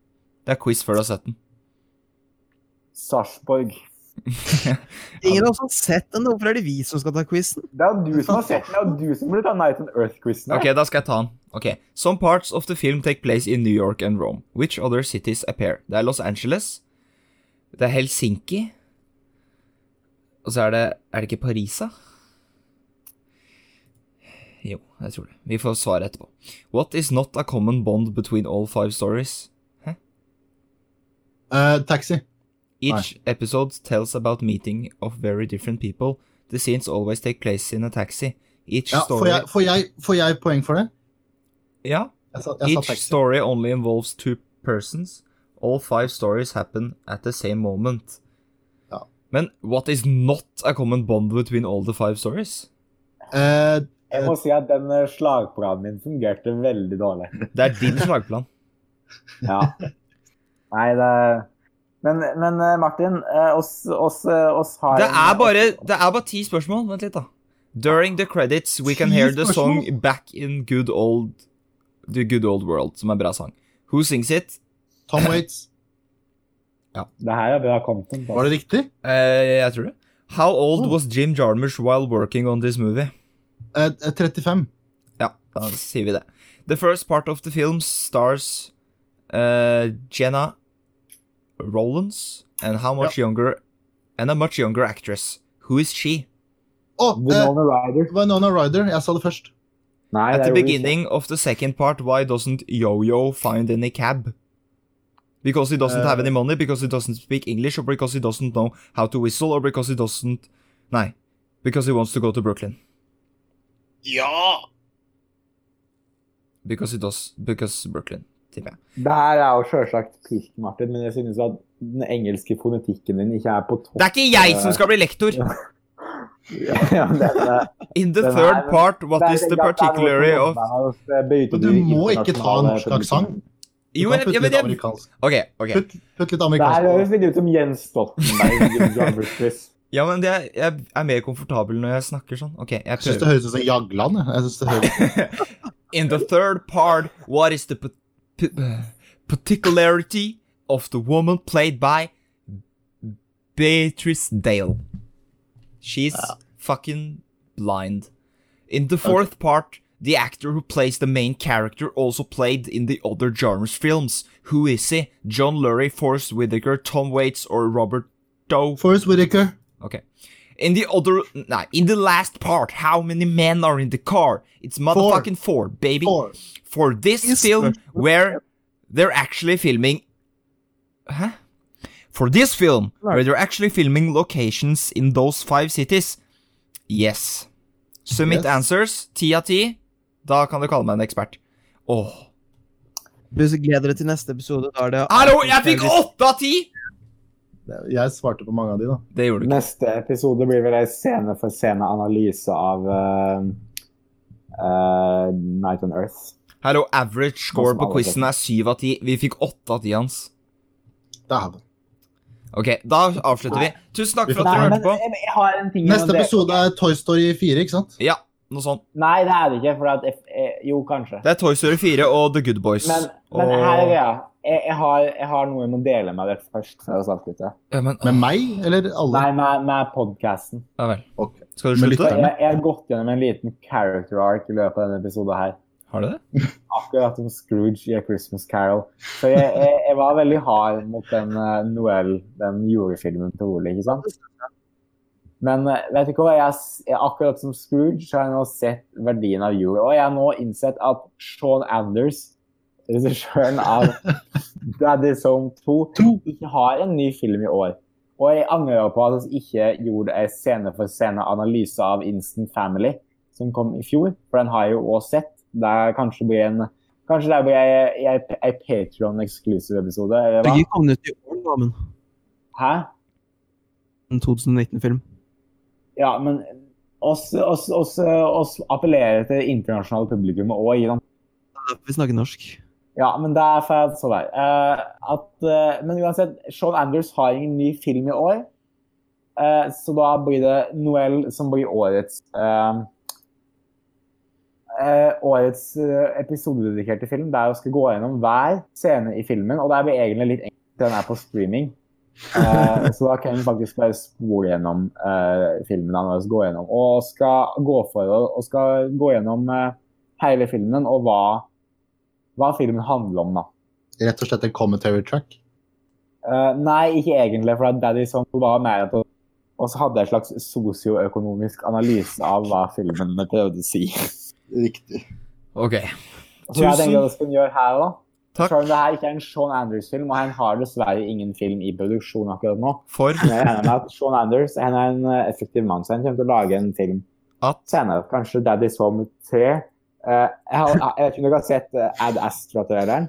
Det er quiz før du har sett den.
Sarpsborg.
Ingen av oss har sett den, hvorfor er det vi som skal ta quizen?
Det er jo du som har sett den, og du som burde ta Night on Earth-quizen.
Ok, da skal jeg ta den. Ok. Some parts of the film take place in New York and Rome. Which other cities appear? Det er Los Angeles. Det er Helsinki. Og så er det Er det ikke Parisa? Jo, jeg tror det. Vi får svaret etterpå. What is not a common bond between all five stories?
Eh, taxi.
Each episode tells about meeting of very different people. The scenes always take place in a taxi. Each
Ja, får,
story
jeg, får, jeg, får jeg poeng for det?
Ja.
Jeg sa, jeg sa
Each
taxi.
story only involves two persons. All five stories happen at the same moment.
Ja.
Men what is not a common bond between all the five stories?
Eh,
Jeg må si at den eh, slagplanen min fungerte veldig dårlig.
Det er din slagplan.
Ja. Nei, det er... Men, men eh, Martin, eh, oss, oss, eh, oss har
Det
en-
er bare, det er bare ti spørsmål. Vent litt, da. During the credits we can
Ti
hear the song
spørsmål?
Back in good old The good old world, som er en bra sang. Who sings it?
Tom Waits.
Det her er bra content. altså. da.
Var det riktig?
Eh, jeg tror det. How old was Jim Jarmusch while working on this movie?
Eh, eh, 35.
Ja, da sier vi det. The first part of the film stars uh, Jenna Rollins and how much younger and a much younger actress. Who is she?
Å, eh,
Winona Ryder.
Winona Ryder. Jeg sa det først.
Nei,
At
det
the
er jo ikke-
beginning of the second part, why doesn't Yo-Yo find any cab? Because he doesn't
Eh.
have any money, because he doesn't speak English, or because he doesn't know how to whistle, or because he doesn't... Nei, because he wants to go to Brooklyn.
Ja!
Because he does... Because Brooklyn, tipper jeg.
Det her er jo sjølsagt pikk, Martin, men jeg synes at den engelske fonetikken din ikke er på topp.
Det er ikke jeg som skal bli lektor!
Ja, det er det.
In the
Den
third
er-
part, what
Det er-
is the
det er noe som
particularity of
jobber her, og det bryter
Men du
de
må ikke ta
internasjonale
norsk aksent.
publikum.
Du
Jo,
kan
jeg,
putte
jeg,
litt
jeg,
amerikansk.
OK. ok.
Putt, putt
Det
litt
her
amerikansk.
høres litt ut som Jens Stoltenberg. i John Bush-quiz.
Ja, men det, er- jeg er mer komfortabel når jeg snakker sånn. OK, jeg
Jeg syns det
prøver.
høres ut som Jagland. jeg. Jeg synes det høres
In the third part, what is the pa- pa- uh, particularity of the woman played by Beatrice Dale? She's fucking blind. In the fourth part, the actor who plays the main character also played in the other genres films. Who is he? John Lurie, Forrest Whitaker, Tom Waits, or Robert Doe?
Forrest Whitaker.
Okay. In the other, nah, in the last part, how many men are in the car? It's motherfucking four, baby.
Four.
For this
Yes,
film,
sir.
where they're actually filming, huh? For this film, where they're actually filming locations in those five cities. Yes. Submit
Yes.
answers. Ti av ti. Da kan du kalle meg en ekspert. Åh.
Du gleder deg til neste episode. Da er det
Hallo, jeg fikk åtte av ti!
Jeg svarte på mange av de, da.
Det gjorde du ikke.
Neste episode blir vel en scene for scene analyse av eh, eh, Night on Earth.
Hallo, average score
Nå som
på
alle
quizen er syv av ti. Vi fikk åtte av ti hans.
Dæven.
Ok, da avslutter vi. Tusen takk for at
Nei,
dere
men
hørte på.
jeg, jeg har en ting om
Neste
det.
episode er Toy Story 4, ikke sant?
Ja, noe sånt.
Nei, det er det ikke. For at jeg, jeg, jo, kanskje.
Det er Toy Story 4 og The Good Boys.
Men, men her er greia. Jeg, jeg, har, jeg har noe jeg må dele med dere først. før vi avslutter.
Ja, men,
Med meg eller alle?
Nei, med, med podkasten.
ja vel.
Ok.
Skal du
Men
slutte?
lytterne?
Jeg, jeg har gått gjennom en liten character arc i løpet av denne episoden her.
Har du det?
Akkurat som Scrooge i A Christmas Carol. Så jeg, jeg, jeg var veldig hard mot den eh, Noel, den julefilmen til Ole, ikke sant? Men eh, vet du hva, jeg, s- jeg, akkurat som Scrooge så har jeg nå sett verdien av jul. Og jeg har nå innsett at Sean Anders, regissøren av Daddy's Home 2, ikke har en ny film i år. Og jeg angrer på at vi ikke gjorde en scene for scene-analyse av Instant Family, som kom i fjor. For den har jeg jo også sett. Det er kanskje blir en Kanskje det blir ei, ei, ei Patron-exclusive-episode, eller hva?
Begge kom ut i år, da, men
Hæ?
en 2019-film.
Ja, men oss, oss, oss, oss appellerer til internasjonale publikummet òg, ikke sant?
Vi snakker norsk.
Ja, men det er for at så der. Eh, at, eh, men uansett, Sean Anders har ingen ny film i år. Eh, så da blir det Noel som blir årets eh, eh, Årets eh, episodededikerte film, der vi skal gå gjennom hver scene i filmen. Og det blir egentlig litt enkelt, den er på streaming. Eh, så da kan vi faktisk bare spole gjennom eh, filmen han har gå gjennom. Og skal gå for og skal gå gjennom eh, hele filmen og hva hva filmen handler om, da.
Rett og slett en commentary track.
Eh, nei, ikke egentlig, for at Daddy Song var mer at og så hadde jeg en slags sosioøkonomisk analyse av hva filmen prøvde å si.
Riktig.
Ok.
Så jeg tenker
Tusen
at vi skal gjøre her også.
takk
Selv om det her ikke er en Sean Anders-film, og han har dessverre ingen film i produksjon akkurat nå.
for
Men jeg regner med at Sean Anders han er en eh, effektiv mann, så han kommer til å lage en film
At?
senere. Kanskje Daddy Song 3. Eh, jeg, har, jeg vet ikke om dere har sett eh, Ad Astra-traileren?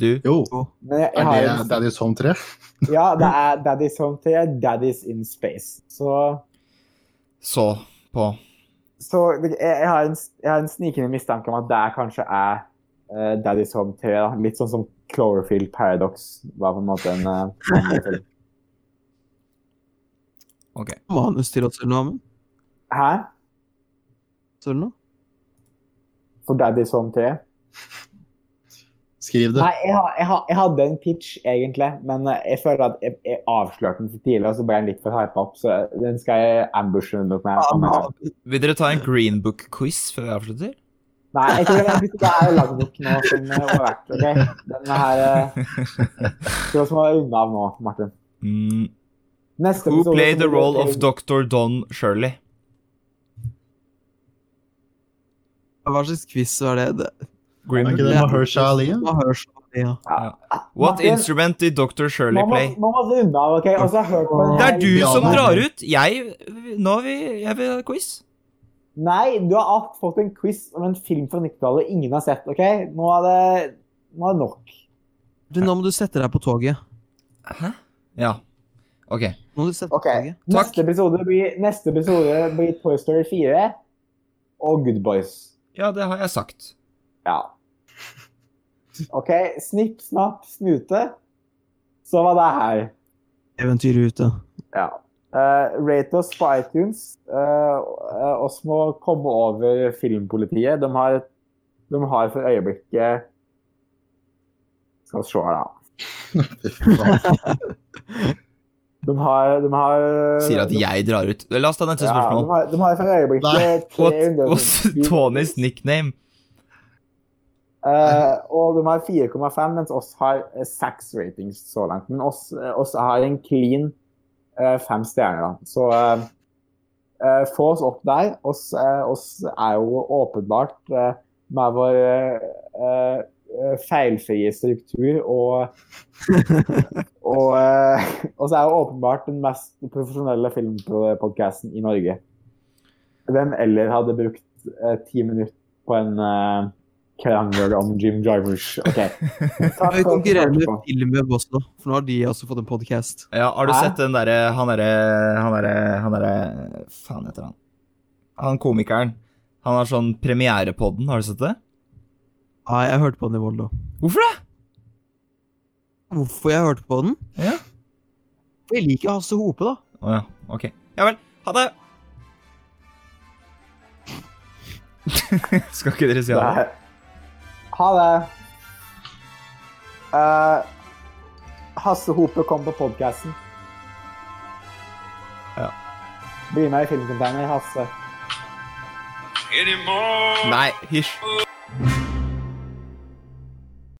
du
Jo,
Men jeg, jeg
er
har
det
en-
Daddy's Home 3?
Ja, det er Daddy's Home 3, Daddy's in Space. Så
så på.
Så det- jeg, jeg, har en, jeg har en snikende mistanke om at det kanskje er eh, Daddy's Home 3. Da. Litt sånn som Cloverfield Paradox var på en måte en eh, vanlig film.
Manus til oss eller noe annet?
Hæ?
Så eller noe?
For Daddy's Home 3?
Skriv det.
Nei, jeg, har- jeg, har- jeg hadde en pitch, egentlig, men eh, jeg føler at jeg, jeg avslørte den for tidlig, og så ble den litt for hypa opp, så den skal jeg ambushe rundt opp med.
Ah, Vil dere ta en Green Book-quiz før vi avslutter?
Nei, jeg tror den biten der er lagd nok nå som eh, har vært. ok? Denne her eh, tror jeg må runde av nå, Martin.
Mm.
Neste
Who
episode
played the
så blir det
role of
til-
Dr. Don Shirley?
Hva slags quiz var det? det?
Er ikke det Mahersha Ali? ja?
Hva høres det ja.
What
Martin.
instrument did Dr. Shirley
Man må,
play?
man må runde av, OK? Og så har jeg hørt på en
Det er
hel-
du
Ja,
som
men-
drar ut! Jeg Nå vil jeg vil ha quiz.
Nei, du har alt fått en quiz om en film fra 90-tallet ingen har sett, OK? Nå er det, nå er det nok.
Du, nå må du sette deg på toget.
Hæ? Ja. OK.
Nå må du sette deg
Ok.
på toget.
Takk.
Neste episode blir, neste episode blir Toy Story 4 og Good Boys.
Ja, det har jeg sagt.
Ja. OK? Snipp, snapp, snute. Så var det her.
Eventyret ute.
Ja. Eh, rate oss på iTunes. Eh, eh, oss må komme over filmpolitiet. De har, de har for øyeblikket Skal vi se her, da.
Fy faen.
De har, de har
Sier at jeg drar ut. La oss ta neste
ja, de,
spørsmål.
har, de har for
Nei,
øyeblikket
What
300
was Tonys nickname?
Eh, og de har 4,5, mens oss har eh, seks ratings så langt. Men oss, eh, oss har en clean eh, fem stjerner, da. Så eh, eh, få oss opp der. Oss, eh, oss er jo åpenbart eh, med vår eh, eh, feilfrie struktur og og eh, oss er jo åpenbart den mest profesjonelle filmpodkasten i Norge. Hvem eller hadde brukt eh, ti minutter på en eh, krangel om Jim Jarmusch. Ok.
Og
Takk
vi konkurrerer med
for-
Filmweb også, for nå har de også fått en podkast.
Ja, har du
Hæ?
sett den derre Han derre Han derre Han derre Faen heter han. Han komikeren. Han har sånn premierepodden, har du sett det?
Nei, jeg hørte på den i Volda.
Hvorfor det?
Hvorfor jeg hørte på den?
Ja.
For jeg liker Hasse Hope, da.
Å ja, ok. Ja vel. Ha det! Skal ikke dere si ha det?
Nei. Ha det. Eh, Hasse Hope kom på podkasten. Bli med i filmcontainer, Hasse.
Nei, hysj.